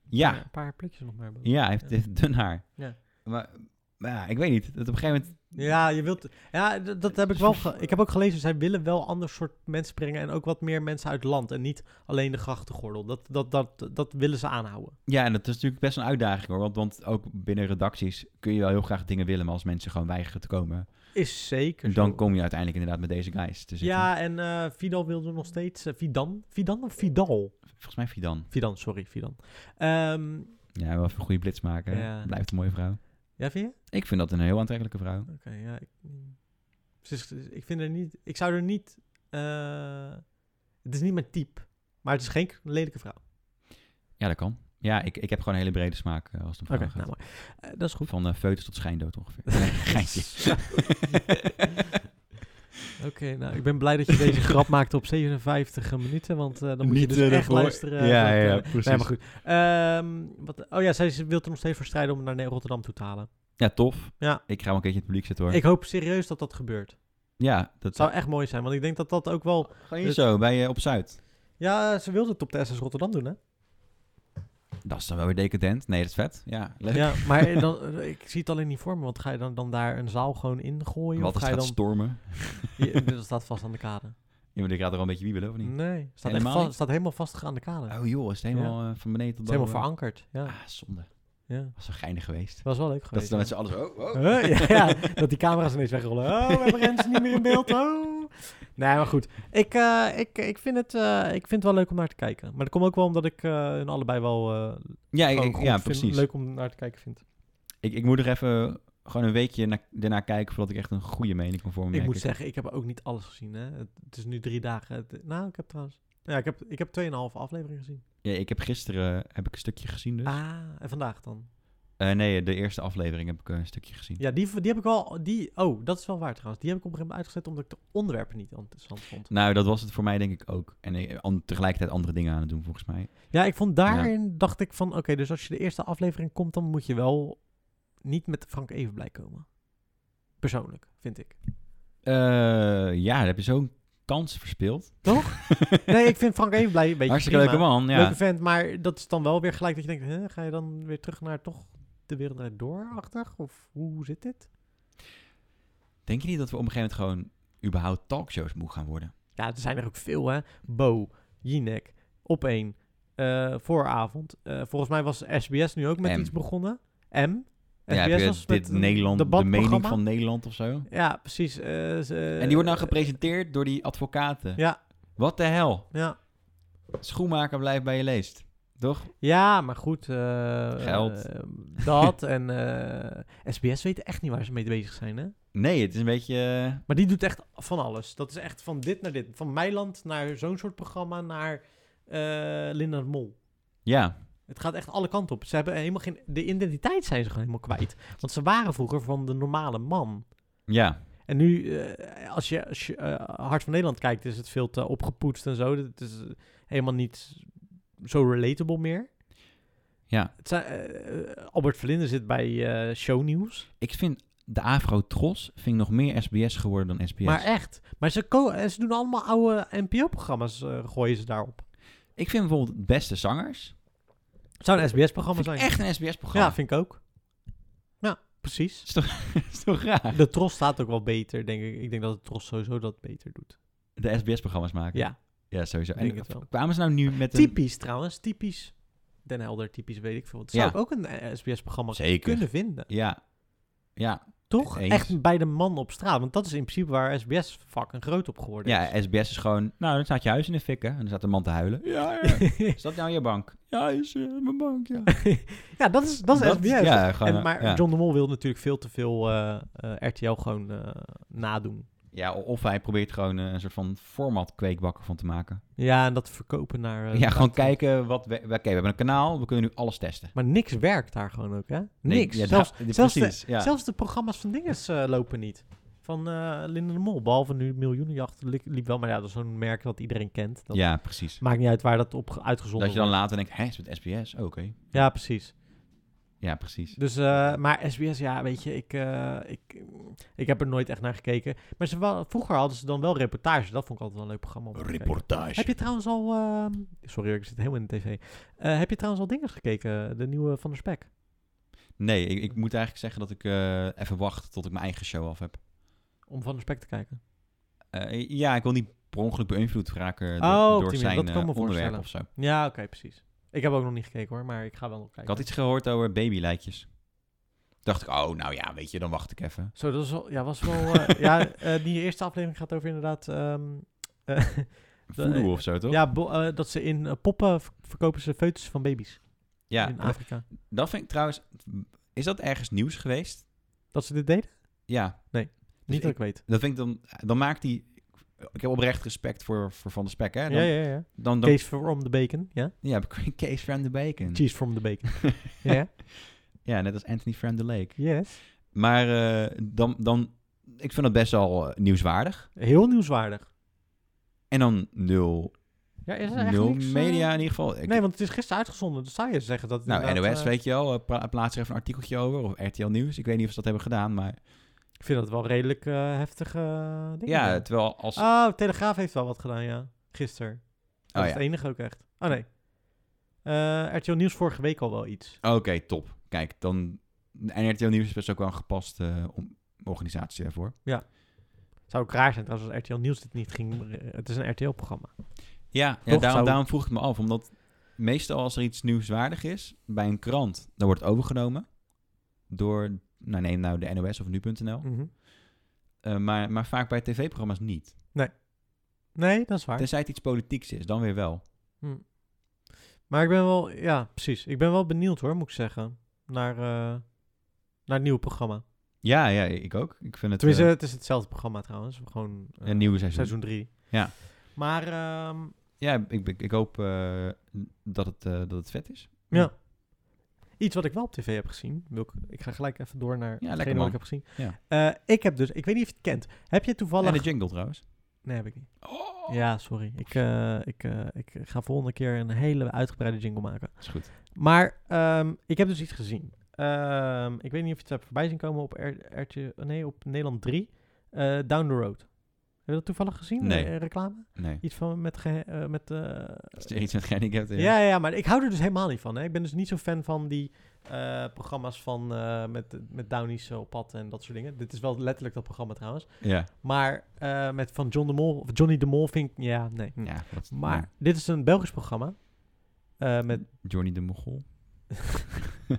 Speaker 1: Ja,
Speaker 2: Een paar plukjes nog maar.
Speaker 1: ja, hij heeft
Speaker 2: Ja.
Speaker 1: heeft dun haar.
Speaker 2: Ja.
Speaker 1: Maar, maar ja, ik weet niet. Dat op een gegeven moment...
Speaker 2: Ja, je wilt. Ja, d- dat heb ik wel. ge- ik heb ook gelezen. Zij willen wel ander soort mensen brengen. En ook wat meer mensen uit het land. En niet alleen de grachtengordel. Dat, dat, dat, dat willen ze aanhouden.
Speaker 1: Ja, en dat is natuurlijk best een uitdaging hoor. Want, want ook binnen redacties kun je wel heel graag dingen willen. Maar als mensen gewoon weigeren te komen...
Speaker 2: Is zeker.
Speaker 1: Dan kom je uiteindelijk inderdaad met deze guys Dus te zitten.
Speaker 2: Ja, en eh Vidal wilde nog steeds. eh, Vidan? Vidan of Vidal?
Speaker 1: Volgens mij Fidan.
Speaker 2: Vidan, sorry, Vidan. Ehm,
Speaker 1: Ja, wel even een goede blits maken.
Speaker 2: Ja.
Speaker 1: Blijft een mooie vrouw.
Speaker 2: ja, vind je?
Speaker 1: Ik vind dat een heel aantrekkelijke vrouw.
Speaker 2: Oké, ja. Ik, mm. Ze is- ik vind er niet. Ik zou er niet. eh, het is niet mijn type. Maar het is geen k- lelijke vrouw.
Speaker 1: Ja, dat kan. Ja, ik, ik heb gewoon een hele brede smaak eh, als het om
Speaker 2: Oké,
Speaker 1: vrouwen
Speaker 2: nou
Speaker 1: gaat.
Speaker 2: mooi. Eh, dat is goed.
Speaker 1: Van eh foetus tot schijndood
Speaker 2: <laughs>
Speaker 1: ongeveer. Nee, geintje.
Speaker 2: Oké, nou, ik ben blij dat je deze grap maakte op 57 minuten, want eh, dan moet
Speaker 1: Niet, eh,
Speaker 2: je dus echt
Speaker 1: ervoor.
Speaker 2: luisteren.
Speaker 1: Ja, ja,
Speaker 2: want, eh,
Speaker 1: ja, precies.
Speaker 2: Nee, maar goed. Ehm, wat, oh ja, zij ze wil er nog steeds voor strijden om hem naar Rotterdam toe te halen.
Speaker 1: ja, tof.
Speaker 2: Ja.
Speaker 1: Ik ga wel een keertje in het publiek zitten hoor.
Speaker 2: Ik hoop serieus dat dat gebeurt.
Speaker 1: Ja, dat
Speaker 2: Het zou Dus- echt mooi zijn, want ik denk dat dat ook wel...
Speaker 1: Gewoon hier zo, bij, eh, op Zuid.
Speaker 2: Ja, ze wilde het op de SS Rotterdam doen, hè?
Speaker 1: Dat is dan wel weer decadent. Nee, dat is vet. Ja, leuk.
Speaker 2: Ja, maar
Speaker 1: <laughs>
Speaker 2: dan, eh, ik zie het alleen niet voor me, want ga je dan, dan daar een zaal gewoon ingooien?
Speaker 1: Wat
Speaker 2: of
Speaker 1: als
Speaker 2: ga
Speaker 1: het
Speaker 2: je
Speaker 1: gaat
Speaker 2: dan...
Speaker 1: stormen?
Speaker 2: Ja, dat staat vast aan de kade.
Speaker 1: Ja, maar ik gaat er al een beetje wiebelen, of niet?
Speaker 2: Nee, staat, echt
Speaker 1: Helemaal
Speaker 2: va-
Speaker 1: niet?
Speaker 2: staat helemaal vast aan de kade. Het
Speaker 1: Oh joh, is het helemaal eh, van beneden tot
Speaker 2: is
Speaker 1: boven?
Speaker 2: helemaal verankerd, ja.
Speaker 1: Ah, zonde.
Speaker 2: ja.
Speaker 1: Dat was wel geinig geweest.
Speaker 2: Dat was wel leuk geweest.
Speaker 1: Dat ze dan
Speaker 2: ja.
Speaker 1: met z'n allen zo... Oh, oh.
Speaker 2: Huh?
Speaker 1: <laughs>
Speaker 2: Ja, ja, dat die camera's ineens wegrollen. Oh, we hebben Rens niet meer in beeld. Oh. Nee, maar goed. Ik, eh, ik, ik, vind het, eh, ik vind het wel leuk om naar te kijken. Maar dat komt ook wel omdat ik eh, hun allebei wel eh,
Speaker 1: Ja, ik-
Speaker 2: gewoon
Speaker 1: ik-
Speaker 2: goed
Speaker 1: ja
Speaker 2: vind,
Speaker 1: precies.
Speaker 2: leuk om naar te kijken vind.
Speaker 1: Ik, ik moet er even gewoon een weekje na, daarna kijken voordat ik echt een goede mening kan vormen.
Speaker 2: Ik
Speaker 1: merk
Speaker 2: moet zeggen, ik heb ook niet alles gezien. Hè. Het, het is nu drie dagen. Het- nou, ik heb trouwens... Ja, ik heb, ik heb 2,5 afleveringen gezien.
Speaker 1: Ja, ik heb gisteren heb ik een stukje gezien dus.
Speaker 2: Ah, en vandaag dan?
Speaker 1: Eh, nee, de eerste aflevering heb ik eh, een stukje gezien.
Speaker 2: Ja, die, die heb ik wel... Die, oh, dat is wel waar trouwens. Die heb ik op een gegeven moment uitgezet omdat ik de onderwerpen niet interessant vond.
Speaker 1: Nou, dat was het voor mij denk ik ook. En ik, an- tegelijkertijd andere dingen aan het doen volgens mij.
Speaker 2: Ja, ik vond daarin dacht ik van oké, dus als je de eerste aflevering komt, dan moet je wel niet met Frank Evenblij komen. Persoonlijk, vind ik.
Speaker 1: Eh, ja, daar heb je zo'n kans verspeeld. <laughs>
Speaker 2: Toch? Nee, ik vind Frank Evenblij een beetje
Speaker 1: Hartstikke
Speaker 2: prima.
Speaker 1: leuke man, ja.
Speaker 2: Leuke vent, maar dat is dan wel weer gelijk dat je denkt, hè, ga je dan weer terug naar toch de wereld Draait door-achtig? Of hoe zit dit?
Speaker 1: Denk je niet dat we op een gegeven moment gewoon überhaupt talkshows moe gaan worden?
Speaker 2: Ja, er zijn er ook veel hè. Bo, Jinek, Opeen, eh Vooravond. Eh, volgens mij was SBS nu ook met
Speaker 1: M.
Speaker 2: iets begonnen. M.
Speaker 1: ja, heb je
Speaker 2: was
Speaker 1: dit
Speaker 2: met een
Speaker 1: Nederland, de mening
Speaker 2: debatprogramma.
Speaker 1: van Nederland of zo?
Speaker 2: Ja, precies. eh, ze-
Speaker 1: en die wordt nou gepresenteerd door die advocaten.
Speaker 2: Ja.
Speaker 1: Wat de hel?
Speaker 2: Ja.
Speaker 1: Schoenmaker blijft bij je leest. Toch?
Speaker 2: ja, maar goed. eh,
Speaker 1: Geld.
Speaker 2: eh, dat en eh, SBS weet echt niet waar ze mee bezig zijn, hè?
Speaker 1: Nee, het is een beetje... eh,
Speaker 2: Maar die doet echt van alles. Dat is echt van dit naar dit. Van Meiland naar zo'n soort programma naar eh Linda de Mol.
Speaker 1: ja,
Speaker 2: Het gaat echt alle kanten op. Ze hebben helemaal geen... De identiteit zijn ze gewoon helemaal kwijt. Want ze waren vroeger van de normale man.
Speaker 1: ja.
Speaker 2: En En nu, eh, als je, als je eh, Hart van Nederland kijkt, is het veel te opgepoetst en zo. Het is eh, helemaal niet zo relatable meer.
Speaker 1: Ja.
Speaker 2: Het zijn, eh, Albert Verlinde zit bij eh shownieuws.
Speaker 1: Ik vind de Afro Tros vind ik nog meer SBS geworden dan SBS.
Speaker 2: Maar echt. Maar ze, ko- eh, ze doen allemaal oude NPO-programma's, eh, gooien ze daarop.
Speaker 1: ik vind bijvoorbeeld Beste Zangers
Speaker 2: Het zou een SBS-programma
Speaker 1: vind ik
Speaker 2: zijn.
Speaker 1: echt een SBS-programma.
Speaker 2: Ja, vind ik ook. Ja, precies.
Speaker 1: Dat is toch raar?
Speaker 2: De Tros staat ook wel beter, denk ik. Ik denk dat de Tros sowieso dat beter doet.
Speaker 1: De SBS-programma's maken.
Speaker 2: Ja,
Speaker 1: Ja, sowieso.
Speaker 2: denk
Speaker 1: En
Speaker 2: het wel.
Speaker 1: kwamen ze nou nu met een...
Speaker 2: Typisch trouwens, typisch. Den Helder, typisch weet ik veel. Het zou
Speaker 1: Ja.
Speaker 2: ik ook een eh, SBS-programma
Speaker 1: Zeker.
Speaker 2: kunnen vinden.
Speaker 1: Ja. Ja,
Speaker 2: Toch?
Speaker 1: Eens.
Speaker 2: Echt bij de man op straat. Want dat is in principe waar SBS fucking groot op geworden is.
Speaker 1: ja, SBS is gewoon... Nou, dan staat je huis in de fik, hè? En dan staat een man te huilen. Ja, ja. Is dat nou je bank? Ja, is eh, mijn bank, ja.
Speaker 2: <laughs> ja, dat is, dat is SBS.
Speaker 1: Ja, gewoon,
Speaker 2: en, maar
Speaker 1: ja.
Speaker 2: John de Mol wil natuurlijk veel te veel eh, eh, RTL gewoon eh, nadoen.
Speaker 1: Ja, o- of hij probeert gewoon eh, een soort van format kweekbakker van te maken.
Speaker 2: Ja, en dat verkopen naar... eh,
Speaker 1: ja, gewoon
Speaker 2: naar-
Speaker 1: kijken wat... we- we- Oké, we hebben een kanaal, we kunnen nu alles testen.
Speaker 2: Maar niks werkt daar gewoon ook, hè?
Speaker 1: Nee,
Speaker 2: Niks.
Speaker 1: ja,
Speaker 2: zelfs,
Speaker 1: daar-
Speaker 2: zelfs de,
Speaker 1: precies, ja.
Speaker 2: zelfs de programma's van dinges eh, lopen niet. Van eh Linda de Mol. Behalve nu Miljoenenjacht li- liep wel. Maar ja, dat is zo'n merk dat iedereen kent. Dat
Speaker 1: ja, precies.
Speaker 2: Maakt niet uit waar dat op ge- uitgezonden
Speaker 1: Dat je dan
Speaker 2: wordt.
Speaker 1: later denkt, hè, is het SBS? Oh, Oké.
Speaker 2: Ja, precies.
Speaker 1: Ja, precies.
Speaker 2: Dus, eh, maar SBS, ja, weet je, ik, eh, ik, ik heb er nooit echt naar gekeken. Maar ze wel, vroeger hadden ze dan wel reportage. Dat vond ik altijd wel een leuk programma. om te kijken. Heb
Speaker 1: Reportage.
Speaker 2: je trouwens al... ehm, sorry, hoor, ik zit helemaal in de tv. Eh, heb je trouwens al dingen gekeken? De nieuwe Van der Spek?
Speaker 1: Nee, ik, ik moet eigenlijk zeggen dat ik eh, even wacht tot ik mijn eigen show af heb.
Speaker 2: Om Van der Spek te kijken.
Speaker 1: Eh, ja, ik wil niet per ongeluk beïnvloed raken do-
Speaker 2: Oh,
Speaker 1: door
Speaker 2: op die manier.
Speaker 1: zijn
Speaker 2: Dat kan
Speaker 1: eh,
Speaker 2: ik me
Speaker 1: onderwerp
Speaker 2: voorstellen.
Speaker 1: of zo.
Speaker 2: Ja, oké, precies. Ik heb ook nog niet gekeken hoor, maar ik ga wel nog kijken.
Speaker 1: Ik had iets gehoord over babylijtjes. Dacht ik, oh, nou ja, weet je, dan wacht ik even.
Speaker 2: Zo, dat is wel... Ja, was
Speaker 1: <laughs>
Speaker 2: wel eh, ja eh, die eerste aflevering gaat over inderdaad... ehm, eh,
Speaker 1: Voelen of zo, toch?
Speaker 2: ja, bo- eh, dat ze in eh, poppen v- verkopen ze foetus van baby's
Speaker 1: Ja,
Speaker 2: in
Speaker 1: dat,
Speaker 2: Afrika.
Speaker 1: dat vind ik trouwens... Is dat ergens nieuws geweest?
Speaker 2: Dat ze dit deden?
Speaker 1: Ja.
Speaker 2: Nee,
Speaker 1: Dus
Speaker 2: niet dat
Speaker 1: ik,
Speaker 2: ik weet.
Speaker 1: dat vind ik dan... Dan maakt hij... Ik heb oprecht respect voor, voor Van der Spek, hè? Dan,
Speaker 2: ja, ja, ja.
Speaker 1: dan, Hm. dan,
Speaker 2: Case from the bacon, ja?
Speaker 1: ja, <laughs> Kees van de Bacon.
Speaker 2: Cheese from the bacon.
Speaker 1: <laughs>
Speaker 2: ja, ja.
Speaker 1: Ja, net als Anthony van de Lake.
Speaker 2: yes.
Speaker 1: Maar eh, dan, dan... Ik vind dat best wel eh, nieuwswaardig.
Speaker 2: Heel nieuwswaardig.
Speaker 1: En dan nul,
Speaker 2: Ja, is er echt
Speaker 1: nul
Speaker 2: niks, eh,
Speaker 1: media in ieder geval. Ik-
Speaker 2: Nee, want het is gisteren uitgezonden. Dus zou je zeggen dat... het
Speaker 1: Nou,
Speaker 2: inderdaad,
Speaker 1: NOS,
Speaker 2: eh,
Speaker 1: weet je wel, eh, pla- plaats er even een artikeltje over. Of RTL Nieuws. Ik weet niet of ze dat hebben gedaan, maar...
Speaker 2: Ik vind dat wel redelijk eh, heftige eh, dingen.
Speaker 1: Ja, terwijl als...
Speaker 2: Oh, Telegraaf heeft wel wat gedaan, ja. Gisteren. Dat
Speaker 1: oh
Speaker 2: is
Speaker 1: ja,
Speaker 2: het enige ook echt. Oh nee. Eh RTL Nieuws vorige week al wel iets.
Speaker 1: oké, top. Kijk, dan... En RTL Nieuws is best ook wel een gepaste eh, om- organisatie daarvoor.
Speaker 2: Zou ook raar zijn trouwens als RTL Nieuws dit niet ging. eh, Het is een RTL-programma.
Speaker 1: Ja, ja
Speaker 2: Toch
Speaker 1: daarom,
Speaker 2: zou-
Speaker 1: daarom vroeg ik het me af. Omdat meestal als er iets nieuwswaardig is bij een krant, dan wordt het overgenomen door... Nou, neem nou de NOS of nu.nl.
Speaker 2: Hm.
Speaker 1: Eh, maar, maar vaak bij tv-programma's niet.
Speaker 2: Nee, dat is waar.
Speaker 1: Tenzij het iets politieks is, dan weer wel.
Speaker 2: Maar ik ben wel, ja, precies. Ik ben wel benieuwd hoor, moet ik zeggen. Naar, eh, naar het nieuwe programma.
Speaker 1: Ja, ja, ik ook. Ik vind het eh,
Speaker 2: Tenminste, het is hetzelfde programma trouwens. Gewoon eh,
Speaker 1: een nieuwe seizoen.
Speaker 2: seizoen 3.
Speaker 1: Ja.
Speaker 2: Maar, ehm,
Speaker 1: Ja, ik, ik, ik hoop eh, dat, het, eh, dat het vet is.
Speaker 2: ja. Iets wat ik wel op tv heb gezien. Wil ik, ik ga gelijk even door naar
Speaker 1: lekker
Speaker 2: hetgene wat
Speaker 1: man.
Speaker 2: ik heb gezien.
Speaker 1: Ja.
Speaker 2: Eh, ik heb dus, ik weet niet of je het kent. Heb je toevallig...
Speaker 1: En de jingle trouwens.
Speaker 2: Nee, heb ik niet.
Speaker 1: Oh.
Speaker 2: Ja, sorry. Ik, eh, ik, eh, ik ga volgende keer een hele uitgebreide jingle maken.
Speaker 1: Is goed.
Speaker 2: Maar ehm, ik heb dus iets gezien. Ehm, ik weet niet of je het hebt voorbij zien komen op, R- RTL nee, op Nederland 3. eh, Down the Road. Heb je dat toevallig gezien?
Speaker 1: Nee.
Speaker 2: Eh, reclame?
Speaker 1: Nee,
Speaker 2: Iets van met... ge- eh, met eh,
Speaker 1: is er iets met gehandicapten?
Speaker 2: ja, ja, maar ik hou er dus helemaal niet van. Hè. Ik ben dus niet zo fan van die eh, programma's van, eh, met, met Downies op pad en dat soort dingen. Dit is wel letterlijk dat programma trouwens.
Speaker 1: Ja.
Speaker 2: Maar eh, met van John de Mol, of Johnny de Mol vind ik... Ja, nee.
Speaker 1: ja wat,
Speaker 2: Hm. Maar
Speaker 1: ja.
Speaker 2: dit is een Belgisch programma. Eh, met,
Speaker 1: Johnny de
Speaker 2: <laughs>
Speaker 1: Mogol.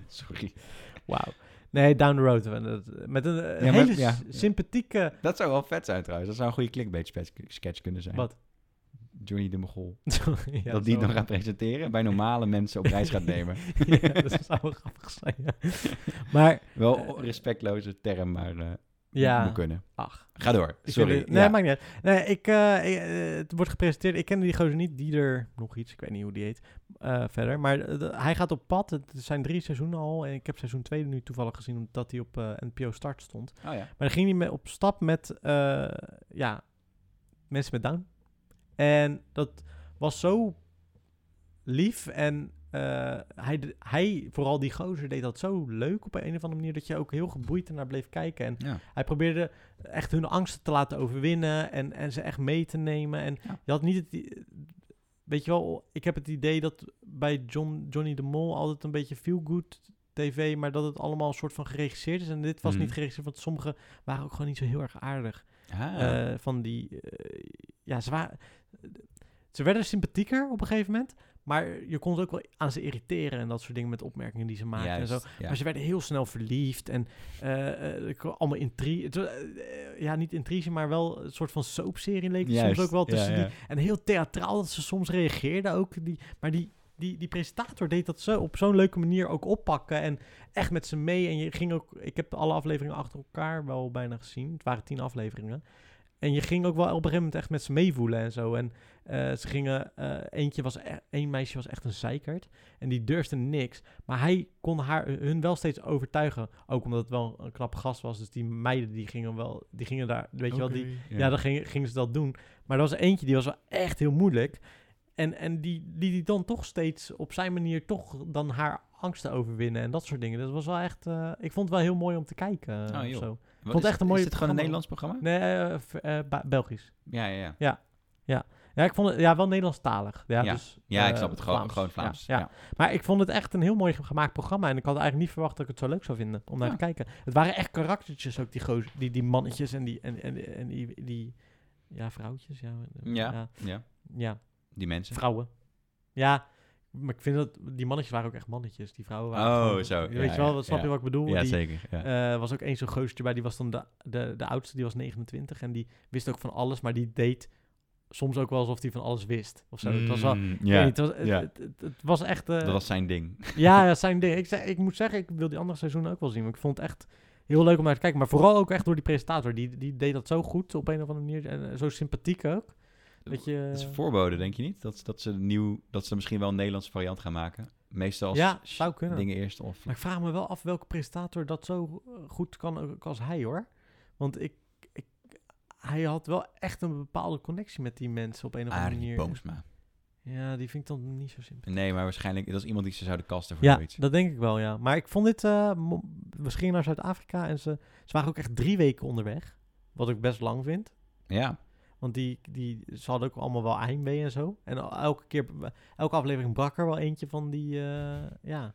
Speaker 1: Sorry.
Speaker 2: wauw. Nee, Down the Road. eh, dat- Met een eh,
Speaker 1: Ja, maar-
Speaker 2: hele
Speaker 1: ja.
Speaker 2: s- sympathieke... <laughs>
Speaker 1: Dat zou wel vet zijn trouwens. Dat zou een goede clickbait spe- sketch kunnen zijn.
Speaker 2: Wat?
Speaker 1: Johnny de Mogol.
Speaker 2: Sorry, ja,
Speaker 1: dat die
Speaker 2: sorry.
Speaker 1: dan gaat presenteren, bij
Speaker 2: <laughs>
Speaker 1: normale mensen op reis gaat nemen.
Speaker 2: ja, dat zou wel grappig zijn, ja. Maar
Speaker 1: wel respectloze term, maar eh, Ja.
Speaker 2: Ja.
Speaker 1: Moet kunnen.
Speaker 2: Ach.
Speaker 1: Ga door.
Speaker 2: Ik
Speaker 1: Sorry.
Speaker 2: vind het- nee,
Speaker 1: ja.
Speaker 2: maakt niet uit. Nee, ik, eh, ik, eh, het wordt gepresenteerd. Ik ken die gozer niet. Dieder, nog iets. Ik weet niet hoe die heet. eh, verder. Maar eh, de- hij gaat op pad. Het zijn drie seizoenen al. En ik heb seizoen 2 nu toevallig gezien. Omdat hij op eh, NPO Start stond.
Speaker 1: Oh, ja.
Speaker 2: Maar dan ging hij mee op stap met eh, ja, mensen met Down. En dat was zo lief. En eh, hij, d- hij, vooral die gozer, deed dat zo leuk op een of andere manier. Dat je ook heel geboeid ernaar bleef kijken. En
Speaker 1: Ja.
Speaker 2: hij probeerde echt hun angsten te laten overwinnen. En, en ze echt mee te nemen. En
Speaker 1: Ja.
Speaker 2: je had niet het... i- Weet je wel, ik heb het idee dat bij John, Johnny de Mol altijd een beetje feel-good tv, maar dat het allemaal een soort van geregisseerd is. En dit was
Speaker 1: Mhm.
Speaker 2: niet geregisseerd, want sommige waren ook gewoon niet zo heel erg aardig.
Speaker 1: Ah.
Speaker 2: Eh, van die, eh, ja, ze, wa- ze werden sympathieker op een gegeven moment, maar je kon ze ook wel aan ze irriteren en dat soort dingen met opmerkingen die ze maakten
Speaker 1: Juist,
Speaker 2: en zo.
Speaker 1: ja.
Speaker 2: Maar ze werden heel snel verliefd en eh, eh, er kwam allemaal intrige, eh, ja, niet intrige, maar wel een soort van soapserie leek het
Speaker 1: Juist,
Speaker 2: soms ook wel
Speaker 1: ja,
Speaker 2: tussen die
Speaker 1: ja.
Speaker 2: en heel theatraal dat ze soms reageerden ook. Die, maar die, die, die presentator deed dat zo op zo'n leuke manier ook oppakken. En echt met ze mee. En je ging ook... Ik heb alle afleveringen achter elkaar wel bijna gezien. Het waren tien afleveringen. En je ging ook wel op een gegeven moment echt met ze meevoelen en zo. En eh, ze gingen... eh, eentje was... e- één meisje was echt een zeikert. En die durfde niks. Maar hij kon haar, hun wel steeds overtuigen. Ook omdat het wel een knappe gast was. Dus die meiden die gingen wel... Die gingen daar... Weet je wel, die, ja, dan gingen, gingen ze dat doen. Maar er was eentje, die was wel echt heel moeilijk. En, en die liet die dan toch steeds op zijn manier toch dan haar angsten overwinnen en dat soort dingen. Dat was wel echt... eh, ik vond het wel heel mooi om te kijken. eh,
Speaker 1: Oh,
Speaker 2: of
Speaker 1: joh.
Speaker 2: zo.
Speaker 1: Wat
Speaker 2: vond
Speaker 1: is-
Speaker 2: echt een mooie
Speaker 1: Is het gewoon een Nederlands programma?
Speaker 2: programma. <laughs> Nee, eh, v- eh, Ba- Belgisch.
Speaker 1: Ja, ja, ja.
Speaker 2: Ja, ik vond het ja, wel Nederlandstalig. Ja, dus,
Speaker 1: Ja, ik
Speaker 2: eh,
Speaker 1: snap het. Gewoon gewoon
Speaker 2: Ja,
Speaker 1: Vlaams.
Speaker 2: ja.
Speaker 1: Ja.
Speaker 2: Maar ik vond het echt een heel mooi gemaakt programma. En ik had eigenlijk niet verwacht dat ik het zo leuk zou vinden om naar
Speaker 1: Ja.
Speaker 2: te kijken. Het waren echt karaktertjes ook, die, gozer- die, die mannetjes en die, en, en, en die, die... Ja, vrouwtjes. Ja, eh,
Speaker 1: Ja.
Speaker 2: ja,
Speaker 1: Ja.
Speaker 2: ja.
Speaker 1: Die mensen.
Speaker 2: Vrouwen. Ja, maar ik vind dat die mannetjes waren ook echt mannetjes. Die vrouwen waren.
Speaker 1: Oh,
Speaker 2: gewoon-
Speaker 1: zo.
Speaker 2: Weet
Speaker 1: Ja,
Speaker 2: je wel,
Speaker 1: ja,
Speaker 2: wat snap
Speaker 1: ja.
Speaker 2: je wat ik bedoel?
Speaker 1: Ja,
Speaker 2: die,
Speaker 1: zeker. Ja.
Speaker 2: eh, was ook één zo'n gozer bij, die was dan de, de, de oudste, die was 29 en die wist ook van alles, maar die deed soms ook wel alsof hij van alles wist. Of zo. het was wel. ik
Speaker 1: Mm,
Speaker 2: weet
Speaker 1: ja.
Speaker 2: niet, het, was, het,
Speaker 1: ja.
Speaker 2: het, het- het was echt. eh,
Speaker 1: Dat was zijn ding.
Speaker 2: <laughs> Ja, dat zijn dingen. Ik, zeg, ik moet zeggen, ik wil die andere seizoenen ook wel zien. Want ik vond het echt heel leuk om naar te kijken. Maar vooral ook echt door die presentator. Die, die deed dat zo goed op een of andere manier. En eh, zo sympathiek ook. Dat je.
Speaker 1: Dat is voorboden, denk je niet? Dat, dat, ze nieuw, dat ze misschien wel een Nederlandse variant gaan maken. Meestal als
Speaker 2: Ja,
Speaker 1: sh-
Speaker 2: zou kunnen.
Speaker 1: dingen eerst. Of,
Speaker 2: Maar ik vraag me wel af welke presentator dat zo eh, goed kan ook als hij hoor. Want ik, ik, hij had wel echt een bepaalde connectie met die mensen op een of andere
Speaker 1: Arie
Speaker 2: manier.
Speaker 1: Boomsma.
Speaker 2: Ja, die vind ik dan niet zo simpel.
Speaker 1: Nee, maar waarschijnlijk... Dat is iemand die ze zouden kasten voor
Speaker 2: Ja,
Speaker 1: zoiets.
Speaker 2: dat denk ik wel, ja. Maar ik vond dit... eh, mo- we gingen naar Zuid-Afrika en ze, ze waren ook echt drie weken onderweg. Wat ik best lang vind.
Speaker 1: Ja.
Speaker 2: Want die, die, ze hadden ook allemaal wel heimwee en zo. En el- elke keer, elke aflevering brak er wel eentje van die, eh, ja.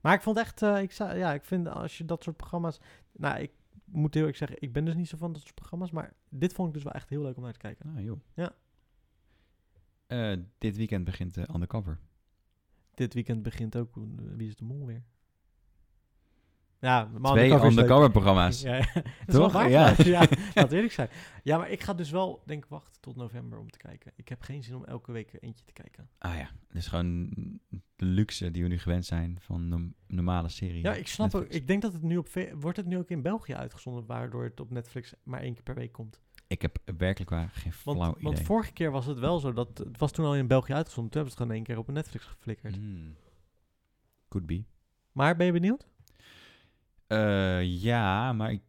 Speaker 2: Maar ik vond echt, eh, ik, zou- ja, ik vind als je dat soort programma's... Nou, ik moet heel eerlijk zeggen, ik ben dus niet zo van dat soort programma's. Maar dit vond ik dus wel echt heel leuk om naar te kijken.
Speaker 1: Nou, joh.
Speaker 2: Ja.
Speaker 1: Eh, dit weekend begint eh, Undercover.
Speaker 2: Dit weekend begint ook eh, Wie is de Mol weer. Ja, maar
Speaker 1: Twee
Speaker 2: Undercover is leuk.
Speaker 1: Undercover-programma's.
Speaker 2: Ja, <laughs> ja. Dat is wel
Speaker 1: Toch?
Speaker 2: waar,
Speaker 1: Ja. <laughs>
Speaker 2: ja. ja, laat eerlijk zijn. Ja, maar ik ga dus wel, denk ik, wachten tot november om te kijken. Ik heb geen zin om elke week eentje te kijken.
Speaker 1: Ah ja, dat is gewoon de luxe die we nu gewend zijn van een normale serie.
Speaker 2: Ja, ik snap ook.
Speaker 1: Netflix.
Speaker 2: Ik denk dat het nu op... ve- Wordt het nu ook in België uitgezonden, waardoor het op Netflix maar één keer per week komt?
Speaker 1: Ik heb werkelijk waar geen flauw
Speaker 2: Want,
Speaker 1: idee.
Speaker 2: want vorige keer was het wel zo dat... Het was toen al in België uitgezonden. Toen hebben ze het gewoon één keer op Netflix geflikkerd.
Speaker 1: Hmm. Could be.
Speaker 2: Maar ben je benieuwd?
Speaker 1: Eh, ja, maar ik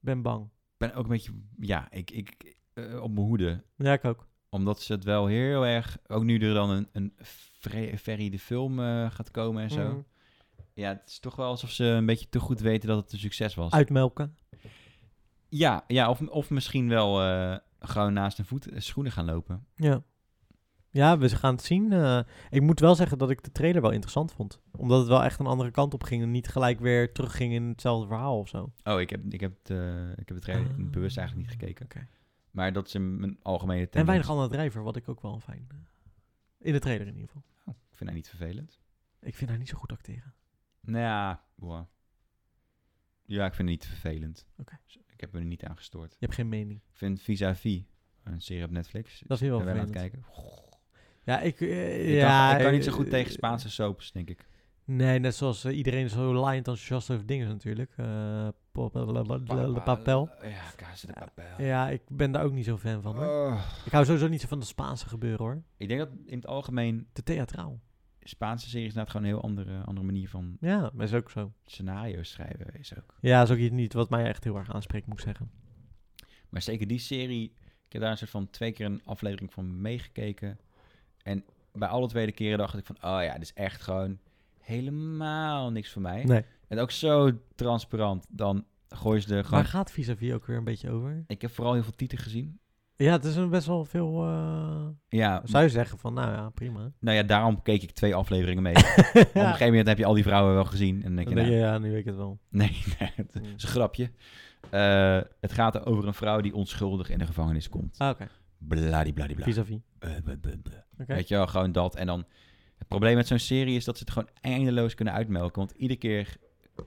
Speaker 2: Ben bang.
Speaker 1: ben ook een beetje... Ja, ik, ik eh, op mijn hoede.
Speaker 2: Ja, ik ook.
Speaker 1: Omdat ze het wel heel erg... Ook nu er dan een, een Fre- Ferry de film eh, gaat komen en zo.
Speaker 2: Mm.
Speaker 1: Ja, het is toch wel alsof ze een beetje te goed weten dat het een succes was.
Speaker 2: Uitmelken.
Speaker 1: Ja, ja of, of misschien wel eh, gewoon naast hun voet, eh, schoenen gaan lopen.
Speaker 2: Ja. Ja, we gaan het zien. eh. ik moet wel zeggen dat ik de trailer wel interessant vond. Omdat het wel echt een andere kant op ging. En niet gelijk weer terugging in hetzelfde verhaal of zo.
Speaker 1: Oh, ik heb, ik heb, het, eh, ik heb het trailer
Speaker 2: Ah,
Speaker 1: bewust eigenlijk niet gekeken.
Speaker 2: oké.
Speaker 1: Maar dat is een, mijn algemene tendens.
Speaker 2: En weinig andere drijver, wat ik ook wel fijn... eh, In de trailer in ieder geval.
Speaker 1: Oh, ik vind hij niet vervelend.
Speaker 2: Ik vind haar niet zo goed acteren.
Speaker 1: Nou ja, boah. ja, ik vind het niet vervelend.
Speaker 2: Oké.
Speaker 1: Dus Ik heb me er niet aan gestoord.
Speaker 2: Je hebt geen mening.
Speaker 1: Ik vind Vis-à-vis een serie op Netflix.
Speaker 2: Dat vind je wel
Speaker 1: ben aan het
Speaker 2: vervelend.
Speaker 1: kijken.
Speaker 2: Ja, ik, eh,
Speaker 1: Ik,
Speaker 2: ja,
Speaker 1: kan, ik kan niet zo
Speaker 2: eh,
Speaker 1: goed tegen Spaanse soaps, denk ik.
Speaker 2: Nee, net zoals eh, iedereen zo laaiend enthousiast over dingen is natuurlijk. Eh, pop- blablabla- papel.
Speaker 1: Ja, kaas de papel.
Speaker 2: Ja, ik ben daar ook niet zo fan van. Hoor.
Speaker 1: Oh.
Speaker 2: Ik hou sowieso niet zo van de Spaanse gebeuren hoor.
Speaker 1: Ik denk dat in het algemeen
Speaker 2: Te theatraal.
Speaker 1: Spaanse series inderdaad gewoon een heel andere, andere manier van
Speaker 2: Ja, maar is ook zo.
Speaker 1: scenario's schrijven is ook.
Speaker 2: Ja, is ook iets niet wat mij echt heel erg aanspreekt, moet ik zeggen.
Speaker 1: Maar zeker die serie, ik heb daar een soort van twee keer een aflevering van meegekeken. En bij alle tweede keren dacht ik van, oh ja, dit is echt gewoon helemaal niks voor mij.
Speaker 2: Nee.
Speaker 1: En ook zo transparant, dan gooi ze er gewoon...
Speaker 2: Waar gaat vis-à-vis ook weer een beetje over?
Speaker 1: Ik heb vooral heel veel tieten gezien.
Speaker 2: Ja, het is een best wel veel... eh,
Speaker 1: Ja,
Speaker 2: Zou je zeggen van, nou ja,
Speaker 1: <laughs>
Speaker 2: prima.
Speaker 1: nou ja, daarom keek ik twee afleveringen
Speaker 2: <laughs>
Speaker 1: mee. Op
Speaker 2: ja.
Speaker 1: een gegeven moment heb je al die vrouwen wel gezien. En dan denk
Speaker 2: Dan
Speaker 1: je,
Speaker 2: denk
Speaker 1: nou,
Speaker 2: je, ja, nu weet ik het wel.
Speaker 1: nee, <laughs> nee, het is een grapje. Eh, het gaat over een vrouw die onschuldig in de gevangenis komt.
Speaker 2: Ah, oké.
Speaker 1: Bladibladibla.
Speaker 2: Vis-à-vis.
Speaker 1: Eh, buh, buh, buh.
Speaker 2: Oké.
Speaker 1: Weet je wel, gewoon dat. En dan, het probleem met zo'n serie is dat ze het gewoon eindeloos kunnen uitmelken. Want iedere keer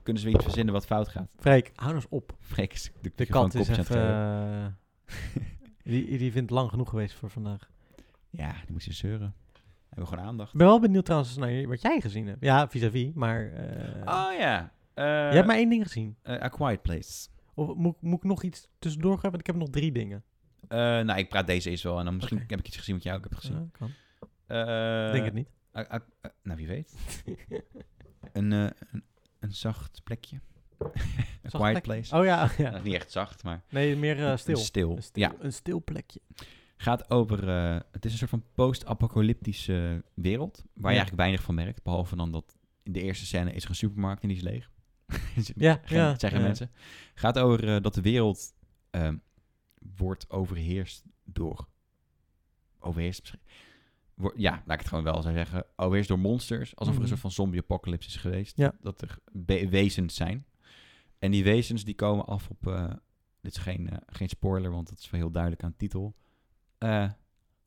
Speaker 1: kunnen ze weer iets verzinnen wat fout gaat. <laughs>
Speaker 2: Freek, hou nou eens op.
Speaker 1: Freek is de,
Speaker 2: De
Speaker 1: gewoon
Speaker 2: kat is
Speaker 1: kopjes aan
Speaker 2: even...
Speaker 1: het geven.
Speaker 2: eh, <laughs> die, die vindt lang genoeg geweest voor vandaag. eh,
Speaker 1: Ja, die moest je zeuren. Hebben we gewoon aandacht.
Speaker 2: Ik ben wel benieuwd trouwens naar wat jij gezien hebt. Ja, vis-à-vis, maar... eh,
Speaker 1: Oh ja. Eh,
Speaker 2: je hebt maar één ding gezien.
Speaker 1: eh, A Quiet Place.
Speaker 2: Of moet, ik- moet ik nog iets tussendoor gaan? Want ik heb nog drie dingen.
Speaker 1: Eh, nou, ik praat deze eens wel. En dan misschien
Speaker 2: Oké.
Speaker 1: heb ik iets gezien wat jij ook hebt gezien.
Speaker 2: Ja, kan.
Speaker 1: Eh,
Speaker 2: Denk het
Speaker 1: <laughs>
Speaker 2: niet.
Speaker 1: A- A- A- nou, wie weet. een, eh, een, een zacht plekje. <laughs> A
Speaker 2: Zacht
Speaker 1: Quiet
Speaker 2: plek.
Speaker 1: Place.
Speaker 2: Oh ja, ja.
Speaker 1: Nou, niet echt zacht, maar
Speaker 2: Nee, meer eh, stil.
Speaker 1: Een stil.
Speaker 2: Een stil,
Speaker 1: Ja,
Speaker 2: een stil plekje.
Speaker 1: gaat over. eh, het is een soort van post-apocalyptische wereld. Waar je
Speaker 2: Ja.
Speaker 1: eigenlijk weinig van merkt. Behalve dan dat in de eerste scène is er een supermarkt en die is leeg. <laughs>
Speaker 2: Ja,
Speaker 1: Geen-
Speaker 2: ja.
Speaker 1: het zijn geen
Speaker 2: ja.
Speaker 1: mensen. Gaat over eh, dat de wereld ehm, wordt overheerst door. Overheerst misschien. Wo- ja, laat ik het gewoon wel zo zeggen. Overheerst door monsters. Alsof er
Speaker 2: Mhm.
Speaker 1: een soort van zombie-apocalypse is geweest.
Speaker 2: Ja.
Speaker 1: Dat er be- wezens zijn. En die wezens die komen af op. eh, dit is geen, eh, geen spoiler, want dat is wel heel duidelijk aan de titel. Eh,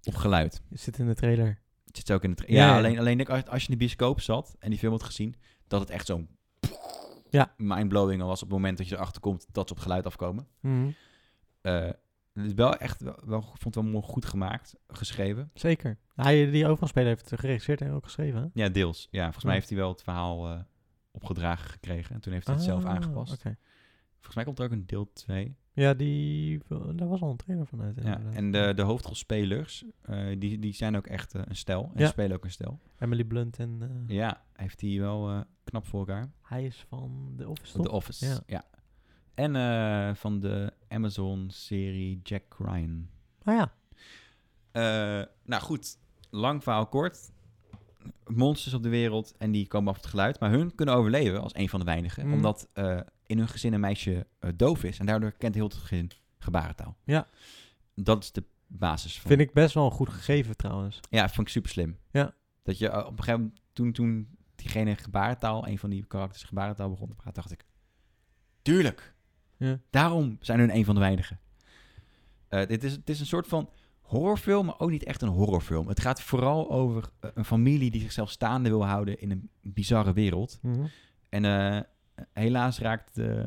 Speaker 1: op geluid.
Speaker 2: Je zit in de trailer.
Speaker 1: Het zit ook in het. Ja,
Speaker 2: Ja, ja.
Speaker 1: alleen, alleen denk ik, als, als je in de bioscoop zat en die film had gezien, dat het echt zo'n.
Speaker 2: Ja.
Speaker 1: Mindblowing al was op het moment dat je erachter komt dat ze op geluid afkomen. Eh, het is wel echt, wel, wel- ik vond het wel mooi goed gemaakt, geschreven.
Speaker 2: Zeker. Hij die overal spelen heeft het geregisseerd en ook geschreven. hè?
Speaker 1: Ja, deels. Ja, volgens mij
Speaker 2: Ja.
Speaker 1: heeft hij wel het verhaal eh, opgedragen gekregen. En toen heeft hij het zelf
Speaker 2: Ah,
Speaker 1: aangepast.
Speaker 2: oké.
Speaker 1: Volgens mij komt er ook een deel 2.
Speaker 2: Ja, die, daar was al een trailer van uit.
Speaker 1: Ja.
Speaker 2: inderdaad.
Speaker 1: En de, de hoofdrolspelers, eh, die, die zijn ook echt eh, een stijl. En
Speaker 2: Ja.
Speaker 1: spelen ook een stijl.
Speaker 2: Emily Blunt en eh,
Speaker 1: Ja, heeft hij wel eh, knap voor elkaar.
Speaker 2: hij is van The Office.
Speaker 1: The
Speaker 2: toch?
Speaker 1: Office,
Speaker 2: Ja.
Speaker 1: ja. En eh, van de Amazon-serie Jack Ryan.
Speaker 2: Ah ja.
Speaker 1: Eh, nou goed, lang verhaal kort. Monsters op de wereld en die komen af het geluid. Maar hun kunnen overleven als een van de weinigen.
Speaker 2: Mm.
Speaker 1: Omdat eh, in hun gezin een meisje eh, doof is. En daardoor kent heel het gezin gebarentaal.
Speaker 2: Ja.
Speaker 1: Dat is de basis van
Speaker 2: Vind ik best wel een goed gegeven trouwens.
Speaker 1: ja, vond ik super slim.
Speaker 2: Ja.
Speaker 1: Dat je eh, op een gegeven moment, toen, toen diegene gebarentaal, een van die karakters gebarentaal begon te praten, dacht ik, tuurlijk.
Speaker 2: Ja.
Speaker 1: Daarom zijn hun een van de weinigen. Eh, dit is, het is een soort van horrorfilm, maar ook niet echt een horrorfilm. Het gaat vooral over eh, een familie die zichzelf staande wil houden in een bizarre wereld.
Speaker 2: Mhm.
Speaker 1: En eh, helaas raakt eh,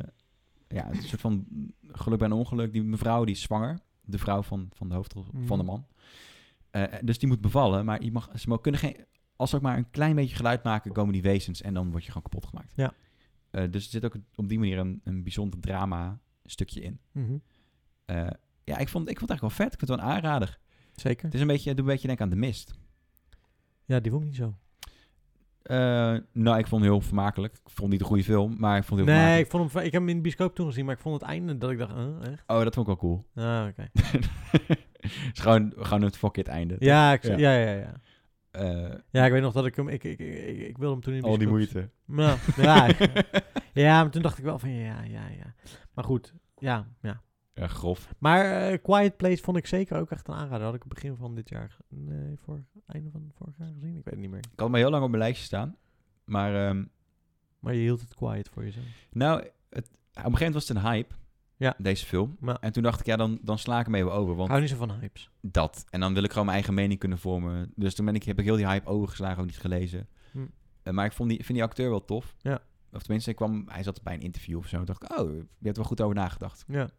Speaker 1: ja, een soort van geluk bij een ongeluk. Die mevrouw die is zwanger. De vrouw van, van de hoofdrol
Speaker 2: Mhm.
Speaker 1: van de man. Eh, dus die moet bevallen. Maar je mag, ze mo- kunnen geen. Als ze ook maar een klein beetje geluid maken, komen die wezens. En dan word je gewoon kapot gemaakt.
Speaker 2: Ja.
Speaker 1: Eh, dus er zit ook op die manier een, een bijzonder drama stukje in.
Speaker 2: Mhm.
Speaker 1: Eh, ja, ik vond, ik vond het eigenlijk wel vet. Ik vind het wel een aanrader.
Speaker 2: Zeker.
Speaker 1: Het is een beetje, doe een beetje denken aan de mist.
Speaker 2: Ja, die vond ik niet zo.
Speaker 1: Eh, nou, ik vond het heel vermakelijk. Ik vond het niet een goede film, maar ik vond het heel
Speaker 2: Nee,
Speaker 1: vermakelijk.
Speaker 2: ik, vond hem, ik heb hem in de bioscoop toen gezien, maar ik vond het einde dat ik dacht, eh, echt?
Speaker 1: Oh, dat vond ik wel cool.
Speaker 2: Ah, oké.
Speaker 1: <laughs> Het is gewoon, gewoon het fuck it einde.
Speaker 2: Ja, ik, ja.
Speaker 1: Ja.
Speaker 2: Ja, ja, ja.
Speaker 1: Eh,
Speaker 2: ik weet nog dat ik hem, ik, ik, ik, ik wilde hem toen in de
Speaker 1: al die
Speaker 2: bioscoop
Speaker 1: moeite.
Speaker 2: Nou, <laughs> ja, ja, maar toen dacht ik wel van ja, ja, ja. Maar goed, ja, ja.
Speaker 1: <laughs> Ja, grof.
Speaker 2: Maar eh, Quiet Place vond ik zeker ook echt een aanrader. Had ik het begin van dit jaar, ge- nee, voor einde van vorig jaar gezien, ik weet het niet meer.
Speaker 1: Ik had me heel lang op mijn lijstje staan. Maar ehm,
Speaker 2: Maar je hield het quiet voor jezelf.
Speaker 1: nou, het, op een gegeven moment was het een hype.
Speaker 2: Ja.
Speaker 1: Deze film.
Speaker 2: Maar
Speaker 1: En toen dacht ik, ja, dan, dan sla ik hem even over.
Speaker 2: ik
Speaker 1: Want
Speaker 2: hou niet zo van hypes.
Speaker 1: dat. En dan wil ik gewoon mijn eigen mening kunnen vormen. Dus toen ben ik, heb ik heel die hype overgeslagen, ook niet gelezen.
Speaker 2: Hm.
Speaker 1: Eh, maar ik vond die, vind die acteur wel tof.
Speaker 2: Ja.
Speaker 1: Of tenminste, hij, kwam, hij zat bij een interview of zo. En dacht ik, oh, je hebt er wel goed over nagedacht.
Speaker 2: Ja.
Speaker 1: ben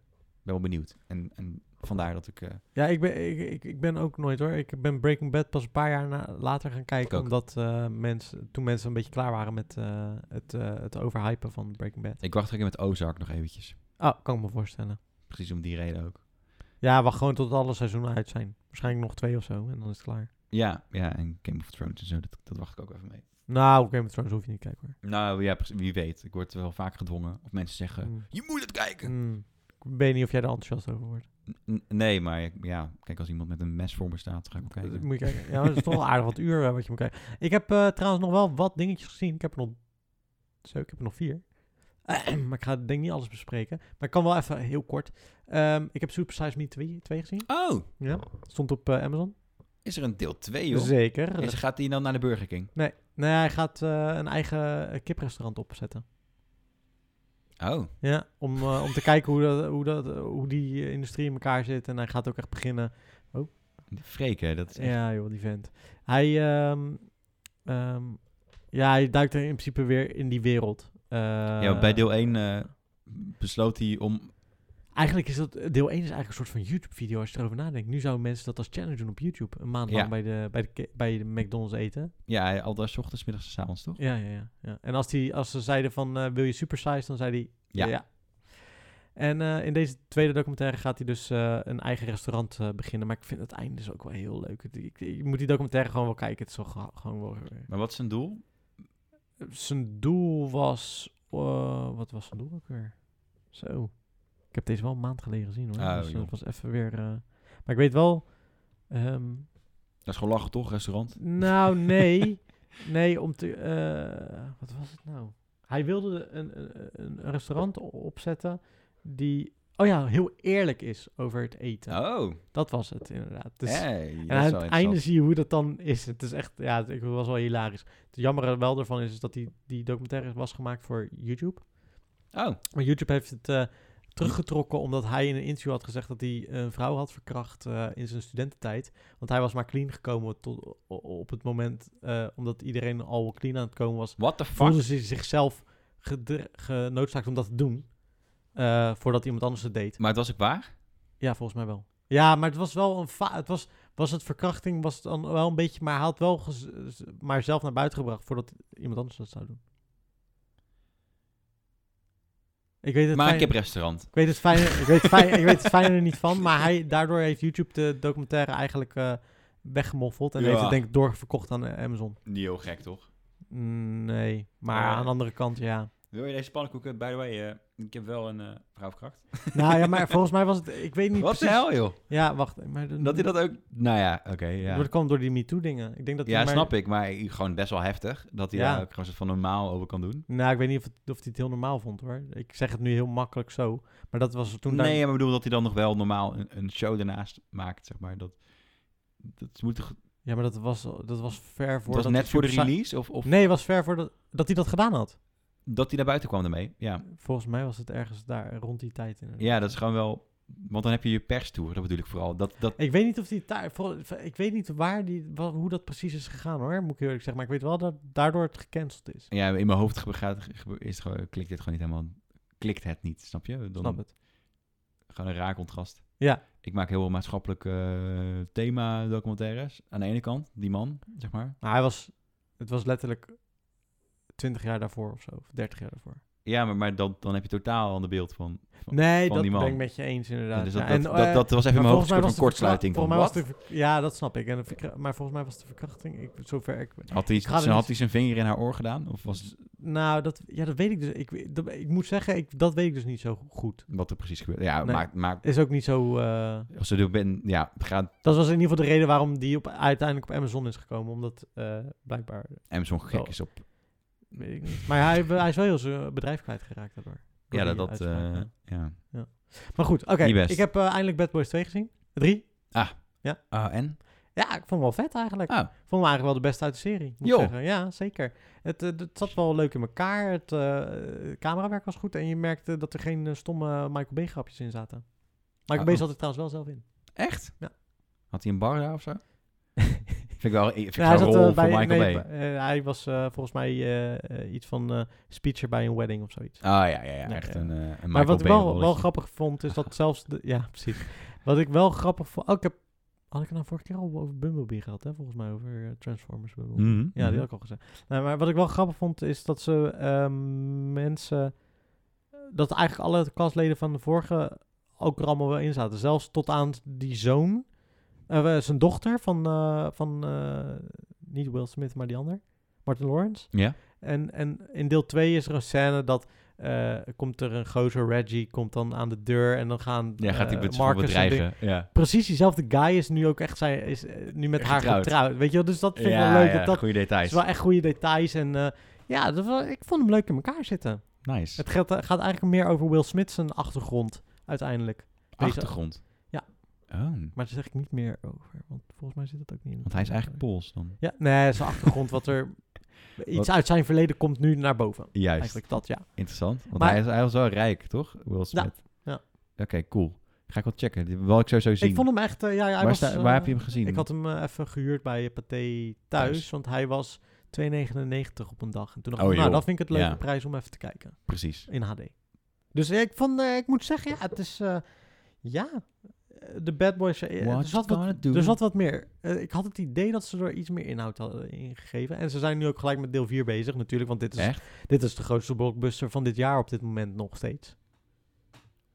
Speaker 1: wel benieuwd. En, en vandaar dat ik... eh,
Speaker 2: Ja, ik ben, ik, ik, ik ben ook nooit hoor. Ik ben Breaking Bad pas een paar jaar na- later gaan kijken.
Speaker 1: ook.
Speaker 2: Omdat eh, mensen, toen mensen een beetje klaar waren met eh, het, eh, het overhypen van Breaking Bad.
Speaker 1: ik wacht ook met Ozark nog eventjes.
Speaker 2: Oh, kan ik me voorstellen.
Speaker 1: Precies om die reden ook.
Speaker 2: Ja, wacht gewoon tot alle seizoenen uit zijn. Waarschijnlijk nog twee of zo en dan is het klaar.
Speaker 1: Ja, ja, en Game of Thrones en zo, dat, dat wacht ik ook even mee.
Speaker 2: Nou, Game of Thrones hoef je niet te kijken hoor.
Speaker 1: Nou ja, precies, wie weet. Ik word wel vaak gedwongen. Of mensen zeggen,
Speaker 2: Mm.
Speaker 1: je moet het kijken.
Speaker 2: Mm. Ik weet niet of jij er enthousiast over wordt.
Speaker 1: N- nee, maar ik- ja, kijk, als iemand met een mes voor me staat, ga ik ook
Speaker 2: Dat
Speaker 1: kijken.
Speaker 2: <laughs> moet je kijken. Ja, dat is toch wel aardig wat uur eh, wat je moet kijken. Ik heb eh, trouwens nog wel wat dingetjes gezien. Ik heb er nog... Zo, ik heb er nog vier. <clears throat> maar ik ga denk ik niet alles bespreken. Maar ik kan wel even heel kort. Ehm, ik heb Super Size Me 2, 2 gezien.
Speaker 1: <laughs> Oh,
Speaker 2: Ja. Stond op eh, Amazon.
Speaker 1: is er een deel 2,
Speaker 2: Dus,
Speaker 1: joh?
Speaker 2: Zeker.
Speaker 1: En ze gaat die dan naar de Burger King?
Speaker 2: Nee, hij gaat eh, een eigen eh, kiprestaurant opzetten.
Speaker 1: Oh,
Speaker 2: Ja, om, eh, om te kijken hoe, dat, hoe, dat, hoe die eh, industrie in elkaar zit. En hij gaat ook echt beginnen
Speaker 1: freken. Dat is echt-
Speaker 2: Ja, joh, die vent. Hij, ehm, ehm, ja, hij duikt er in principe weer in die wereld. Eh,
Speaker 1: ja, want bij deel 1 eh, besloot hij om...
Speaker 2: Eigenlijk is dat... Deel 1 is eigenlijk een soort van YouTube-video als je erover nadenkt. Nu zouden mensen dat als challenge doen op YouTube. Een maand
Speaker 1: Ja.
Speaker 2: lang bij de, bij, de, ke- bij de McDonald's eten.
Speaker 1: Ja, hij- al daar 's ochtends, 's middags en 's avonds, toch?
Speaker 2: Ja, ja, ja. ja. En als, die, als ze zeiden van, eh, wil je supersize? Dan zei hij, ja.
Speaker 1: Ja.
Speaker 2: En eh, in deze tweede documentaire gaat hij dus eh, een eigen restaurant eh, beginnen. Maar ik vind het einde dus ook wel heel leuk. Het- Ik, ik moet die documentaire gewoon wel kijken. Het is wel ge- gewoon wel eh,
Speaker 1: Maar wat is zijn doel?
Speaker 2: zijn doel was. eh, wat was zijn doel ook weer? Zo. Ik heb deze wel een maand geleden gezien hoor.
Speaker 1: Oh,
Speaker 2: dus
Speaker 1: joh.
Speaker 2: dat was even weer. eh, maar ik weet wel. ehm,
Speaker 1: Dat is gewoon lachen, toch? Restaurant.
Speaker 2: nou, nee. nee, om te. eh, wat was het nou? Hij wilde een, een- een restaurant o- opzetten. die. Oh ja, heel eerlijk is over het eten.
Speaker 1: Oh,
Speaker 2: Dat was het inderdaad. Dus,
Speaker 1: hey, dat is
Speaker 2: en
Speaker 1: wel
Speaker 2: aan het einde
Speaker 1: interessant.
Speaker 2: zie je hoe dat dan is. Het is echt, ja, het het was wel hilarisch. Het jammere wel ervan is, is dat die, die documentaire was gemaakt voor YouTube.
Speaker 1: Oh,
Speaker 2: Maar YouTube heeft het eh, teruggetrokken omdat hij in een interview had gezegd dat hij een vrouw had verkracht eh, in zijn studententijd. Want hij was maar clean gekomen tot, o- o- op het moment, eh, omdat iedereen al clean aan het komen was,
Speaker 1: what the fuck?
Speaker 2: voelde ze zichzelf gedr- genoodzaakt om dat te doen. eh, voordat iemand anders het deed.
Speaker 1: Maar het was ook waar?
Speaker 2: Ja, volgens mij wel. Ja, maar het was wel een fa- het was, was het verkrachting was het dan wel een beetje, maar hij had wel gez- z- maar zelf naar buiten gebracht voordat iemand anders dat zou doen. Ik weet het
Speaker 1: Maar
Speaker 2: fijn-
Speaker 1: ik heb restaurant.
Speaker 2: ik weet het fijne, ik weet het fijn- ik weet het fijne er niet van, maar hij daardoor heeft YouTube de documentaire eigenlijk eh, weggemoffeld en
Speaker 1: Ja.
Speaker 2: heeft het denk ik doorverkocht aan eh, Amazon.
Speaker 1: Niet heel gek, toch?
Speaker 2: Mm, nee, maar
Speaker 1: Oh Ja.
Speaker 2: aan de andere kant ja.
Speaker 1: Wil je deze pannenkoeken? By the way, eh, ik heb wel een eh vrouwkracht.
Speaker 2: nou ja, maar volgens mij was het ik weet niet
Speaker 1: Wat de
Speaker 2: precies.
Speaker 1: hel, joh?
Speaker 2: Ja, wacht, maar
Speaker 1: Dat hij dat ook... Nou ja, oké, ja.
Speaker 2: Dat kwam door die MeToo dingen. Ik denk dat
Speaker 1: Ja,
Speaker 2: maar,
Speaker 1: snap ik, maar gewoon best wel heftig dat hij
Speaker 2: Ja.
Speaker 1: daar ook gewoon soort van normaal over kan doen.
Speaker 2: Nou, ik weet niet of, het, of hij het heel normaal vond hoor. Ik zeg het nu heel makkelijk zo. Maar dat was toen.
Speaker 1: nee,
Speaker 2: daar...
Speaker 1: maar ik bedoel dat hij dan nog wel normaal een, een show daarnaast maakt, zeg maar. Dat, dat moet toch...
Speaker 2: Ja, maar dat was, dat was ver voor.
Speaker 1: Het was net voor de
Speaker 2: release.
Speaker 1: release of, of
Speaker 2: Nee, het was ver voor dat, dat hij dat gedaan had.
Speaker 1: dat hij naar buiten kwam daarmee. Ja.
Speaker 2: Volgens mij was het ergens daar rond die tijd. inderdaad.
Speaker 1: ja, dat is gewoon wel... Want dan heb je je perstour, dat bedoel ik vooral. Dat, dat,
Speaker 2: Ik weet niet of die daar. voor- Ik weet niet waar die, wa- hoe dat precies is gegaan hoor. Moet ik eerlijk zeggen. Maar ik weet wel dat daardoor het gecanceld is.
Speaker 1: ja, in mijn hoofd gebe- gaat, gebe- is het gewoon, klikt dit gewoon niet helemaal... Klikt het niet, snap je? Dan
Speaker 2: Snap het.
Speaker 1: Gewoon een raar contrast.
Speaker 2: Ja.
Speaker 1: Ik maak heel veel maatschappelijke eh, thema-documentaires. Aan de ene kant, die man, zeg maar.
Speaker 2: Maar hij was. Het was letterlijk 20 jaar daarvoor of zo. Of 30 jaar daarvoor.
Speaker 1: Ja, maar, maar dan, dan heb je totaal een ander beeld van. van
Speaker 2: Nee,
Speaker 1: van
Speaker 2: dat
Speaker 1: die man.
Speaker 2: ben ik met je eens inderdaad.
Speaker 1: dus dat,
Speaker 2: Ja,
Speaker 1: dat,
Speaker 2: en,
Speaker 1: dat,
Speaker 2: eh,
Speaker 1: dat was even in mijn hoofd een soort
Speaker 2: volgens
Speaker 1: van kortsluiting.
Speaker 2: mij was de verkra-
Speaker 1: Van,
Speaker 2: volgens mij was
Speaker 1: wat?
Speaker 2: de verk- ja, dat snap ik. En de verkra- maar volgens mij was de verkrachting. Ik, zover ik.
Speaker 1: Had hij,
Speaker 2: ga er
Speaker 1: zijn,
Speaker 2: niet-
Speaker 1: had hij zijn vinger in haar oor gedaan? Of was het-
Speaker 2: Nou, dat, ja, dat weet ik dus. Ik, we- dat- ik moet zeggen, ik, dat weet ik dus niet zo goed.
Speaker 1: wat er precies gebeurde? Ja,
Speaker 2: Nee.
Speaker 1: maakt, maakt,
Speaker 2: Is ook niet zo. eh,
Speaker 1: als ze er ben, ja, gaat
Speaker 2: dat was in ieder geval de reden waarom die op, uiteindelijk op Amazon is gekomen. Omdat eh, blijkbaar.
Speaker 1: Amazon gek
Speaker 2: Oh.
Speaker 1: is op.
Speaker 2: Weet ik niet. Maar hij, hij is wel heel zijn bedrijf kwijtgeraakt daardoor. Door
Speaker 1: Ja,
Speaker 2: die
Speaker 1: dat, dat
Speaker 2: uitspraak,
Speaker 1: eh,
Speaker 2: ja.
Speaker 1: ja.
Speaker 2: Maar goed, oké.
Speaker 1: Niet best.
Speaker 2: ik heb eh, eindelijk Bad Boys 2 gezien. 3.
Speaker 1: Ah, en?
Speaker 2: Ja, ik vond hem wel vet eigenlijk.
Speaker 1: Ah,
Speaker 2: Vond me eigenlijk wel de beste uit de serie. Moet ik
Speaker 1: Joh.
Speaker 2: zeggen. Ja, zeker. Het, eh, het zat wel leuk in elkaar. Het eh, camerawerk was goed. En je merkte dat er geen eh, stomme Michael B. grapjes in zaten. Michael
Speaker 1: Oh.
Speaker 2: B. zat er trouwens wel zelf in.
Speaker 1: echt?
Speaker 2: Ja. <laughs>
Speaker 1: Had hij een bar daar of zo? Vind ik wel, vind ik
Speaker 2: Ja, hij
Speaker 1: zo'n
Speaker 2: zat,
Speaker 1: rol voor
Speaker 2: eh, bij-
Speaker 1: Michael
Speaker 2: nee,
Speaker 1: Bay.
Speaker 2: b- eh, hij was eh, volgens mij eh, eh, iets van eh, speecher bij een wedding of zoiets.
Speaker 1: Ah ja, ja, ja echt
Speaker 2: ja.
Speaker 1: een, eh, een Michael
Speaker 2: maar wat ik
Speaker 1: Bay
Speaker 2: wel,
Speaker 1: rolletje.
Speaker 2: wel grappig vond, is dat zelfs... De, ja, <laughs> precies. Wat ik wel grappig vond... Oh, ik heb, had ik het nou vorige keer al over Bumblebee gehad, hè? Volgens mij over eh, Transformers Bumblebee.
Speaker 1: Mhm,
Speaker 2: Ja, die
Speaker 1: mhm.
Speaker 2: had ik al gezegd. Nee, maar wat ik wel grappig vond, is dat ze ehm, mensen... Dat eigenlijk alle castleden van de vorige ook er allemaal wel in zaten. Zelfs tot aan die zoon, eh, zijn dochter van, eh, van eh, niet Will Smith, maar die ander, Martin Lawrence.
Speaker 1: Ja?
Speaker 2: En, en in deel 2 is er een scène dat eh, komt er een gozer, Reggie, komt dan aan de deur en dan gaan
Speaker 1: Ja, gaat die
Speaker 2: eh,
Speaker 1: met z'n
Speaker 2: Marcus en dingen-
Speaker 1: bedreigen. Ja.
Speaker 2: Precies diezelfde guy is nu ook echt zijn, is eh, nu met haar
Speaker 1: Getrouwd.
Speaker 2: getrouwd. Weet je wel, dus dat vind ik
Speaker 1: ja,
Speaker 2: wel leuk.
Speaker 1: ja,
Speaker 2: dat dat
Speaker 1: goede
Speaker 2: is
Speaker 1: details.
Speaker 2: wel echt goede details. En eh, ja, dat was- ik vond hem leuk in elkaar zitten.
Speaker 1: Nice.
Speaker 2: Het gaat, eh, gaat eigenlijk meer over Will Smith zijn achtergrond uiteindelijk. deze-
Speaker 1: Achtergrond.
Speaker 2: Ja.
Speaker 1: Oh,
Speaker 2: Maar daar zeg ik niet meer over, want volgens mij zit het ook niet in.
Speaker 1: want hij is eigenlijk Pools dan.
Speaker 2: Ja, nee, zijn achtergrond
Speaker 1: <laughs>
Speaker 2: wat er... Iets
Speaker 1: Wat-
Speaker 2: uit zijn verleden komt nu naar boven.
Speaker 1: Juist.
Speaker 2: Eigenlijk dat, ja.
Speaker 1: Interessant. Want
Speaker 2: Maar- Nou.
Speaker 1: hij, is, hij was wel rijk, toch? Will Smith.
Speaker 2: ja.
Speaker 1: Oké, cool. Ga ik wel checken. Die wil ik sowieso zien.
Speaker 2: Ik vond hem echt... eh, ja, ja, hij
Speaker 1: waar,
Speaker 2: was,
Speaker 1: sta-
Speaker 2: eh,
Speaker 1: waar heb je hem gezien?
Speaker 2: Ik had hem eh, even gehuurd bij eh, Pathé thuis,
Speaker 1: Thuis.
Speaker 2: want hij was 2,99 op een dag. En toen dacht
Speaker 1: Oh,
Speaker 2: ik, nou,
Speaker 1: joh.
Speaker 2: dat vind ik het leuke
Speaker 1: Ja.
Speaker 2: prijs om even te kijken.
Speaker 1: Precies.
Speaker 2: in HD. Dus ik, vond, eh, ik moet zeggen, ja, het is... eh, ja, eh, de Bad Boys... eh,
Speaker 1: What
Speaker 2: er, zat
Speaker 1: you
Speaker 2: wat,
Speaker 1: gonna do?
Speaker 2: er zat wat meer. Eh, ik had het idee dat ze er iets meer inhoud hadden ingegeven. En ze zijn nu ook gelijk met deel 4 bezig natuurlijk. Want dit is,
Speaker 1: Echt?
Speaker 2: dit is de grootste blockbuster van dit jaar op dit moment nog steeds.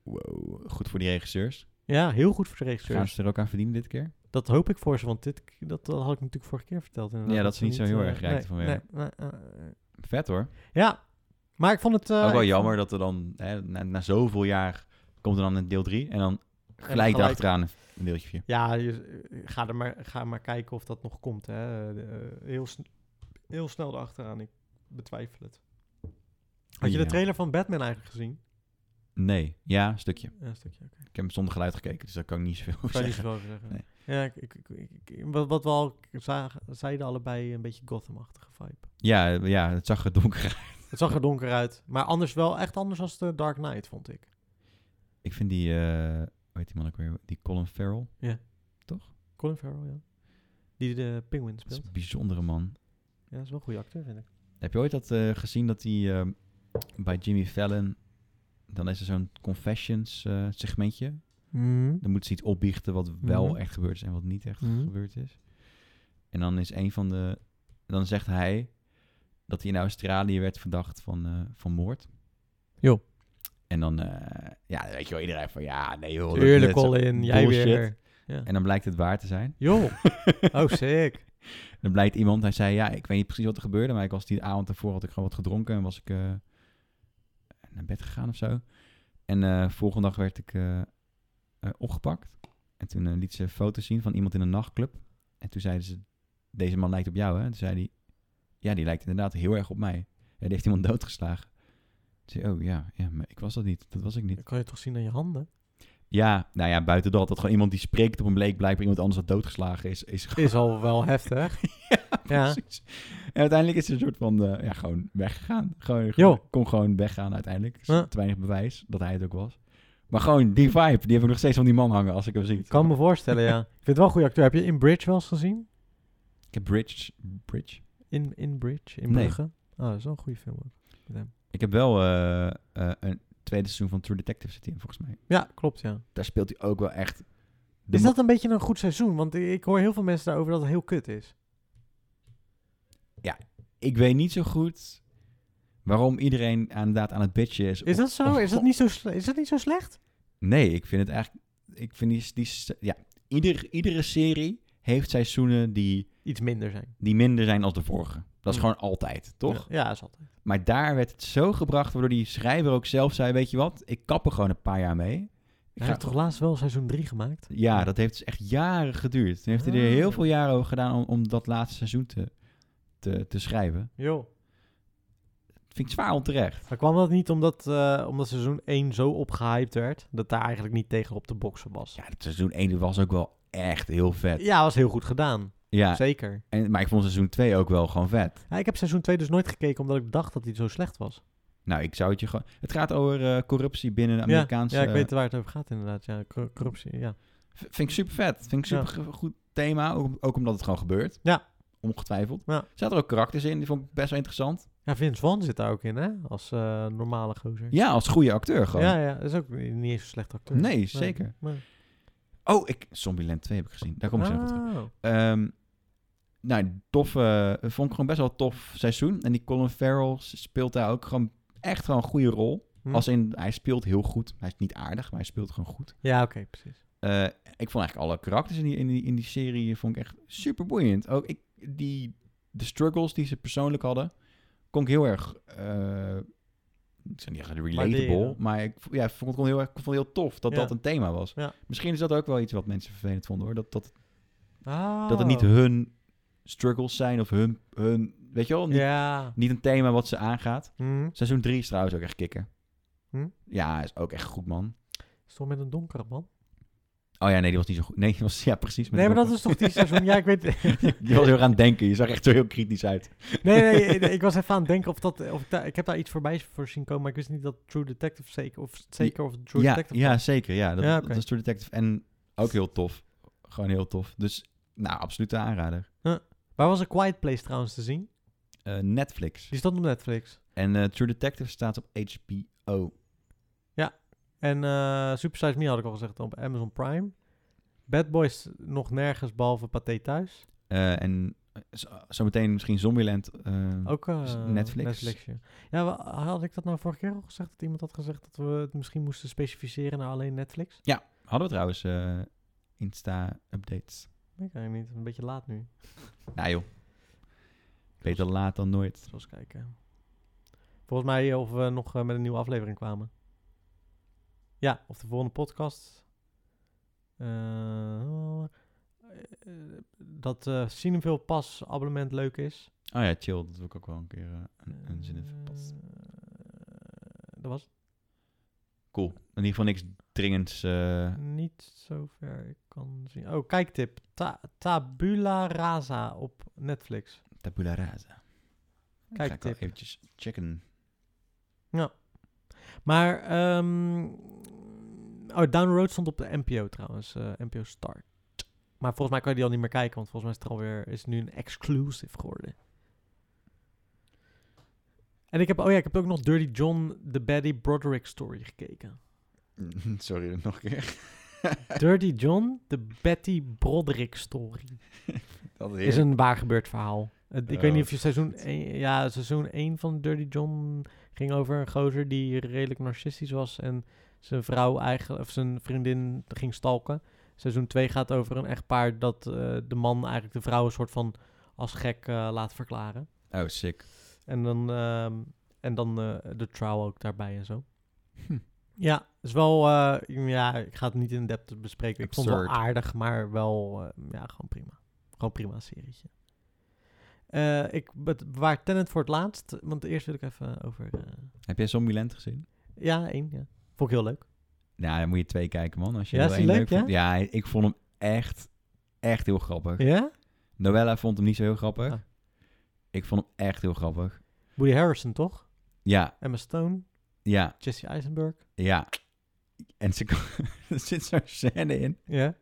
Speaker 1: Wow. Goed voor die regisseurs.
Speaker 2: Ja, heel goed voor de
Speaker 1: Gaan
Speaker 2: regisseurs.
Speaker 1: ze er ook aan verdienen dit keer?
Speaker 2: Dat hoop ik voor ze, want dit, dat, dat had ik natuurlijk vorige keer verteld. inderdaad,
Speaker 1: Ja, dat ze niet zo heel
Speaker 2: eh,
Speaker 1: erg rijk
Speaker 2: nee,
Speaker 1: ervan
Speaker 2: nee,
Speaker 1: werden.
Speaker 2: nee, eh, eh,
Speaker 1: Vet hoor.
Speaker 2: ja, maar ik vond het... eh,
Speaker 1: ook
Speaker 2: ik
Speaker 1: wel
Speaker 2: vond-
Speaker 1: jammer dat er dan, hè, na, na zoveel jaar, komt er dan een deel 3 en dan gelijk
Speaker 2: gelijk-
Speaker 1: daarachteraan een deeltje 4.
Speaker 2: Ja, je, eh, ga, er maar, ga maar kijken of dat nog komt. Hè. Eh, de- eh, heel, sn- heel snel erachteraan, ik betwijfel het. Had je
Speaker 1: Ja.
Speaker 2: de trailer van Batman eigenlijk gezien?
Speaker 1: Nee, ja, een stukje.
Speaker 2: Ja, een stukje. oké.
Speaker 1: Ik heb hem zonder geluid gekeken, dus daar kan ik niet zoveel over
Speaker 2: Kan je niet
Speaker 1: zeggen.
Speaker 2: zoveel over zeggen.
Speaker 1: Nee.
Speaker 2: Ja, ik, ik, ik- ik- wat, wat we al zagen, zeiden allebei een beetje Gotham-achtige vibe.
Speaker 1: Ja, ja, het zag er donker uit.
Speaker 2: Het zag er donker uit, maar anders wel echt anders als de Dark Knight, vond ik.
Speaker 1: Ik vind die, eh hoe heet die man ook weer, die Colin Farrell.
Speaker 2: Colin Farrell, ja. Die de Penguin
Speaker 1: Dat is
Speaker 2: speelt.
Speaker 1: een bijzondere man.
Speaker 2: Ja, dat is wel een goede acteur, vind ik.
Speaker 1: Heb je ooit dat eh, gezien dat hij bij Jimmy Fallon, dan is er zo'n confessions eh, segmentje. Dan moet ze iets opbiechten wat wel
Speaker 2: Mhm.
Speaker 1: echt gebeurd is en wat niet echt
Speaker 2: Mhm.
Speaker 1: gebeurd is. En dan is een van de. Dan zegt hij dat hij in Australië werd verdacht van, eh, van moord.
Speaker 2: Jo.
Speaker 1: En dan, eh, ja, dan weet je wel, iedereen van ja, nee joh. dat-
Speaker 2: Tuurlijk,
Speaker 1: dat is-
Speaker 2: Colin, jij
Speaker 1: bullshit.
Speaker 2: weer.
Speaker 1: En dan blijkt het waar te zijn.
Speaker 2: Joh,
Speaker 1: <laughs>
Speaker 2: oh sick.
Speaker 1: Dan blijkt iemand, hij zei ja, ik weet niet precies wat er gebeurde, maar ik was die avond ervoor had ik gewoon wat gedronken en was ik eh, naar bed gegaan of zo. En eh, volgende dag werd ik eh, eh, opgepakt. En toen eh, liet ze foto's zien van iemand in een nachtclub. En toen zeiden ze, deze man lijkt op jou hè? En toen zei hij, ja die lijkt inderdaad heel erg op mij. Ja, die heeft iemand doodgeslagen. Toen zei ik, oh ja, ja, maar ik was dat niet, dat was ik niet.
Speaker 2: Dat kan je toch zien aan je handen?
Speaker 1: Ja, nou ja, buiten dat, dat gewoon iemand die spreekt op een bleek blijkbaar iemand anders had doodgeslagen is, is
Speaker 2: Is al wel <laughs> heftig.
Speaker 1: <laughs>
Speaker 2: ja.
Speaker 1: Precies. En uiteindelijk is ze een soort van, eh, ja, gewoon weggegaan. Gewoon,
Speaker 2: Joh.
Speaker 1: Kon gewoon weggaan uiteindelijk. Er is
Speaker 2: Ja.
Speaker 1: Te weinig bewijs dat hij het ook was. Maar gewoon die vibe, die heb ik nog steeds van die man hangen als ik hem zie.
Speaker 2: Kan me voorstellen, ja. <laughs> Ik vind het wel een goede acteur. Heb je In Bridge wel eens gezien?
Speaker 1: Ik heb Bridge, Bridge.
Speaker 2: In, in Bridge? In
Speaker 1: Nee.
Speaker 2: Brugge? Oh, dat is wel een goede film ook. Met hem.
Speaker 1: Ik heb wel eh, eh, een tweede seizoen van True Detective zit hij in, volgens mij.
Speaker 2: Ja, klopt, ja.
Speaker 1: Daar speelt hij ook wel echt... de
Speaker 2: Is
Speaker 1: ma-
Speaker 2: dat een beetje een goed seizoen? Want i- ik hoor heel veel mensen daarover dat het heel kut is.
Speaker 1: Ik weet niet zo goed waarom iedereen inderdaad aan het bitchen is.
Speaker 2: Is
Speaker 1: Of-
Speaker 2: dat zo?
Speaker 1: of-
Speaker 2: Is dat niet zo, sle- is dat niet zo slecht?
Speaker 1: Nee, ik vind het eigenlijk... Ik vind die... die ja, ieder, iedere serie heeft seizoenen die...
Speaker 2: Iets minder zijn.
Speaker 1: die minder zijn als de vorige. Dat is
Speaker 2: Hmm.
Speaker 1: gewoon altijd, toch?
Speaker 2: Ja, ja, is altijd.
Speaker 1: Maar daar werd het zo gebracht, waardoor die schrijver ook zelf zei: Weet je wat, ik kap er gewoon een paar jaar mee. Ik ga
Speaker 2: Hij heeft toch laatst wel seizoen 3 gemaakt?
Speaker 1: Ja, dat heeft dus echt jaren geduurd. Toen heeft hij er
Speaker 2: Ah.
Speaker 1: heel veel jaren over gedaan om, om dat laatste seizoen te, te, te schrijven.
Speaker 2: Joh.
Speaker 1: Dat vind ik zwaar onterecht.
Speaker 2: Maar kwam dat niet omdat, eh, omdat seizoen 1 zo opgehyped werd, dat daar eigenlijk niet tegen op te boksen was?
Speaker 1: Ja, het seizoen 1 was ook wel echt heel vet.
Speaker 2: Ja, was heel goed gedaan.
Speaker 1: Ja,
Speaker 2: Zeker.
Speaker 1: en, maar ik vond seizoen 2 ook wel gewoon vet.
Speaker 2: Ja, ik heb seizoen 2 dus nooit gekeken omdat ik dacht dat hij zo slecht was.
Speaker 1: Nou, ik zou het je gewoon. Het gaat over eh, corruptie binnen de Amerikaanse.
Speaker 2: ja, ja, ik weet waar het over gaat inderdaad. Ja, cor- corruptie, ja.
Speaker 1: V- Vind ik super vet. Vind ik
Speaker 2: Ja.
Speaker 1: super ge- goed thema. Ook, ook omdat het gewoon gebeurt.
Speaker 2: Ja.
Speaker 1: Ongetwijfeld.
Speaker 2: Ja.
Speaker 1: Zaten er ook karakters in. Die vond ik best wel interessant.
Speaker 2: Ja, Vince Vaughn zit daar ook in, hè? Als eh, normale gozer.
Speaker 1: Ja, als goede acteur gewoon.
Speaker 2: ja, ja, dat is ook niet eens een slecht acteur.
Speaker 1: Nee, zeker.
Speaker 2: nee.
Speaker 1: Oh, ik, Zombieland 2 heb ik gezien. Daar kom ik zo nog op terug.
Speaker 2: Ah.
Speaker 1: Ehm, nou, tof, eh, vond ik gewoon best wel een tof seizoen. En die Colin Farrell s- speelt daar ook gewoon echt gewoon een goede rol.
Speaker 2: Hm.
Speaker 1: Als in, hij speelt heel goed. Hij is niet aardig, maar hij speelt gewoon goed.
Speaker 2: Ja, oké, precies.
Speaker 1: Eh, ik vond eigenlijk alle karakters in die, in die, in die serie eh, vond ik echt super boeiend. Ook ik, die, de struggles die ze persoonlijk hadden, kon ik heel erg. eh ik zou niet zeggen relatable,
Speaker 2: Waarderen.
Speaker 1: maar ik, v- ja, vond het gewoon heel, erg, ik vond het heel tof dat
Speaker 2: Ja.
Speaker 1: dat een thema was.
Speaker 2: Ja.
Speaker 1: Misschien is dat ook wel iets wat mensen vervelend vonden hoor. Dat, dat,
Speaker 2: Ah.
Speaker 1: dat het niet hun struggles zijn of hun. hun weet je wel, niet,
Speaker 2: Ja.
Speaker 1: niet een thema wat ze aangaat.
Speaker 2: Hm.
Speaker 1: Seizoen 3 is trouwens ook echt kicken.
Speaker 2: Hm?
Speaker 1: Ja, is ook echt goed man.
Speaker 2: Is toch met een donkere man?
Speaker 1: Oh ja, nee, die was niet zo goed. Nee, die was, ja, precies. met
Speaker 2: Nee,
Speaker 1: de
Speaker 2: maar dat is toch die seizoen? Ja, ik weet
Speaker 1: <laughs> Je was heel erg aan het denken. Je zag echt zo heel kritisch uit.
Speaker 2: Nee, nee, nee, ik was even aan het denken of dat... Of ik, daar- ik heb daar iets voorbij voor zien komen, maar ik wist niet dat True Detective zeker... Of zeker of True
Speaker 1: ja,
Speaker 2: Detective...
Speaker 1: ja, zeker. Ja, dat,
Speaker 2: Ja,
Speaker 1: dat
Speaker 2: oké.
Speaker 1: is True Detective. En ook heel tof. Gewoon heel tof. Dus, nou, absolute aanrader.
Speaker 2: Waar was A Quiet Place trouwens te zien?
Speaker 1: Eh, Netflix.
Speaker 2: Die stond op Netflix.
Speaker 1: En eh, True Detective staat op HBO.
Speaker 2: En eh Super Size Me had ik al gezegd op Amazon Prime. Bad Boys nog nergens, behalve Pathé thuis.
Speaker 1: Eh, en zo- zometeen misschien Zombieland. eh,
Speaker 2: Ook eh,
Speaker 1: Is Netflix.
Speaker 2: Netflixje. Ja, wa- had ik dat nou vorige keer al gezegd? Dat iemand had gezegd dat we het misschien moesten specificeren naar alleen Netflix?
Speaker 1: Hadden we trouwens eh, Insta-updates.
Speaker 2: Nee, kan ik niet. Een beetje laat nu.
Speaker 1: Nou joh. Beter laat dan nooit.
Speaker 2: Zoals kijken. Volgens mij of we nog eh, met een nieuwe aflevering kwamen. Ja, of de volgende podcast. Eh, eh, dat eh Cineville Pas abonnement leuk is.
Speaker 1: Oh ja, chill. Dat wil ik ook wel een keer eh, een, een zin in verpassen.
Speaker 2: Eh, dat was
Speaker 1: Cool. In ieder geval niks dringends. eh,
Speaker 2: niet zover ik kan zien. Oh, kijktip. Ta- Tabula Rasa op Netflix.
Speaker 1: tabula rasa. Ga ik wel
Speaker 2: Kijktip.
Speaker 1: eventjes checken. <laughs>
Speaker 2: Maar, ehm, oh, Down the Road stond op de NPO trouwens, eh, NPO Start. Maar volgens mij kan je die al niet meer kijken, want volgens mij is het alweer is het nu een exclusive geworden. En ik heb, oh ja, ik heb ook nog Dirty John, The Betty Broderick Story
Speaker 1: <laughs>
Speaker 2: gekeken.
Speaker 1: Sorry, nog een keer. <laughs>
Speaker 2: Dirty John, The Betty Broderick Story.
Speaker 1: Dat
Speaker 2: is een waar gebeurd verhaal. Het- ik
Speaker 1: Oh,
Speaker 2: weet niet of je seizoen 1, ja, seizoen 1 van Dirty John ging over een gozer die redelijk narcistisch was en zijn vrouw eigenlijk, of zijn vriendin ging stalken. Seizoen 2 gaat over een echtpaar dat eh, de man eigenlijk de vrouw een soort van als gek eh, laat verklaren.
Speaker 1: Oh, sick.
Speaker 2: En dan, ehm, en dan eh, de trial ook daarbij en zo.
Speaker 1: Hm.
Speaker 2: Ja, is wel, eh, ja, ik ga het niet in depth bespreken. Ik vond het wel
Speaker 1: Absurd.
Speaker 2: aardig, maar wel, eh, ja, gewoon prima. Gewoon prima serietje. Eh, ik bet- waar Tenant voor het laatst, want eerst wil ik even over, eh,
Speaker 1: Heb jij Zombieland gezien?
Speaker 2: ja, één, ja. Vond ik heel leuk.
Speaker 1: Nou, dan moet je twee kijken, man. Als je
Speaker 2: Ja,
Speaker 1: heel
Speaker 2: is die
Speaker 1: één
Speaker 2: leuk,
Speaker 1: vond. Ja, ik vond hem echt, echt heel grappig.
Speaker 2: Ja?
Speaker 1: Noella vond hem niet zo heel grappig.
Speaker 2: Ah.
Speaker 1: Ik vond hem echt heel grappig.
Speaker 2: Woody Harrison, toch?
Speaker 1: Ja,
Speaker 2: Emma Stone,
Speaker 1: ja,
Speaker 2: Jesse Eisenberg.
Speaker 1: ja. En ze, <laughs> er zit zo'n scène in.
Speaker 2: Ja,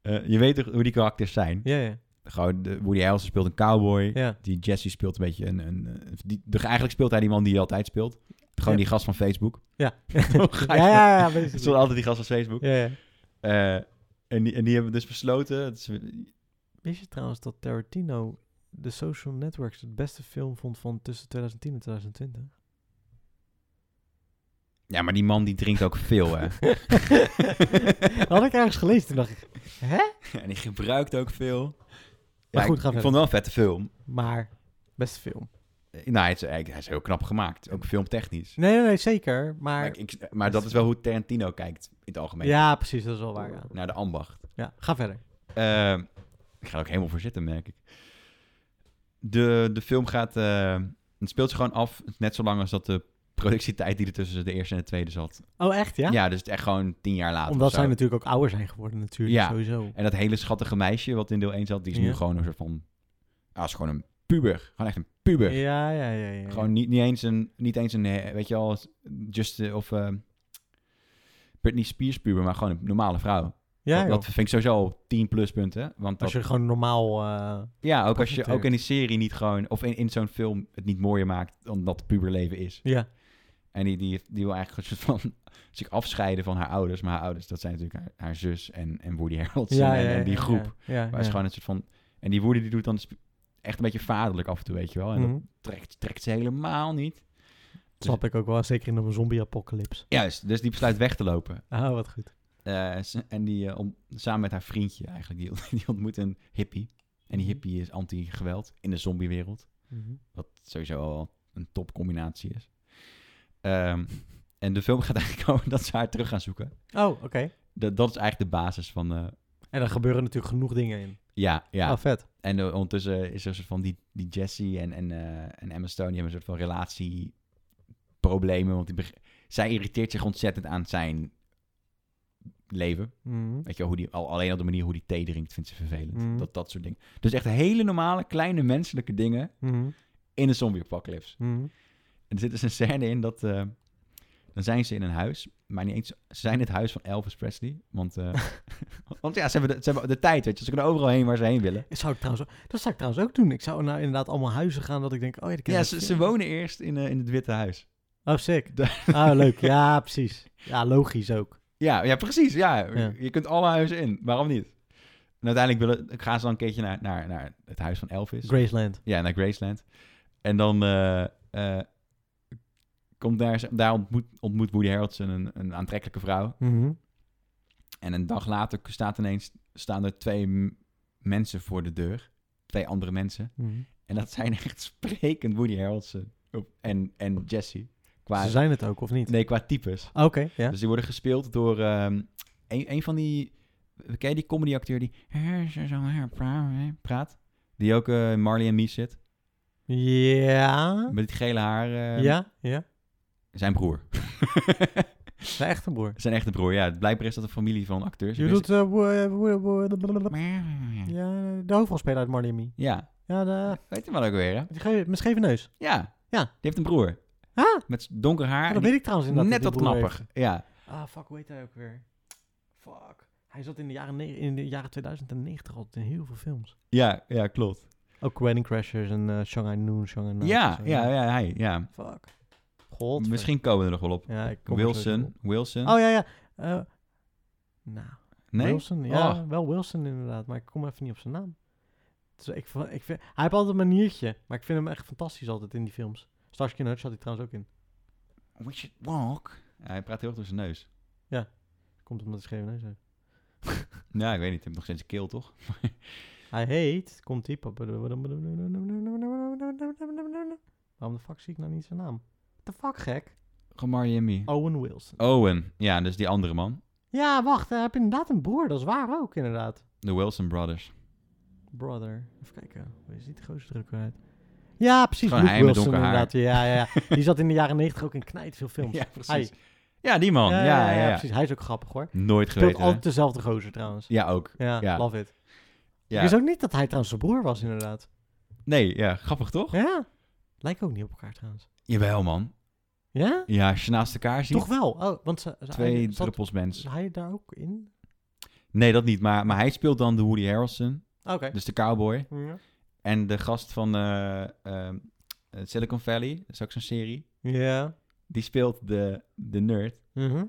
Speaker 1: Eh, je weet toch hoe die karakters zijn?
Speaker 2: ja, ja.
Speaker 1: Gewoon, de, Woody Harrelson speelt een cowboy.
Speaker 2: ja.
Speaker 1: Die Jesse speelt een beetje een... een, eh, die, de, eigenlijk speelt hij die man die hij altijd speelt. Gewoon
Speaker 2: Ja.
Speaker 1: die gast van
Speaker 2: <laughs>
Speaker 1: Facebook. <laughs>
Speaker 2: Ja.
Speaker 1: Toch?
Speaker 2: Ja, ja, ja, basically.
Speaker 1: Het stond altijd die gast van Facebook.
Speaker 2: ja, ja.
Speaker 1: Eh, en, die, en die hebben dus besloten. het is-
Speaker 2: Wist je trouwens dat Tarantino de Social Networks het beste film vond van tussen 2010 en 2020?
Speaker 1: ja, maar die man die drinkt ook veel, hè?
Speaker 2: <laughs> Had ik ergens gelezen, toen dacht ik,
Speaker 1: <laughs>
Speaker 2: hè?
Speaker 1: en die gebruikt ook veel.
Speaker 2: Maar goed,
Speaker 1: ik,
Speaker 2: ga
Speaker 1: ik
Speaker 2: verder.
Speaker 1: vond het wel een vette film.
Speaker 2: Maar, beste film.
Speaker 1: Eh, Nou, hij is, hij hij is heel knap gemaakt. Ook filmtechnisch.
Speaker 2: Nee, nee, nee, zeker.
Speaker 1: Maar,
Speaker 2: Maar,
Speaker 1: ik, maar dat is wel hoe Tarantino kijkt in het algemeen.
Speaker 2: ja, precies, dat is wel waar. Ja,
Speaker 1: Naar de ambacht.
Speaker 2: ja ga verder.
Speaker 1: Eh, ik ga er ook helemaal voor zitten, merk ik. De, de film gaat... eh, het speelt zich gewoon af. Net zo lang als dat de productietijd die er tussen de eerste en de tweede zat.
Speaker 2: Oh, echt, ja?
Speaker 1: dus het is echt gewoon tien jaar later.
Speaker 2: Omdat
Speaker 1: of zo.
Speaker 2: zij natuurlijk ook ouder zijn geworden natuurlijk,
Speaker 1: Ja.
Speaker 2: sowieso.
Speaker 1: En dat hele schattige meisje wat in deel 1 zat, die is nu
Speaker 2: Ja.
Speaker 1: gewoon een soort van... Ah, is gewoon een puber. Gewoon echt een puber.
Speaker 2: Ja, ja, ja, ja.
Speaker 1: Gewoon niet, niet eens een, niet eens een, eh, weet je wel, just eh, of eh, Britney Spears puber, maar gewoon een normale vrouw.
Speaker 2: Ja,
Speaker 1: dat,
Speaker 2: joh.
Speaker 1: dat vind ik sowieso al 10 pluspunten. Want dat,
Speaker 2: als je gewoon normaal... eh,
Speaker 1: ja, ook als je ook
Speaker 2: presenteert.
Speaker 1: in een serie niet gewoon... of in, in zo'n film het niet mooier maakt dan dat het puberleven is.
Speaker 2: ja,
Speaker 1: En die, die, die wil eigenlijk een soort van <laughs> zich afscheiden van haar ouders. Maar haar ouders, dat zijn natuurlijk haar, haar zus en, en Woody Harrelson
Speaker 2: ja,
Speaker 1: en,
Speaker 2: ja,
Speaker 1: en die
Speaker 2: ja,
Speaker 1: groep.
Speaker 2: Ja, ja,
Speaker 1: Maar het
Speaker 2: ja.
Speaker 1: is gewoon een soort van... En die Woody die doet dan sp- echt een beetje vaderlijk af en toe, weet je wel. oh, En
Speaker 2: Mhm.
Speaker 1: dat dus- trekt, trekt ze helemaal niet.
Speaker 2: Snap ik ook wel, zeker in een zombie-apocalypse.
Speaker 1: Juist, dus die besluit weg te lopen.
Speaker 2: Ah, wat goed.
Speaker 1: Eh, ze- en die, eh, om- samen met haar vriendje eigenlijk, die, <laughs> ont- die ontmoet een hippie. En
Speaker 2: Mhm.
Speaker 1: die hippie is anti-geweld in de zombiewereld. Wat sowieso al een topcombinatie is. Ehm, <laughs> en de film gaat eigenlijk <laughs> over dat ze haar terug gaan zoeken.
Speaker 2: Oh, oké.
Speaker 1: Dat, dat is eigenlijk de basis van... eh,
Speaker 2: En er gebeuren natuurlijk genoeg dingen in.
Speaker 1: ja, ja.
Speaker 2: Ah, vet.
Speaker 1: En eh, ondertussen is er een soort van die, die Jesse en, en, eh, en Emma Stone, die hebben een soort van relatieproblemen. Want die beg- zij irriteert zich ontzettend aan zijn leven.
Speaker 2: Mhm.
Speaker 1: Weet je, wel, hoe die, al, alleen al de manier hoe die thee drinkt, vindt ze vervelend.
Speaker 2: Mm.
Speaker 1: Dat, dat soort dingen. Dus echt hele normale, kleine menselijke dingen
Speaker 2: Mhm.
Speaker 1: in een zombie-apocalypse.
Speaker 2: Mhm.
Speaker 1: En er zit dus een scène in dat... eh, dan zijn ze in een huis, maar niet eens... Ze zijn het huis van Elvis Presley, want... eh,
Speaker 2: <laughs>
Speaker 1: want ja, ze hebben, de, ze hebben de tijd, weet je. Ze kunnen overal heen waar ze heen willen.
Speaker 2: Dat zou ik trouwens, ook- dat zou ik trouwens ook doen. Ik zou nou inderdaad allemaal huizen gaan dat ik denk, oh ja, dat ken
Speaker 1: Ja,
Speaker 2: ik.
Speaker 1: ze, ze wonen eerst in, eh, in het Witte Huis.
Speaker 2: Oh, sick. <laughs> Ah, leuk. Ja, <laughs> precies. Ja, logisch ook.
Speaker 1: <laughs> Ja, ja precies. Ja.
Speaker 2: Ja.
Speaker 1: Je kunt alle huizen in. Waarom niet? En uiteindelijk willen, gaan ze dan een keertje naar, naar, naar het huis van Elvis.
Speaker 2: Graceland.
Speaker 1: Ja, naar Graceland. En dan eh, eh, komt daar, daar ontmoet, ontmoet Woody Harrelson een, een aantrekkelijke vrouw. En een dag later staat ineens, staan er twee m- mensen voor de deur. Twee andere mensen. En dat zijn <laughs> echt sprekend Woody Harrelson en, en Jesse. Qua,
Speaker 2: Ze zijn het ook, of niet?
Speaker 1: nee, qua types.
Speaker 2: Ah, Oké, ja.
Speaker 1: Dus die worden gespeeld door ehm, een, een van die... Ken je die comedyacteur die... <laughs> praat? Die ook eh, in Marley en Me zit.
Speaker 2: Ja.
Speaker 1: Met het gele haar. eh,
Speaker 2: Ja, ja.
Speaker 1: Zijn broer. <laughs>
Speaker 2: Mijn echte broer.
Speaker 1: zijn echte broer, ja. Blijkbaar is dat een familie van acteurs.
Speaker 2: Je
Speaker 1: Ik
Speaker 2: doet... eh, wo- eh, wo- wo- blablabla.
Speaker 1: weet-
Speaker 2: Ja, de hoofdrolspeler uit Marley and Me.
Speaker 1: <laughs> Ja.
Speaker 2: Ja, de,
Speaker 1: Weet je wel ook weer, hè?
Speaker 2: die ge- met scheve neus.
Speaker 1: Ja.
Speaker 2: Ja.
Speaker 1: Die heeft een broer.
Speaker 2: Ah.
Speaker 1: Met donker haar.
Speaker 2: Ja, dat
Speaker 1: die
Speaker 2: weet ik trouwens inderdaad.
Speaker 1: net
Speaker 2: dat
Speaker 1: wat
Speaker 2: die broer
Speaker 1: knappig. Ja.
Speaker 2: heeft. Ah, fuck, hoe heet hij ook weer? Fuck. Hij zat in de jaren, ne- in de jaren 2090 al in heel veel films.
Speaker 1: Ja, ja, klopt.
Speaker 2: Ook Wedding Crashers en eh, Shanghai Noon, Shanghai Night.
Speaker 1: ja,
Speaker 2: en zo.
Speaker 1: ja, ja, hij, ja.
Speaker 2: Fuck. God.
Speaker 1: Misschien komen we er nog wel op.
Speaker 2: Ja, ik kom er sowieso
Speaker 1: Wilson.
Speaker 2: op.
Speaker 1: Wilson.
Speaker 2: Oh ja, ja. Eh, nou,
Speaker 1: nee? Oh.
Speaker 2: Wilson. Ja, wel Wilson inderdaad, maar ik kom even niet op zijn naam. Dus ik, vo- ik vind, hij heeft altijd een maniertje, maar ik vind hem echt fantastisch altijd in die films. Starsky and Hutch had hij trouwens ook in.
Speaker 1: Richard Walk. hij praat heel erg door zijn neus.
Speaker 2: Komt omdat hij schreven neus heeft.
Speaker 1: Nou, ik weet niet. Hij heeft nog steeds een keel, toch?
Speaker 2: Hij heet, komt die... Waarom de fuck zie ik nou niet zijn naam? The fuck gek?
Speaker 1: Gewoon Miami.
Speaker 2: Owen Wilson.
Speaker 1: Owen. Ja, dus die andere man.
Speaker 2: Ja, wacht, hij heeft inderdaad een broer, dat is waar ook inderdaad.
Speaker 1: De Wilson
Speaker 2: <laughs>
Speaker 1: Brothers.
Speaker 2: Brother. Even kijken. Hoe is die de grootste druk uit? Ja, precies.
Speaker 1: Gewoon
Speaker 2: Luke
Speaker 1: hij met
Speaker 2: Wilson
Speaker 1: donker haar.
Speaker 2: inderdaad. Ja, ja,
Speaker 1: <laughs>
Speaker 2: ja. Die zat in de jaren negentig ook in knijt veel films.
Speaker 1: Ja, precies.
Speaker 2: Hij.
Speaker 1: Ja, die man. Ja, ja, ja.
Speaker 2: precies. Hij is ook grappig hoor.
Speaker 1: Nooit
Speaker 2: Speelt
Speaker 1: geweten, hè?
Speaker 2: altijd dezelfde gozer trouwens.
Speaker 1: Ja, ook.
Speaker 2: Ja,
Speaker 1: Ja.
Speaker 2: love it.
Speaker 1: Ja.
Speaker 2: Ik wist ook niet dat hij trouwens zijn broer was inderdaad.
Speaker 1: Nee, ja. Grappig, toch?
Speaker 2: Ja. Lijken ook niet op elkaar trouwens.
Speaker 1: Jawel, man.
Speaker 2: Ja?
Speaker 1: Ja, als je naast elkaar ziet...
Speaker 2: Toch wel. Oh, want ze, ze-
Speaker 1: twee
Speaker 2: hij, zat-
Speaker 1: druppels
Speaker 2: is
Speaker 1: mens.
Speaker 2: hij daar ook in?
Speaker 1: Nee, dat niet. Maar, maar hij speelt dan de Woody Harrelson.
Speaker 2: Oké.
Speaker 1: Dus de cowboy.
Speaker 2: Ja.
Speaker 1: En de gast van eh, ehm, eh, Silicon Valley. Dat is ook zo'n serie.
Speaker 2: Ja.
Speaker 1: Die speelt de, de nerd.
Speaker 2: Mhm.
Speaker 1: Nou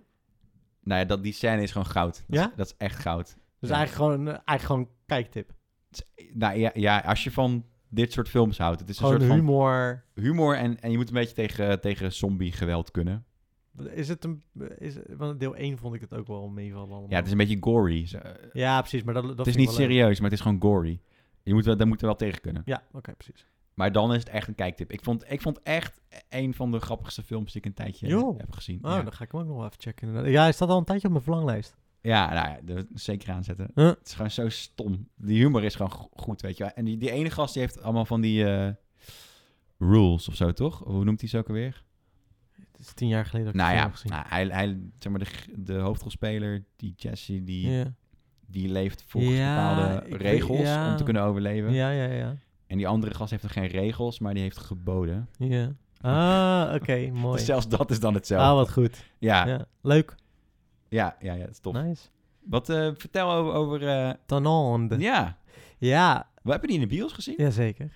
Speaker 1: ja, dat, die scène is gewoon goud. Dat,
Speaker 2: Ja?
Speaker 1: is, dat is echt goud.
Speaker 2: Dus
Speaker 1: Ja.
Speaker 2: eigenlijk, gewoon, eh, eigenlijk gewoon een kijktip.
Speaker 1: Nou ja, ja, als je van dit soort films houdt. Het is
Speaker 2: Gewoon
Speaker 1: een soort
Speaker 2: humor.
Speaker 1: van humor en, en je moet een beetje tegen, tegen zombie-geweld kunnen.
Speaker 2: Is het een... Is, het- want deel 1 vond ik het ook wel meevallen allemaal.
Speaker 1: Ja, het is een beetje gory. Zo, eh,
Speaker 2: Ja, precies. Maar dat, dat
Speaker 1: het is
Speaker 2: vind
Speaker 1: niet
Speaker 2: ik wel leuk.
Speaker 1: serieus, maar het is gewoon gory. Je moet wel, daar moeten we wel tegen kunnen.
Speaker 2: Ja, oké, precies.
Speaker 1: Maar dan is het echt een kijktip. Ik vond, ik vond echt een van de grappigste films die ik een tijdje
Speaker 2: Joh.
Speaker 1: heb gezien.
Speaker 2: Oh,
Speaker 1: ja.
Speaker 2: dan ga ik hem ook nog wel even checken. inderdaad. Ja, hij staat al een tijdje op mijn verlanglijst.
Speaker 1: Ja, nou ja, dat zeker aanzetten.
Speaker 2: Huh?
Speaker 1: Het is gewoon zo stom. Die humor is gewoon go- goed, weet je wel. En die, die ene gast die heeft allemaal van die eh, rules of zo, toch? Hoe noemt hij ze ook alweer?
Speaker 2: Het is tien jaar geleden dat ik
Speaker 1: Nou
Speaker 2: het
Speaker 1: ja,
Speaker 2: heb gezien.
Speaker 1: nou, hij, hij, zeg maar de, g- de hoofdrolspeler, die Jesse, die,
Speaker 2: ja.
Speaker 1: die leeft volgens
Speaker 2: Ja, ik
Speaker 1: bepaalde
Speaker 2: weet-
Speaker 1: regels
Speaker 2: ja.
Speaker 1: om te kunnen overleven.
Speaker 2: ja, ja, ja.
Speaker 1: En die andere gast heeft er geen regels, maar die heeft geboden.
Speaker 2: ja. Ah,
Speaker 1: <laughs>
Speaker 2: oké, mooi. Nou,
Speaker 1: Dus zelfs dat is dan hetzelfde.
Speaker 2: Ah, wat goed.
Speaker 1: ja, ja.
Speaker 2: Ja, leuk.
Speaker 1: Ja, ja, het is tof.
Speaker 2: Nice.
Speaker 1: Wat eh, vertel over... over eh,
Speaker 2: Tanande.
Speaker 1: ja,
Speaker 2: Ja,
Speaker 1: we hebben die in de bios gezien.
Speaker 2: jazeker.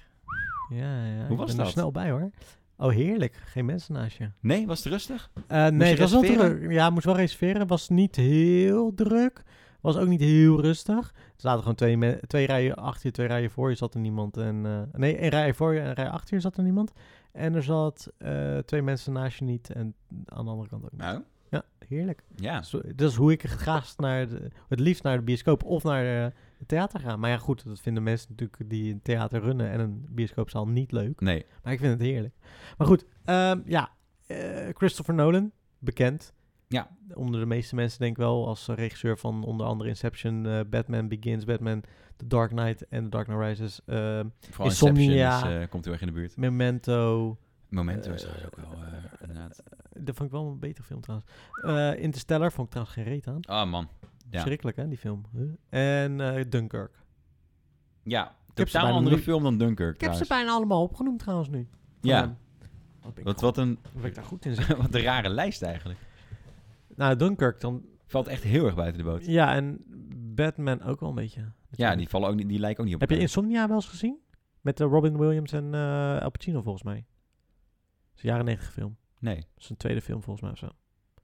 Speaker 2: Ja, ja.
Speaker 1: Hoe was
Speaker 2: ik
Speaker 1: dat?
Speaker 2: ben er snel bij hoor. Oh, heerlijk. Geen mensen naast je.
Speaker 1: Nee, was het rustig?
Speaker 2: Eh, nee,
Speaker 1: je
Speaker 2: het was wel
Speaker 1: reserveren?
Speaker 2: druk. Ja, moest wel reserveren. Was niet heel druk. Was ook niet heel rustig. Er zaten gewoon twee, me- twee rijen achter je, twee rijen voor je zat er niemand. En, eh, nee, één rij voor je en een rij achter je zat er niemand. En er zat eh, twee mensen naast je niet en aan de andere kant ook niet.
Speaker 1: Nou,
Speaker 2: Ja, heerlijk.
Speaker 1: ja.
Speaker 2: Zo- dat is hoe ik het graagst naar de, het liefst naar de bioscoop of naar eh, het theater ga. Maar ja, goed, dat vinden mensen natuurlijk die een theater runnen en een bioscoopzaal niet leuk.
Speaker 1: Nee,
Speaker 2: <laughs> Maar Nou, ik vind het heerlijk. Maar goed, ehm, ja. eh, Christopher Nolan, bekend.
Speaker 1: Ja.
Speaker 2: Onder de meeste mensen denk ik wel als regisseur van onder andere Inception, eh, Batman Begins, Batman The Dark Knight en The Dark Knight Rises. ehm,
Speaker 1: vooral Inception
Speaker 2: Insomnia.
Speaker 1: is, eh, komt heel erg in de buurt.
Speaker 2: Memento.
Speaker 1: Momentum is
Speaker 2: Eh,
Speaker 1: trouwens ook wel, eh, inderdaad.
Speaker 2: Dat vond ik wel een betere film trouwens. Eh, Interstellar vond ik trouwens geen reet aan.
Speaker 1: Ah, man. Ja.
Speaker 2: Schrikkelijk hè, die film. Huh? En eh, Dunkirk.
Speaker 1: Ja,
Speaker 2: heb ze
Speaker 1: totaal een
Speaker 2: bijna
Speaker 1: andere
Speaker 2: nu-
Speaker 1: film dan Dunkirk
Speaker 2: Ik heb ze
Speaker 1: trouwens.
Speaker 2: bijna allemaal opgenoemd trouwens nu.
Speaker 1: Ja,
Speaker 2: Ehm, wat ben ik,
Speaker 1: wat, wat, een, <laughs>
Speaker 2: goed- wat ben ik daar goed in zeg.
Speaker 1: wat een rare lijst eigenlijk.
Speaker 2: nou, Dunkirk dan.
Speaker 1: Valt echt heel erg buiten de boot.
Speaker 2: Ja, en Batman ook wel een beetje.
Speaker 1: Ja,
Speaker 2: natuurlijk.
Speaker 1: die, vallen ook niet, die lijken ook niet op
Speaker 2: Heb je
Speaker 1: elkaar.
Speaker 2: Insomnia wel eens gezien? Met eh, Robin Williams en eh Al Pacino volgens mij. Dat is een jaren negentig film.
Speaker 1: Nee.
Speaker 2: Dat is een tweede film volgens mij of zo.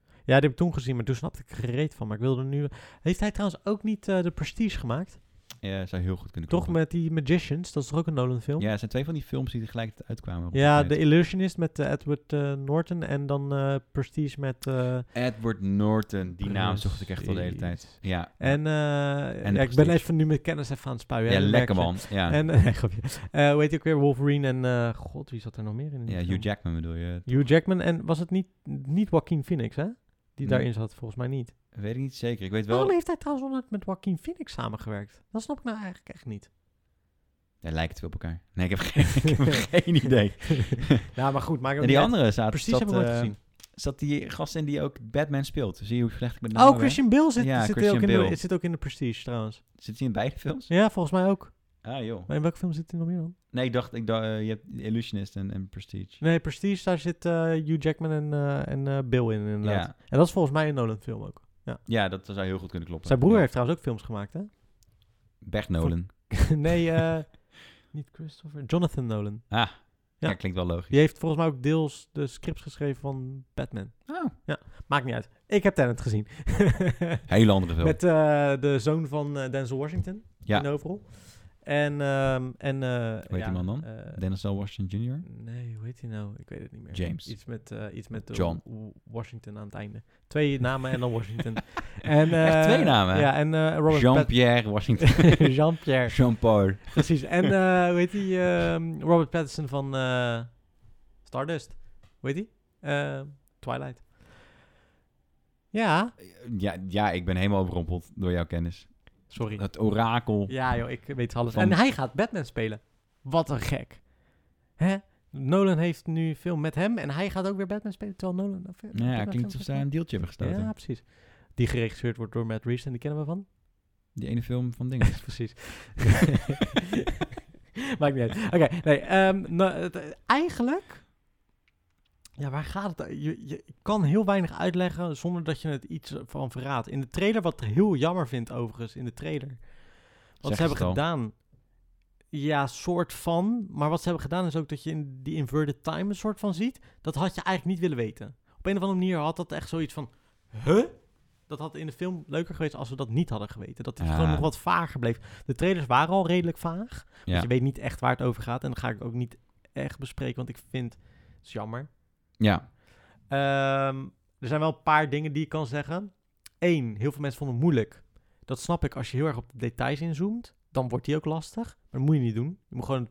Speaker 2: Ja, die heb ik toen gezien, maar toen snapte ik er gereed van. Maar ik wilde nu... Heeft hij trouwens ook niet eh, de Prestige gemaakt?
Speaker 1: Ja, zou heel goed kunnen
Speaker 2: Toch
Speaker 1: kloppen.
Speaker 2: met die Magicians? Dat is toch ook een Nolan film?
Speaker 1: Ja, het zijn twee van die films die tegelijkertijd uitkwamen.
Speaker 2: Ja,
Speaker 1: volgens
Speaker 2: The Illusionist met eh, Edward eh, Norton en dan eh, Prestige met... eh,
Speaker 1: mij. Edward Norton, die naam zocht ik echt al de hele tijd.
Speaker 2: Precies.
Speaker 1: Ja,
Speaker 2: en eh,
Speaker 1: En
Speaker 2: ja, ik ben
Speaker 1: Prestige.
Speaker 2: even nu met kennis even aan het spuien. hè,
Speaker 1: ja
Speaker 2: dat merk
Speaker 1: lekker
Speaker 2: je.
Speaker 1: man. Ja.
Speaker 2: En, <laughs> nee, grapje. Eh, hoe heet die ook weer? Wolverine en... eh, God, wie zat er nog meer in? die
Speaker 1: ja,
Speaker 2: film?
Speaker 1: Hugh Jackman bedoel je.
Speaker 2: Hugh Jackman en was het niet, niet Joaquin Phoenix, hè? Die
Speaker 1: Nee.
Speaker 2: daarin zat, volgens mij niet.
Speaker 1: Weet ik niet zeker. Ik weet
Speaker 2: Waarom
Speaker 1: wel...
Speaker 2: heeft hij trouwens wel net met Joaquin Phoenix samengewerkt? Dat snap ik nou eigenlijk echt niet.
Speaker 1: Hij lijkt het wel op elkaar. Nee, <laughs> ik heb geen, <laughs> ik
Speaker 2: <laughs>
Speaker 1: heb geen idee.
Speaker 2: ja, Nou, maar goed, maak
Speaker 1: En die andere zaten...
Speaker 2: Precies
Speaker 1: zat,
Speaker 2: heb ik nooit
Speaker 1: eh,
Speaker 2: gezien.
Speaker 1: Zat die gast in die ook Batman speelt. Zie je hoe slecht ik met namen
Speaker 2: Oh,
Speaker 1: ben?
Speaker 2: Christian Bale zit,
Speaker 1: Ja,
Speaker 2: zit,
Speaker 1: Christian
Speaker 2: ook in de-
Speaker 1: Bale.
Speaker 2: zit ook in de Prestige trouwens.
Speaker 1: Zit hij in beide films?
Speaker 2: Ja, volgens mij ook.
Speaker 1: Ah joh.
Speaker 2: Maar in welke film zit hij nog meer dan?
Speaker 1: Nee, ik dacht, ik dacht eh, je hebt Illusionist en, en Prestige.
Speaker 2: Nee, Prestige, daar zit eh, Hugh Jackman en, eh en eh, Bale in inderdaad.
Speaker 1: Ja.
Speaker 2: En dat is volgens mij een Nolan film ook.
Speaker 1: ja, dat zou heel goed kunnen kloppen.
Speaker 2: Zijn broer
Speaker 1: Ja.
Speaker 2: heeft trouwens ook films gemaakt, hè?
Speaker 1: Bert Nolan.
Speaker 2: <laughs> nee, eh, niet Christopher. Jonathan Nolan.
Speaker 1: Ja.
Speaker 2: Ja.
Speaker 1: klinkt wel logisch.
Speaker 2: Die heeft volgens mij ook deels de scripts geschreven van Batman.
Speaker 1: Oh.
Speaker 2: Maakt niet uit. Ik heb Tenet
Speaker 1: <laughs>
Speaker 2: gezien.
Speaker 1: Hele andere film.
Speaker 2: Met eh, de zoon van eh, Denzel Washington
Speaker 1: Ja.
Speaker 2: in de hoofdrol. En, ehm en eh,
Speaker 1: heet
Speaker 2: ja,
Speaker 1: die man dan?
Speaker 2: eh,
Speaker 1: Dennis L. Washington Jr.
Speaker 2: nee, hoe heet hij nou? Ik weet het niet meer.
Speaker 1: James.
Speaker 2: Iets met, eh, iets met de
Speaker 1: John.
Speaker 2: W- Washington aan het einde. Twee namen en
Speaker 1: <laughs>
Speaker 2: dan Washington. en, eh,
Speaker 1: Echt twee namen, hè?
Speaker 2: Ja, en eh, Robert
Speaker 1: Jean-Pierre Washington.
Speaker 2: Pat- <laughs> Jean-Pierre.
Speaker 1: Jean-Paul.
Speaker 2: Precies. En eh, hoe heet die? ehm, Robert Pattinson van eh, Stardust. Hoe heet die? Ehm, Twilight. Ja,
Speaker 1: Ja, ja, ik ben helemaal overrompeld door jouw kennis.
Speaker 2: sorry.
Speaker 1: Het orakel.
Speaker 2: Ja joh, ik weet alles.
Speaker 1: Eh, Van-
Speaker 2: En hij gaat Batman spelen. Wat een gek. Hè? Nolan heeft nu veel met hem en hij gaat ook weer Batman spelen. Terwijl Nolan... nou, veel-
Speaker 1: Ja,
Speaker 2: Batman
Speaker 1: klinkt
Speaker 2: films
Speaker 1: alsof ze
Speaker 2: heeft
Speaker 1: daar een deeltje hebben
Speaker 2: gedaan.
Speaker 1: gesloten.
Speaker 2: Ja, precies. Die geregisseerd wordt door Matt Reeves en die kennen we van.
Speaker 1: Die ene film van dingen. <laughs>
Speaker 2: precies. <laughs> Maakt niet uit. Oké, nee. ehm, nou, het- eh, eigenlijk... Ja, waar gaat het? Je, je kan heel weinig uitleggen zonder dat je het iets van verraadt. In de trailer, wat ik heel jammer vind overigens, in de trailer. Wat ze
Speaker 1: Zeggen
Speaker 2: hebben
Speaker 1: het al.
Speaker 2: gedaan... Ja, soort van. Maar wat ze hebben gedaan is ook dat je in die inverted time een soort van ziet. Dat had je eigenlijk niet willen weten. Op een of andere manier had dat echt zoiets van... Huh? Dat had in de film leuker geweest als we dat niet hadden geweten. Dat is
Speaker 1: Ja.
Speaker 2: gewoon nog wat vager bleef. De trailers waren al redelijk vaag.
Speaker 1: Ja.
Speaker 2: Dus je weet niet echt waar het over gaat. En dat ga ik ook niet echt bespreken, want ik vind het is jammer.
Speaker 1: Ja.
Speaker 2: Ehm, er zijn wel een paar dingen die ik kan zeggen. Eén, heel veel mensen vonden het moeilijk. Dat snap ik. Als je heel erg op de details inzoomt, dan wordt die ook lastig. Maar dat moet je niet doen. Je moet gewoon het,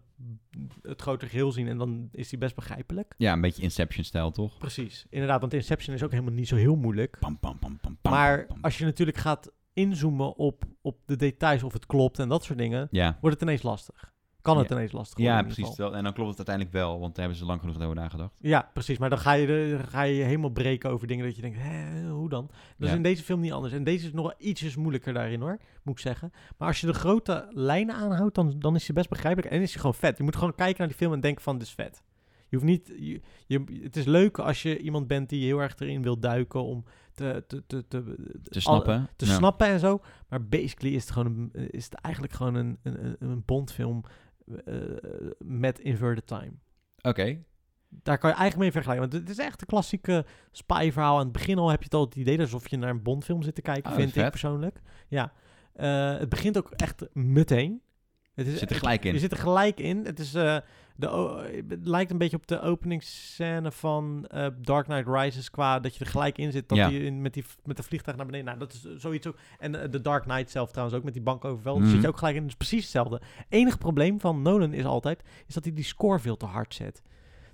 Speaker 2: het grote geheel zien en dan is die best begrijpelijk.
Speaker 1: ja, een beetje Inception-stijl, toch?
Speaker 2: Precies. Inderdaad, want Inception is ook helemaal niet zo heel moeilijk.
Speaker 1: Pam, pam, pam, pam, pam.
Speaker 2: maar
Speaker 1: pam.
Speaker 2: als je natuurlijk gaat inzoomen op, op de details, of het klopt en dat soort dingen,
Speaker 1: Ja.
Speaker 2: wordt het ineens lastig. Kan het
Speaker 1: Ja.
Speaker 2: ineens lastig worden
Speaker 1: Ja,
Speaker 2: in ieder
Speaker 1: precies.
Speaker 2: geval.
Speaker 1: Wel, En dan klopt het uiteindelijk wel, want daar hebben ze lang genoeg over nagedacht.
Speaker 2: Ja, precies. Maar dan ga je, de- dan ga je helemaal breken over dingen dat je denkt, hè, hoe dan? Dat is
Speaker 1: Ja.
Speaker 2: in deze film niet anders. En deze is nog wel ietsjes moeilijker daarin hoor, moet ik zeggen. Maar als je de grote lijnen aanhoudt, dan, dan is je best begrijpelijk en is je gewoon vet. Je moet gewoon kijken naar die film en denken van, dit is vet. Je hoeft niet. Je, je- het is leuk als je iemand bent die heel erg erin wil duiken om te, te, te, te,
Speaker 1: Te snappen. Nou,
Speaker 2: te
Speaker 1: Ja.
Speaker 2: snappen en zo. Maar basically is het, gewoon een, is het eigenlijk gewoon een, een, een- een Bondfilm eh, met Inverted Time.
Speaker 1: Oké.
Speaker 2: Daar kan je eigenlijk mee vergelijken. Want het is echt een klassieke spy-verhaal. Aan het begin al heb je het al het idee alsof je naar een Bondfilm zit te kijken,
Speaker 1: Ah, dat is
Speaker 2: vind ik
Speaker 1: vet.
Speaker 2: persoonlijk. Ja. Eh, het begint ook echt meteen. Het is
Speaker 1: Zit er gelijk in.
Speaker 2: je zit er gelijk in. Het, is, eh, de, o- het lijkt een beetje op de openingsscène van eh, Dark Knight Rises. Qua dat je er gelijk in zit. Dat
Speaker 1: Ja.
Speaker 2: die in, met, die, met de vliegtuig naar beneden. Nou, dat is zoiets ook. En eh, de Dark Knight zelf trouwens ook met die bankoverval. daar
Speaker 1: Mhm.
Speaker 2: zit je ook gelijk in. Het is precies hetzelfde. Enige probleem van Nolan is altijd. Is dat hij die score veel te hard zet.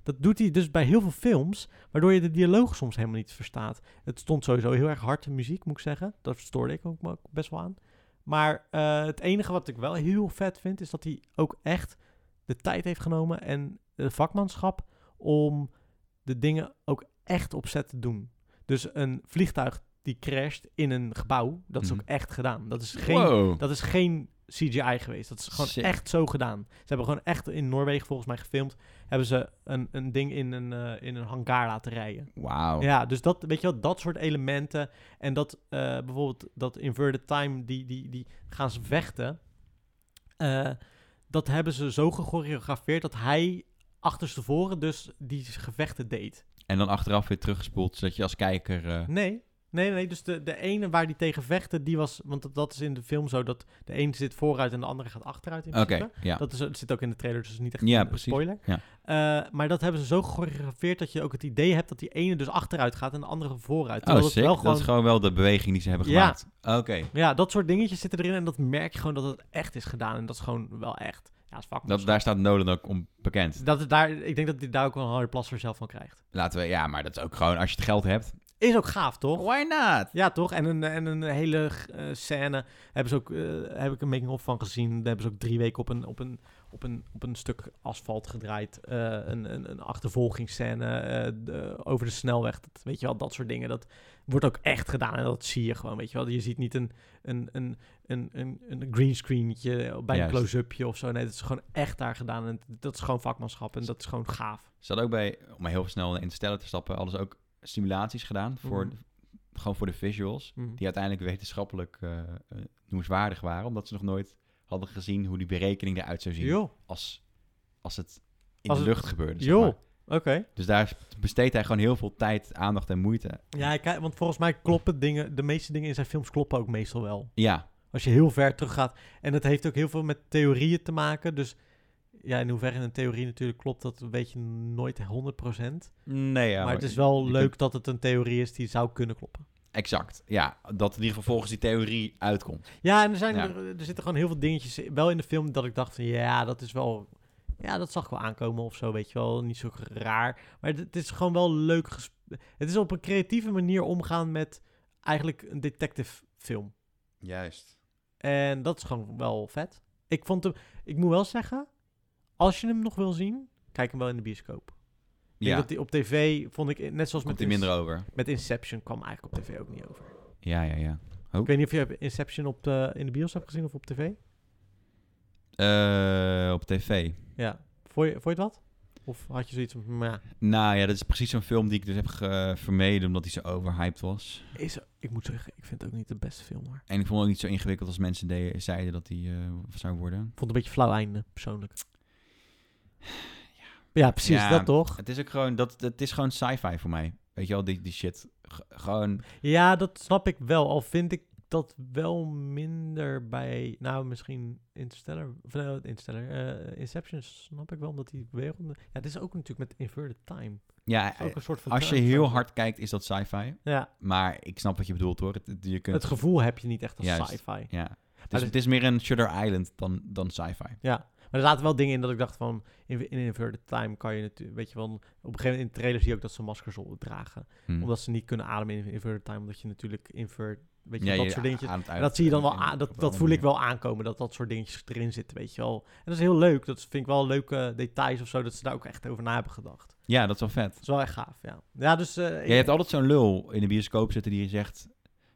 Speaker 2: Dat doet hij dus bij heel veel films. Waardoor je de dialoog soms helemaal niet verstaat. Het stond sowieso heel erg hard de muziek, moet ik zeggen. Dat stoorde ik ook me ook best wel aan. Maar eh, het enige wat ik wel heel vet vind, is dat hij ook echt de tijd heeft genomen en de vakmanschap om de dingen ook echt op set te doen. Dus een vliegtuig die crasht in een gebouw, dat is
Speaker 1: Mhm.
Speaker 2: ook echt gedaan. Dat is dus geen,
Speaker 1: Wow.
Speaker 2: dat is geen CGI geweest. Dat is gewoon
Speaker 1: Sick.
Speaker 2: echt zo gedaan. Ze hebben gewoon echt in Noorwegen volgens mij gefilmd. Hebben ze een, een ding in een, eh, in een hangar laten rijden.
Speaker 1: Wauw.
Speaker 2: Ja, dus dat, weet je wel, dat soort elementen. En dat eh, bijvoorbeeld dat inverted time, die, die, die gaan ze vechten. Eh, dat hebben ze zo gechoreografeerd dat hij achterstevoren dus die gevechten deed.
Speaker 1: En dan achteraf weer teruggespoeld, zodat je als kijker... eh,
Speaker 2: Nee, nee, nee. Dus de, de ene waar die tegen vechten, die was... Want dat, dat is in de film zo dat de een zit vooruit en de andere gaat achteruit in
Speaker 1: Oké,
Speaker 2: principe.
Speaker 1: ja.
Speaker 2: Dat, is, dat zit ook in de trailer, dus niet echt
Speaker 1: Ja,
Speaker 2: een
Speaker 1: precies.
Speaker 2: spoiler.
Speaker 1: Ja.
Speaker 2: Eh, maar dat hebben ze zo gechoreografeerd dat je ook het idee hebt dat die ene dus achteruit gaat en de andere vooruit.
Speaker 1: Oh,
Speaker 2: Terwijl
Speaker 1: sick.
Speaker 2: het wel
Speaker 1: Dat is
Speaker 2: gewoon,
Speaker 1: gewoon wel de beweging die ze hebben
Speaker 2: Ja.
Speaker 1: gemaakt. Oké.
Speaker 2: ja, dat soort dingetjes zitten erin en dat merk je gewoon dat het echt is gedaan. En dat is gewoon wel echt. Ja, is
Speaker 1: Dat,
Speaker 2: vakmanschap.
Speaker 1: daar staat Nolan ook om bekend.
Speaker 2: Dat, het daar, ik denk dat hij daar ook wel een harde plas voor zelf van krijgt.
Speaker 1: Laten we... Ja, maar dat is ook gewoon... Als je het geld hebt...
Speaker 2: Is ook gaaf, toch?
Speaker 1: Why not?
Speaker 2: Ja, toch? En een, en een hele eh, scène hebben ze ook, eh, heb ik een making-of van gezien. Daar hebben ze ook drie weken op een, op een, op een, op een stuk asfalt gedraaid. Eh, een, een, een achtervolgingsscène eh, de- over de snelweg. Dat, weet je wel, dat soort dingen. Dat wordt ook echt gedaan en dat zie je gewoon, weet je wel. Je ziet niet een, een, een, een, een, een greenscreentje bij een
Speaker 1: Juist.
Speaker 2: close-upje of zo. Nee, dat is gewoon echt daar gedaan. En dat is gewoon vakmanschap en dat is gewoon gaaf.
Speaker 1: Ze hadden ook bij, om heel snel in te stellen te stappen, hadden ze ook simulaties gedaan. Voor,
Speaker 2: Mhm.
Speaker 1: Gewoon voor de visuals.
Speaker 2: Mhm.
Speaker 1: Die uiteindelijk wetenschappelijk eh, eh, noemenswaardig waren. Omdat ze nog nooit hadden gezien hoe die berekening eruit zou zien.
Speaker 2: Joh,
Speaker 1: Als, als het in
Speaker 2: Als
Speaker 1: de
Speaker 2: het-
Speaker 1: lucht gebeurde. zeg
Speaker 2: joh.
Speaker 1: maar.
Speaker 2: Oké.
Speaker 1: Dus daar besteedt hij gewoon heel veel tijd, aandacht en moeite.
Speaker 2: Ja, ik kijk, want volgens mij kloppen dingen, de meeste dingen in zijn films kloppen ook meestal wel.
Speaker 1: Ja,
Speaker 2: Als je heel ver teruggaat. En dat heeft ook heel veel met theorieën te maken. Dus ja, in hoeverre een theorie natuurlijk klopt, dat weet je nooit 100%.
Speaker 1: nee, ja,
Speaker 2: maar het is wel
Speaker 1: je
Speaker 2: leuk
Speaker 1: kunt-
Speaker 2: dat het een theorie is die zou kunnen kloppen.
Speaker 1: exact. Ja, dat in ieder geval volgens die theorie uitkomt.
Speaker 2: Ja, en er, zijn,
Speaker 1: Ja.
Speaker 2: Er, er zitten gewoon heel veel dingetjes in- wel in de film dat ik dacht van ja, dat is wel... Ja, dat zag ik wel aankomen of zo, weet je wel. Niet zo raar. Maar het, het is gewoon wel leuk... ges- Het is op een creatieve manier omgaan met eigenlijk een detective film.
Speaker 1: Juist.
Speaker 2: En dat is gewoon wel vet. Ik vond hem, ik moet wel zeggen, als je hem nog wil zien, kijk hem wel in de bioscoop. Ik denk
Speaker 1: Ja,
Speaker 2: dat die op tv vond ik, net
Speaker 1: komt
Speaker 2: zoals met,
Speaker 1: hij
Speaker 2: Ins-
Speaker 1: minder over.
Speaker 2: met Inception, kwam eigenlijk op tv ook niet over.
Speaker 1: Ja, ja, ja.
Speaker 2: Ik weet niet of je Inception op de, in de bios hebt gezien of op tv.
Speaker 1: Eh, op tv.
Speaker 2: Ja. Vond je, vond je het wat? Of had je zoiets van, "Hm, ja,
Speaker 1: Nou ja, dat is precies zo'n film die ik dus heb ge- vermeden omdat hij zo overhyped was.
Speaker 2: is, ik moet zeggen, ik vind het ook niet de beste film, maar ik
Speaker 1: En ik vond het ook niet zo ingewikkeld als mensen deden, zeiden dat hij eh, zou worden.
Speaker 2: vond het een beetje flauw einde, persoonlijk. Ja, precies,
Speaker 1: Ja.
Speaker 2: dat toch?
Speaker 1: Het is ook gewoon, dat, het is gewoon sci-fi voor mij. Weet je wel, die, die shit. G- gewoon,
Speaker 2: Ja, dat snap ik wel. Al vind ik dat wel minder bij... Nou, misschien Interstellar... Of, nee, Interstellar eh, Inception snap ik wel, omdat die wereld... Ja, dit is ook natuurlijk met Inverted Time.
Speaker 1: ja,
Speaker 2: Dat is ook een soort van...
Speaker 1: als je
Speaker 2: time
Speaker 1: heel
Speaker 2: travel.
Speaker 1: hard kijkt is dat sci-fi.
Speaker 2: Ja,
Speaker 1: Maar ik snap wat je bedoelt hoor. Het, het- je kunt,
Speaker 2: het gevoel heb je niet echt als
Speaker 1: Juist.
Speaker 2: sci-fi.
Speaker 1: ja. het,
Speaker 2: dit-
Speaker 1: is, het is meer een Shutter Island dan, dan sci-fi.
Speaker 2: Ja, maar er zaten wel dingen in dat ik dacht van... In, in Inverted Time kan je natuurlijk... Weet je wel, op een gegeven moment in de trailer zie je ook dat ze maskers dragen.
Speaker 1: Hm.
Speaker 2: Omdat ze niet kunnen ademen in Inverted Time. Omdat je natuurlijk invert... Weet je,
Speaker 1: Ja,
Speaker 2: dat
Speaker 1: je
Speaker 2: soort dingetjes.
Speaker 1: aan het
Speaker 2: En
Speaker 1: uit-
Speaker 2: dat zie je dan wel
Speaker 1: in-
Speaker 2: aan,
Speaker 1: op
Speaker 2: dat,
Speaker 1: een
Speaker 2: dat
Speaker 1: andere
Speaker 2: voel ik
Speaker 1: manier.
Speaker 2: wel aankomen, dat dat soort dingetjes erin zitten, weet je wel. En dat is heel leuk, dat vind ik wel leuke details of zo, dat ze daar ook echt over na hebben gedacht.
Speaker 1: Ja, dat is wel vet.
Speaker 2: Dat is wel echt gaaf, ja. Ja, dus... eh,
Speaker 1: Ja, je hebt altijd zo'n lul in de bioscoop zitten die je zegt...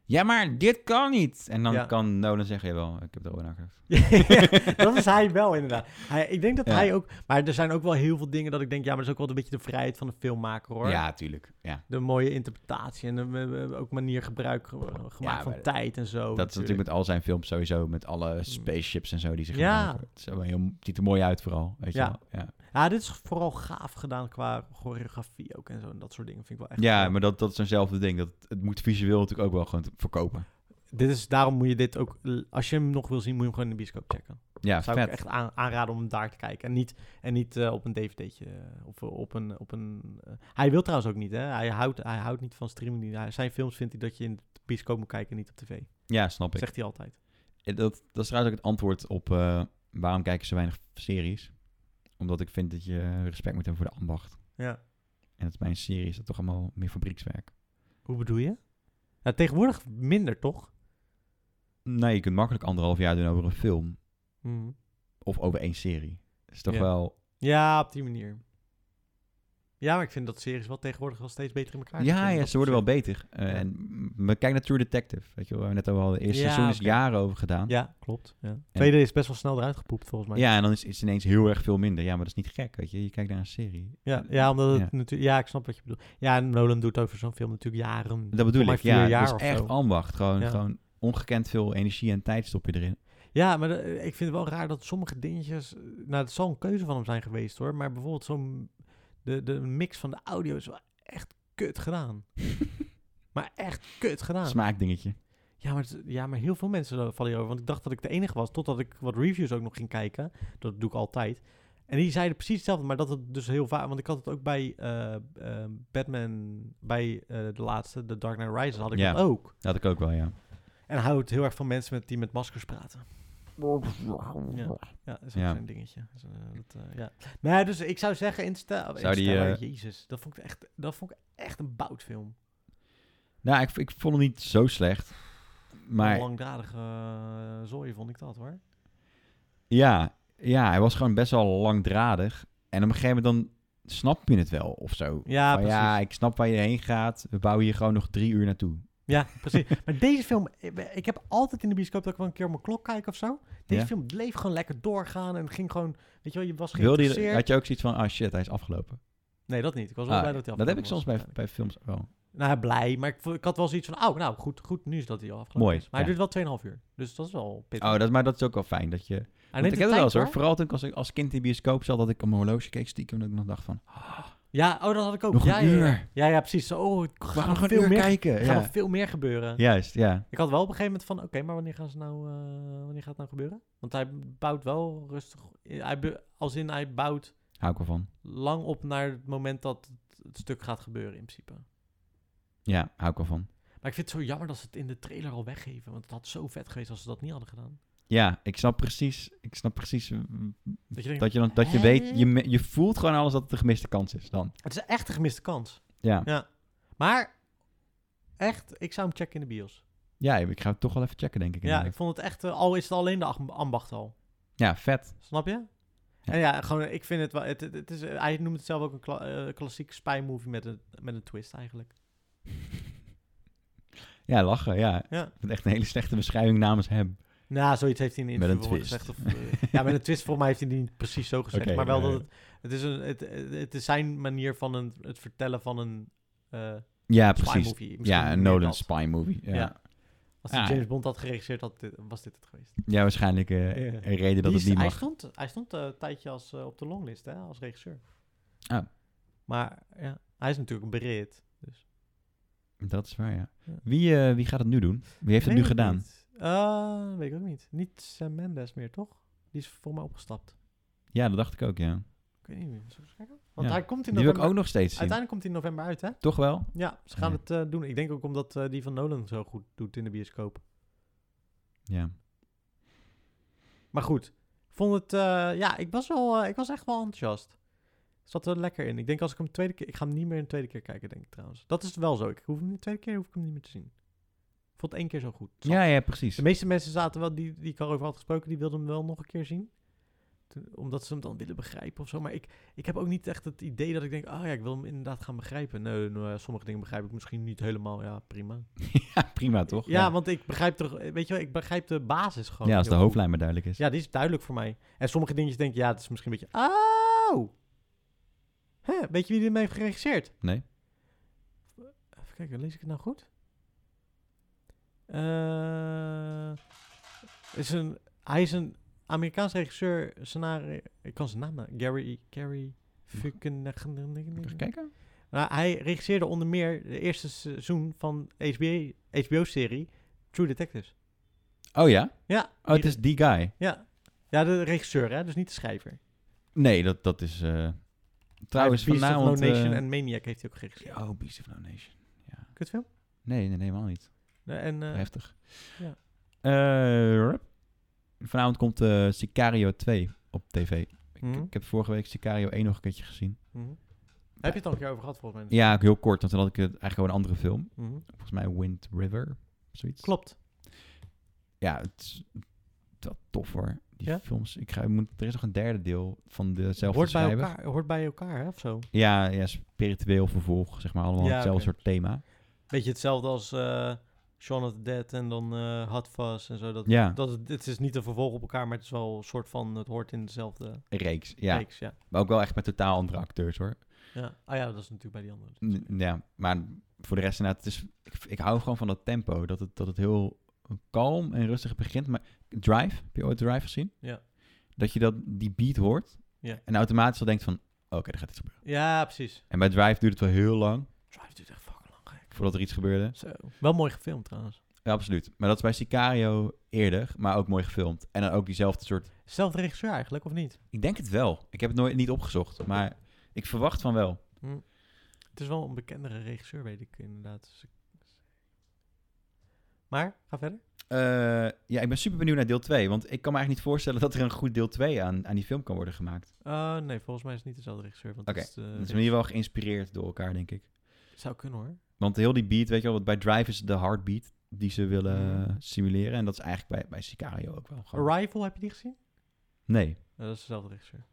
Speaker 1: ja, maar dit kan niet. En dan
Speaker 2: Ja.
Speaker 1: kan Nolan zeggen, jawel, ik heb het al aangegeven.
Speaker 2: <laughs> Ja, dat is hij wel inderdaad. Hij, ik denk dat
Speaker 1: Ja.
Speaker 2: hij ook... Maar er zijn ook wel heel veel dingen dat ik denk... Ja, maar dat is ook wel een beetje de vrijheid van de filmmaker, hoor.
Speaker 1: Ja, tuurlijk. Ja.
Speaker 2: De mooie interpretatie en de, eh, eh, ook manier gebruik ge- gemaakt
Speaker 1: Ja,
Speaker 2: van
Speaker 1: maar-
Speaker 2: tijd en zo.
Speaker 1: dat is natuurlijk met al zijn films sowieso, met alle spaceships en zo die ze
Speaker 2: Mm. Ja.
Speaker 1: gebruiken. Het is wel heel, ziet er mooi uit vooral, weet je
Speaker 2: Ja.
Speaker 1: wel. Ja,
Speaker 2: Ja, dit is vooral gaaf gedaan qua choreografie ook en zo. En dat soort dingen vind ik wel echt...
Speaker 1: ja
Speaker 2: gaaf.
Speaker 1: maar dat, dat is eenzelfde ding. Dat, het moet visueel natuurlijk ook wel gewoon te- verkopen.
Speaker 2: Dit is, daarom moet je dit ook... Als je hem nog wil zien, moet je hem gewoon in de bioscoop checken.
Speaker 1: Ja,
Speaker 2: Zou
Speaker 1: vet.
Speaker 2: ik echt aan- aanraden om hem daar te kijken. En niet, en niet eh, op een dvd'tje eh, of op een... Op een eh, Hij wil trouwens ook niet, hè. Hij houdt, hij houdt niet van streaming. Hij- Zijn films vindt hij dat je in de bioscoop moet kijken en niet op tv.
Speaker 1: Ja, snap ik.
Speaker 2: Zegt hij altijd.
Speaker 1: Ja, Dat, dat is trouwens ook het antwoord op eh, waarom kijken ze weinig series. Omdat ik vind dat je respect moet hebben voor de ambacht.
Speaker 2: Ja.
Speaker 1: En dat is bij een serie is dat toch allemaal meer fabriekswerk.
Speaker 2: Hoe bedoel je? Nou, tegenwoordig minder, toch?
Speaker 1: Nee, je kunt makkelijk anderhalf jaar doen over een film Mhm. of over één serie. Dat is toch
Speaker 2: Ja.
Speaker 1: wel...
Speaker 2: Ja, op die manier. Ja, maar ik vind dat series wel tegenwoordig wel steeds beter in elkaar
Speaker 1: Ja,
Speaker 2: zitten.
Speaker 1: ja,
Speaker 2: Dat
Speaker 1: ze worden wel
Speaker 2: opzicht.
Speaker 1: beter. Eh,
Speaker 2: Ja.
Speaker 1: En m- kijk naar True Detective. Weet je wel, waar we net over hadden. Eerste
Speaker 2: Ja,
Speaker 1: seizoen is
Speaker 2: oké.
Speaker 1: jaren over gedaan. Ja.
Speaker 2: Ja, klopt. Ja. Tweede is best wel snel eruit gepoept, volgens mij.
Speaker 1: en dan is het ineens heel erg veel minder. Ja, maar dat is niet gek, weet je. Je kijkt naar een serie.
Speaker 2: Ja, ja, omdat het
Speaker 1: Ja.
Speaker 2: natuurlijk... Ja, ik snap wat je bedoelt. Ja, en Nolan doet over zo'n film natuurlijk jaren.
Speaker 1: Dat bedoel
Speaker 2: maar
Speaker 1: ik,
Speaker 2: vier
Speaker 1: ja.
Speaker 2: jaar
Speaker 1: Het
Speaker 2: of
Speaker 1: is echt
Speaker 2: zo.
Speaker 1: ambacht. Gewoon,
Speaker 2: Ja.
Speaker 1: gewoon ongekend veel energie en tijd stop je erin.
Speaker 2: Ja, maar de- ik vind het wel raar dat sommige dingetjes... eh, Nou, het zal een keuze van hem zijn geweest, hoor. Maar bijvoorbeeld zo'n... De, de mix van de audio is wel echt kut
Speaker 1: <laughs>
Speaker 2: gedaan. maar echt kut gedaan.
Speaker 1: Smaakdingetje.
Speaker 2: Ja maar, het- ja, maar heel veel mensen vallen hierover. Want ik dacht dat ik de enige was, totdat ik wat reviews ook nog ging kijken. Dat doe ik altijd. En die zeiden precies hetzelfde, maar dat het dus heel vaak... Want ik had het ook bij eh, eh, Batman, bij eh, de laatste, The Dark Knight Rises, had ik
Speaker 1: Ja.
Speaker 2: dat ook.
Speaker 1: Dat had ik ook wel, ja.
Speaker 2: En houdt heel erg van mensen met, die met maskers praten. Ja, ja dat is ook
Speaker 1: Ja.
Speaker 2: zo'n dingetje. Dus, eh, dat, eh, ja. Nee, dus ik zou zeggen, Insta...
Speaker 1: Zou die,
Speaker 2: Interstellar,
Speaker 1: eh,
Speaker 2: Jezus, dat vond, ik echt, dat vond ik echt een boutfilm.
Speaker 1: Nou, ik, ik vond hem niet zo slecht.
Speaker 2: Maar...
Speaker 1: Maar
Speaker 2: Langdradige eh, zooi vond ik dat, hoor.
Speaker 1: ja, ja, hij was gewoon best wel langdradig. En op een gegeven moment dan snap je het wel of zo.
Speaker 2: Ja,
Speaker 1: Van,
Speaker 2: precies.
Speaker 1: ja, ik snap waar je heen gaat. We bouwen hier gewoon nog drie uur naartoe.
Speaker 2: Ja, precies. <laughs> maar deze film, ik- ik heb altijd in de bioscoop dat ik wel een keer op mijn klok kijk of zo. Deze
Speaker 1: Ja.
Speaker 2: film bleef gewoon lekker doorgaan en ging gewoon, weet je wel, je was
Speaker 1: Wilde
Speaker 2: geïnteresseerd.
Speaker 1: je, had je ook zoiets van, ah shit, hij is afgelopen.
Speaker 2: Nee, dat niet. Ik was wel
Speaker 1: Ah,
Speaker 2: blij dat hij
Speaker 1: dat heb ik
Speaker 2: afgelopen
Speaker 1: soms bij,
Speaker 2: was uiteindelijk.
Speaker 1: bij films wel.
Speaker 2: Nou, blij, maar ik, vo- ik had wel zoiets van, oh, nou, goed, goed, nu is dat hij al afgelopen
Speaker 1: Mooi,
Speaker 2: is. Maar hij
Speaker 1: ja.
Speaker 2: duurt wel 2,5 uur, dus dat is wel pittig.
Speaker 1: Oh, dat, maar dat is ook wel fijn. Dat je, want
Speaker 2: Hij
Speaker 1: ik
Speaker 2: neemt
Speaker 1: heb
Speaker 2: de
Speaker 1: het wel eens
Speaker 2: tijd,
Speaker 1: hoor. Vooral toen ik als, als kind in de bioscoop zat, dat ik op mijn horloge keek stiekem. Dat ik nog dacht van,
Speaker 2: Ja, oh, dat had ik ook.
Speaker 1: nog
Speaker 2: ja,
Speaker 1: een
Speaker 2: ja, ja.
Speaker 1: uur.
Speaker 2: Ja, ja, precies. Zo, oh, er
Speaker 1: We
Speaker 2: gaat
Speaker 1: gaan
Speaker 2: nog
Speaker 1: nog een
Speaker 2: veel
Speaker 1: uur
Speaker 2: meer,
Speaker 1: kijken.
Speaker 2: er gaat nog
Speaker 1: Ja.
Speaker 2: veel meer gebeuren.
Speaker 1: Juist, ja.
Speaker 2: Ik had wel op een gegeven moment van, oké, maar wanneer gaan ze nou, eh, wanneer gaat het nou gebeuren? Want hij bouwt wel rustig, eh, hij, be- als in hij bouwt
Speaker 1: Hou ik wel van.
Speaker 2: lang op naar het moment dat het, het stuk gaat gebeuren in principe.
Speaker 1: Ja, hou ik wel van.
Speaker 2: Maar ik vind het zo jammer dat ze het in de trailer al weggeven. Want het had zo vet geweest als ze dat niet hadden gedaan.
Speaker 1: Ja, ik snap precies, ik snap precies mm,
Speaker 2: Dat je denkt,
Speaker 1: dat je, dan, dat je
Speaker 2: Hè?
Speaker 1: weet, je, me- je voelt gewoon alles dat het de gemiste kans is dan.
Speaker 2: het is echt een gemiste kans.
Speaker 1: Ja,
Speaker 2: Ja. Maar echt, ik zou hem checken in de bios.
Speaker 1: ja ik ga het toch wel even checken, denk ik.
Speaker 2: Ja, ik
Speaker 1: inderdaad.
Speaker 2: vond het echt, eh, al is het alleen de am- ambacht al.
Speaker 1: ja vet.
Speaker 2: Snap je?
Speaker 1: Ja.
Speaker 2: En ja, gewoon, eh, ik vind het wel, het, het, het is, eh, hij noemt het zelf ook een kla- eh, klassiek spy movie met een, met een twist eigenlijk.
Speaker 1: Ja, lachen, ja. Ik
Speaker 2: Ja.
Speaker 1: vind het echt een hele slechte beschrijving namens hem.
Speaker 2: Nou, zoiets heeft hij in een
Speaker 1: Met een
Speaker 2: interview wel gezegd. Of,
Speaker 1: <laughs>
Speaker 2: eh, ja, met een twist, volgens mij heeft hij die niet precies zo gezegd.
Speaker 1: Oké,
Speaker 2: maar
Speaker 1: ja,
Speaker 2: wel dat
Speaker 1: ja.
Speaker 2: het, het, is een, het, het is zijn manier van een, het vertellen van een eh
Speaker 1: Ja,
Speaker 2: spy
Speaker 1: precies.
Speaker 2: movie.
Speaker 1: Ja, een Nolan spy movie. Ja, ja.
Speaker 2: Ja. Als die
Speaker 1: Ja.
Speaker 2: James Bond had geregisseerd, had dit- was dit het geweest.
Speaker 1: waarschijnlijk eh,
Speaker 2: Ja.
Speaker 1: een reden dat
Speaker 2: Die
Speaker 1: het
Speaker 2: is-
Speaker 1: niet
Speaker 2: hij
Speaker 1: mag.
Speaker 2: stond, hij stond eh, een tijdje als, eh, op de longlist hè, als regisseur.
Speaker 1: Ah.
Speaker 2: Maar ja, hij is natuurlijk een Brit. Dus.
Speaker 1: Dat is waar, ja.
Speaker 2: Ja.
Speaker 1: Wie, eh, wie gaat het nu doen? Wie heeft het nu
Speaker 2: Weet ik
Speaker 1: gedaan?
Speaker 2: niet. Eh, weet ik ook niet. Niet Sam Mendes meer, toch? Die is voor mij opgestapt.
Speaker 1: Ja, dat dacht ik ook, ja.
Speaker 2: Ik weet niet meer. Zullen we eens kijken? Want
Speaker 1: Ja.
Speaker 2: hij komt in
Speaker 1: Die wil ik
Speaker 2: november.
Speaker 1: ook nog steeds zien.
Speaker 2: Uiteindelijk komt hij in november uit, hè?
Speaker 1: Toch wel?
Speaker 2: Ja, ze gaan
Speaker 1: Ja.
Speaker 2: het eh, doen. Ik denk ook omdat eh, die van Nolan zo goed doet in de bioscoop.
Speaker 1: Ja.
Speaker 2: Maar goed, ik vond het... eh, ja, ik was, wel, eh, ik was echt wel enthousiast. Ik zat er lekker in. Ik denk als ik hem tweede keer... Ik ga hem niet meer een tweede keer kijken, denk ik trouwens. Dat is wel zo. Ik hoef hem de tweede keer hoef ik hem niet meer te zien. Ik vond het één keer zo goed.
Speaker 1: Ja, ja, precies.
Speaker 2: De meeste mensen zaten wel, die, die ik erover had gesproken, die wilden hem wel nog een keer zien. Toen- omdat ze hem dan willen begrijpen of zo. Maar ik, ik heb ook niet echt het idee dat ik denk, oh ja, ik wil hem inderdaad gaan begrijpen. Nee, nou ja, sommige dingen begrijp ik misschien niet helemaal. Ja, prima.
Speaker 1: <laughs> ja, prima toch?
Speaker 2: Ja, want ik begrijp toch, weet je wel, ik begrijp de basis gewoon.
Speaker 1: ja, als de
Speaker 2: heel goed.
Speaker 1: hoofdlijn maar duidelijk is.
Speaker 2: Dus Ja, die is duidelijk voor mij. En sommige dingetjes denk ik, ja, het is misschien een beetje... Auw! Hè, weet je wie dit heeft geregisseerd?
Speaker 1: Nee.
Speaker 2: Even kijken, lees ik het nou goed? Eh, is een, hij is een Amerikaans regisseur, scenario... Ik kan zijn naam nou- Gary... Gary... Fucking...
Speaker 1: Even kijken.
Speaker 2: Nou, hij regisseerde onder meer de eerste seizoen van HBO, HBO-serie True Detectives.
Speaker 1: Oh ja?
Speaker 2: Ja,
Speaker 1: Oh, het is die guy.
Speaker 2: ja. ja, de regisseur, hè? dus niet de schrijver.
Speaker 1: Nee, dat, dat is... eh trouwens,
Speaker 2: Beast of
Speaker 1: vanavond...
Speaker 2: No Nation
Speaker 1: eh,
Speaker 2: en Maniac heeft hij ook geregisseerd.
Speaker 1: Oh, Beast of No Nation. Ja.
Speaker 2: Kutfilm.
Speaker 1: Nee, nee, nee, helemaal niet.
Speaker 2: Eh, En, eh,
Speaker 1: Heftig.
Speaker 2: ja.
Speaker 1: Eh, rup. vanavond komt eh, Sicario 2 op tv. Ik,
Speaker 2: Mhm.
Speaker 1: ik heb vorige week Sicario 1 nog een keertje gezien.
Speaker 2: mhm. Heb je het al een keer over gehad, volgens mij?
Speaker 1: Ja, ook heel kort, want toen had ik het eigenlijk over een andere film.
Speaker 2: Mhm.
Speaker 1: Volgens mij Wind River, zoiets.
Speaker 2: Klopt.
Speaker 1: Ja, het is wel tof hoor. Die
Speaker 2: Ja?
Speaker 1: films. Ik ga, ik moet, er is nog een derde deel van dezelfde
Speaker 2: hoort, bij
Speaker 1: schrijver.
Speaker 2: elkaar, hoort bij elkaar, hè, of zo.
Speaker 1: Ja, ja, spiritueel vervolg, zeg maar. Allemaal
Speaker 2: Ja,
Speaker 1: hetzelfde
Speaker 2: oké.
Speaker 1: soort thema.
Speaker 2: Beetje hetzelfde als eh Shaun of the Dead en dan eh Hot Fuzz en zo. Dat,
Speaker 1: Ja,
Speaker 2: dat, het- het is niet een vervolg op elkaar, maar het is wel een soort van... Het hoort in dezelfde
Speaker 1: reeks. Ja,
Speaker 2: reeks, ja.
Speaker 1: maar ook wel echt met totaal andere acteurs hoor.
Speaker 2: ja. Ah ja, dat is natuurlijk bij die andere.
Speaker 1: N- Ja, maar voor de rest inderdaad, het is, ik, ik hou gewoon van dat tempo. Dat het, dat het heel kalm en rustig begint. Maar Drive, heb je ooit Drive gezien?
Speaker 2: Ja.
Speaker 1: Dat je dat, die beat hoort
Speaker 2: Ja.
Speaker 1: en automatisch al denkt van, oké, er gaat iets gebeuren.
Speaker 2: Ja, precies.
Speaker 1: En bij Drive duurde het wel heel lang
Speaker 2: Drive duurt echt fucking lang, gek.
Speaker 1: voordat er iets gebeurde.
Speaker 2: Zo. Wel mooi gefilmd, trouwens.
Speaker 1: Ja, absoluut. Maar dat is bij Sicario eerder, maar ook mooi gefilmd. En dan ook diezelfde soort...
Speaker 2: Zelfde regisseur eigenlijk, of niet?
Speaker 1: Ik denk het wel. Ik heb het nooit niet opgezocht, maar ik verwacht van wel.
Speaker 2: Het is wel een bekendere regisseur, weet ik inderdaad. Dus ik- Maar, ga verder.
Speaker 1: Eh, ja, ik ben super benieuwd naar deel 2. Want ik kan me eigenlijk niet voorstellen dat er een goed deel 2 aan, aan die film kan worden gemaakt.
Speaker 2: Eh, nee, volgens mij is het niet dezelfde regisseur. Want
Speaker 1: Oké,
Speaker 2: dat is de
Speaker 1: Dat is in ieder geval geïnspireerd door elkaar, denk ik.
Speaker 2: Zou kunnen hoor.
Speaker 1: Want heel die beat, weet je wel, want bij Drive is de heartbeat die ze willen
Speaker 2: Mhm.
Speaker 1: simuleren. En dat is eigenlijk bij, bij Sicario ook wel gewoon.
Speaker 2: Arrival, heb je die gezien?
Speaker 1: Nee.
Speaker 2: Eh, dat is dezelfde regisseur.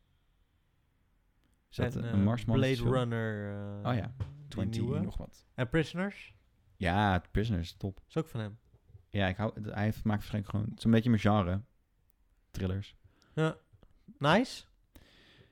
Speaker 1: Is dat
Speaker 2: En,
Speaker 1: een
Speaker 2: eh,
Speaker 1: Marsman?
Speaker 2: Blade Runner. eh,
Speaker 1: Oh ja,
Speaker 2: die
Speaker 1: 20
Speaker 2: nieuwe.
Speaker 1: nog wat.
Speaker 2: En Prisoners,
Speaker 1: Ja, Prisoners, top.
Speaker 2: is ook van hem.
Speaker 1: Ja, ik hou, hij heeft- maakt waarschijnlijk gewoon... Het is een beetje mijn genre. Thrillers.
Speaker 2: Nice.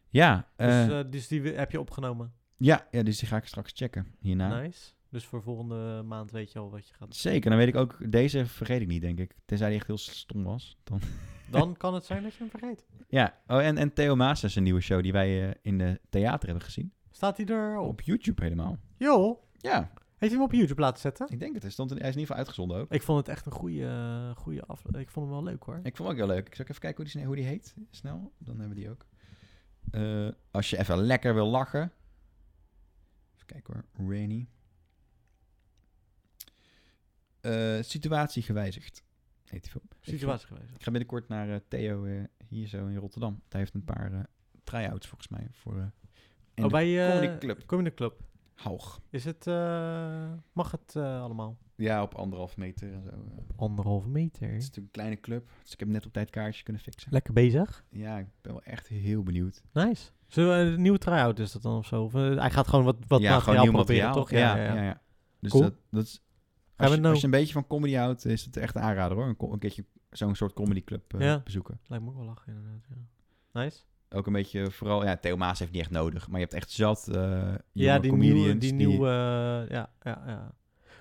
Speaker 1: Ja, eh,
Speaker 2: dus, eh, dus die wi- heb je opgenomen.
Speaker 1: ja, ja, dus die ga ik straks checken hierna.
Speaker 2: Nice. Dus voor volgende maand weet je al wat je gaat.
Speaker 1: Zeker, dan weet ik ook... Deze vergeet ik niet, denk ik. Tenzij die echt heel stom was. Dan <laughs>
Speaker 2: Dan kan het zijn dat je hem vergeet.
Speaker 1: Ja, oh, en, en Theo Maas is een nieuwe show die wij eh, in de theater hebben gezien.
Speaker 2: Staat hij erop?
Speaker 1: Op YouTube helemaal.
Speaker 2: Joh,
Speaker 1: Ja,
Speaker 2: heeft hij hem op YouTube laten zetten?
Speaker 1: ik denk het. Hij, stond in, hij is in ieder geval uitgezonden ook.
Speaker 2: Ik vond het echt een goede, goede aflevering. Ik vond hem wel leuk hoor.
Speaker 1: Ik vond hem ook heel leuk. Ik zal ook even kijken hoe die, sne- hoe die heet. Snel, dan hebben we die ook. Eh, als je even lekker wil lachen. Even kijken hoor. Rainy. Eh, situatie gewijzigd. Heet die film. Ik ga-
Speaker 2: Situatie geweest.
Speaker 1: Ik ga binnenkort naar eh, Theo eh, hier zo in Rotterdam. Hij heeft een paar eh try-outs volgens mij voor eh in
Speaker 2: oh,
Speaker 1: de
Speaker 2: bij eh,
Speaker 1: Comedy Club.
Speaker 2: Comedy Club.
Speaker 1: Haug.
Speaker 2: Is het, eh, mag het eh, allemaal?
Speaker 1: Ja, op anderhalf meter en zo. eh.
Speaker 2: Anderhalve
Speaker 1: Het is
Speaker 2: meter.
Speaker 1: natuurlijk een kleine club, dus ik heb net op tijd kaartje kunnen fixen.
Speaker 2: Lekker bezig.
Speaker 1: Ja, ik ben wel echt heel benieuwd.
Speaker 2: Nice. Zullen we een nieuwe try-out is dat dan of zo? Of, eh, hij gaat gewoon wat, wat
Speaker 1: ja,
Speaker 2: materiaal
Speaker 1: gewoon nieuw
Speaker 2: proberen,
Speaker 1: materiaal.
Speaker 2: toch? Ja, ja, ja.
Speaker 1: Dus
Speaker 2: Cool.
Speaker 1: dat, dat is,
Speaker 2: we
Speaker 1: als,
Speaker 2: het
Speaker 1: je,
Speaker 2: nou-
Speaker 1: als je een beetje van comedy houdt, is het echt een aanrader hoor. Een, co- een keertje zo'n soort comedyclub eh,
Speaker 2: Ja.
Speaker 1: bezoeken.
Speaker 2: Lijkt me ook wel lachen inderdaad, ja. Nice.
Speaker 1: Ook een beetje vooral, ja, Theo Maas heeft niet echt nodig, maar je hebt echt zat eh jonge
Speaker 2: Ja, die
Speaker 1: comedians
Speaker 2: nieuwe, die nieuwe, eh, ja, ja, ja.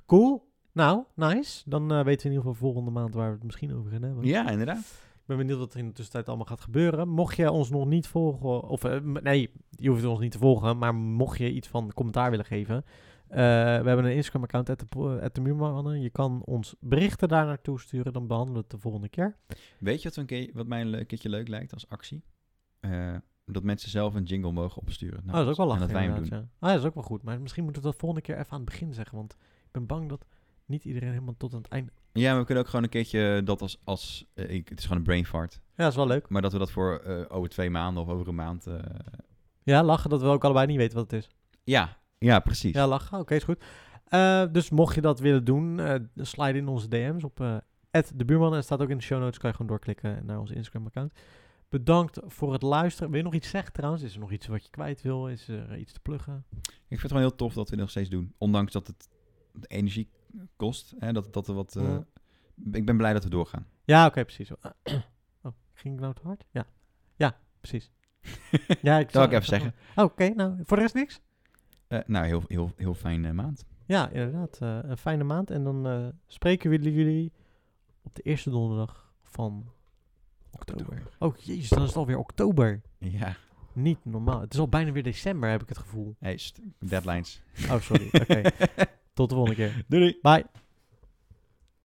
Speaker 2: Cool. Nou, nice. Dan eh, weten we in ieder geval volgende maand waar we het misschien over gaan hebben.
Speaker 1: Ja, inderdaad.
Speaker 2: Ik ben benieuwd wat er in de tussentijd allemaal gaat gebeuren. Mocht je ons nog niet volgen, of eh, m- nee, je hoeft ons niet te volgen, maar mocht je iets van commentaar willen geven. eh, we hebben een Instagram-account, at de po- at de Muurmannen. Je kan ons berichten daar naartoe sturen, dan behandelen we het de volgende keer.
Speaker 1: Weet je wat, we een keer, wat mij een le- keertje leuk lijkt als actie? Eh, dat mensen zelf een jingle mogen opsturen. Nou,
Speaker 2: oh, dat is ook wel
Speaker 1: En
Speaker 2: lachen.
Speaker 1: dat wij hem
Speaker 2: inderdaad,
Speaker 1: doen.
Speaker 2: Ja. Ah, dat is ook wel goed, maar misschien moeten we dat volgende keer even aan het begin zeggen, want ik ben bang dat niet iedereen helemaal tot aan het einde...
Speaker 1: Ja, maar we kunnen ook gewoon een keertje dat als, als eh, ik, het is gewoon een brain fart.
Speaker 2: Ja, dat is wel leuk.
Speaker 1: Maar dat we dat voor eh, over twee maanden of over een maand. eh,
Speaker 2: Ja, lachen dat we ook allebei niet weten wat het is.
Speaker 1: ja, ja, precies.
Speaker 2: Ja, lachen. Oké, is goed. Eh, dus mocht je dat willen doen, eh, slide in onze DM's op eh de buurman. En staat ook in de show notes. Kan je gewoon doorklikken naar onze Instagram-account. Bedankt voor het luisteren. Wil je nog iets zeggen trouwens? Is er nog iets wat je kwijt wil? Is er eh, iets te pluggen?
Speaker 1: Ik vind het gewoon heel tof dat we dit nog steeds doen. Ondanks dat het energie kost. Hè, dat, dat er wat, eh,
Speaker 2: Ja.
Speaker 1: Ik ben blij dat we doorgaan.
Speaker 2: Ja, oké, precies. Oh, <clears throat> ging ik nou te hard? Ja. Ja, precies.
Speaker 1: <laughs>
Speaker 2: Ja, ik
Speaker 1: Dat wil ik even zeggen.
Speaker 2: Oh, oké, nou, voor de rest niks?
Speaker 1: Eh, nou, heel, heel, heel fijn eh, maand.
Speaker 2: Ja, inderdaad. eh, een fijne maand. En dan eh, spreken we jullie op de eerste donderdag van oktober. Oh, jezus, dan is het alweer oktober.
Speaker 1: Ja,
Speaker 2: Niet normaal. Het is al bijna weer december, heb ik het gevoel.
Speaker 1: hey, sst, deadlines. <laughs>
Speaker 2: Oh, sorry. Oké. Tot de volgende keer.
Speaker 1: Doei doei.
Speaker 2: Bye.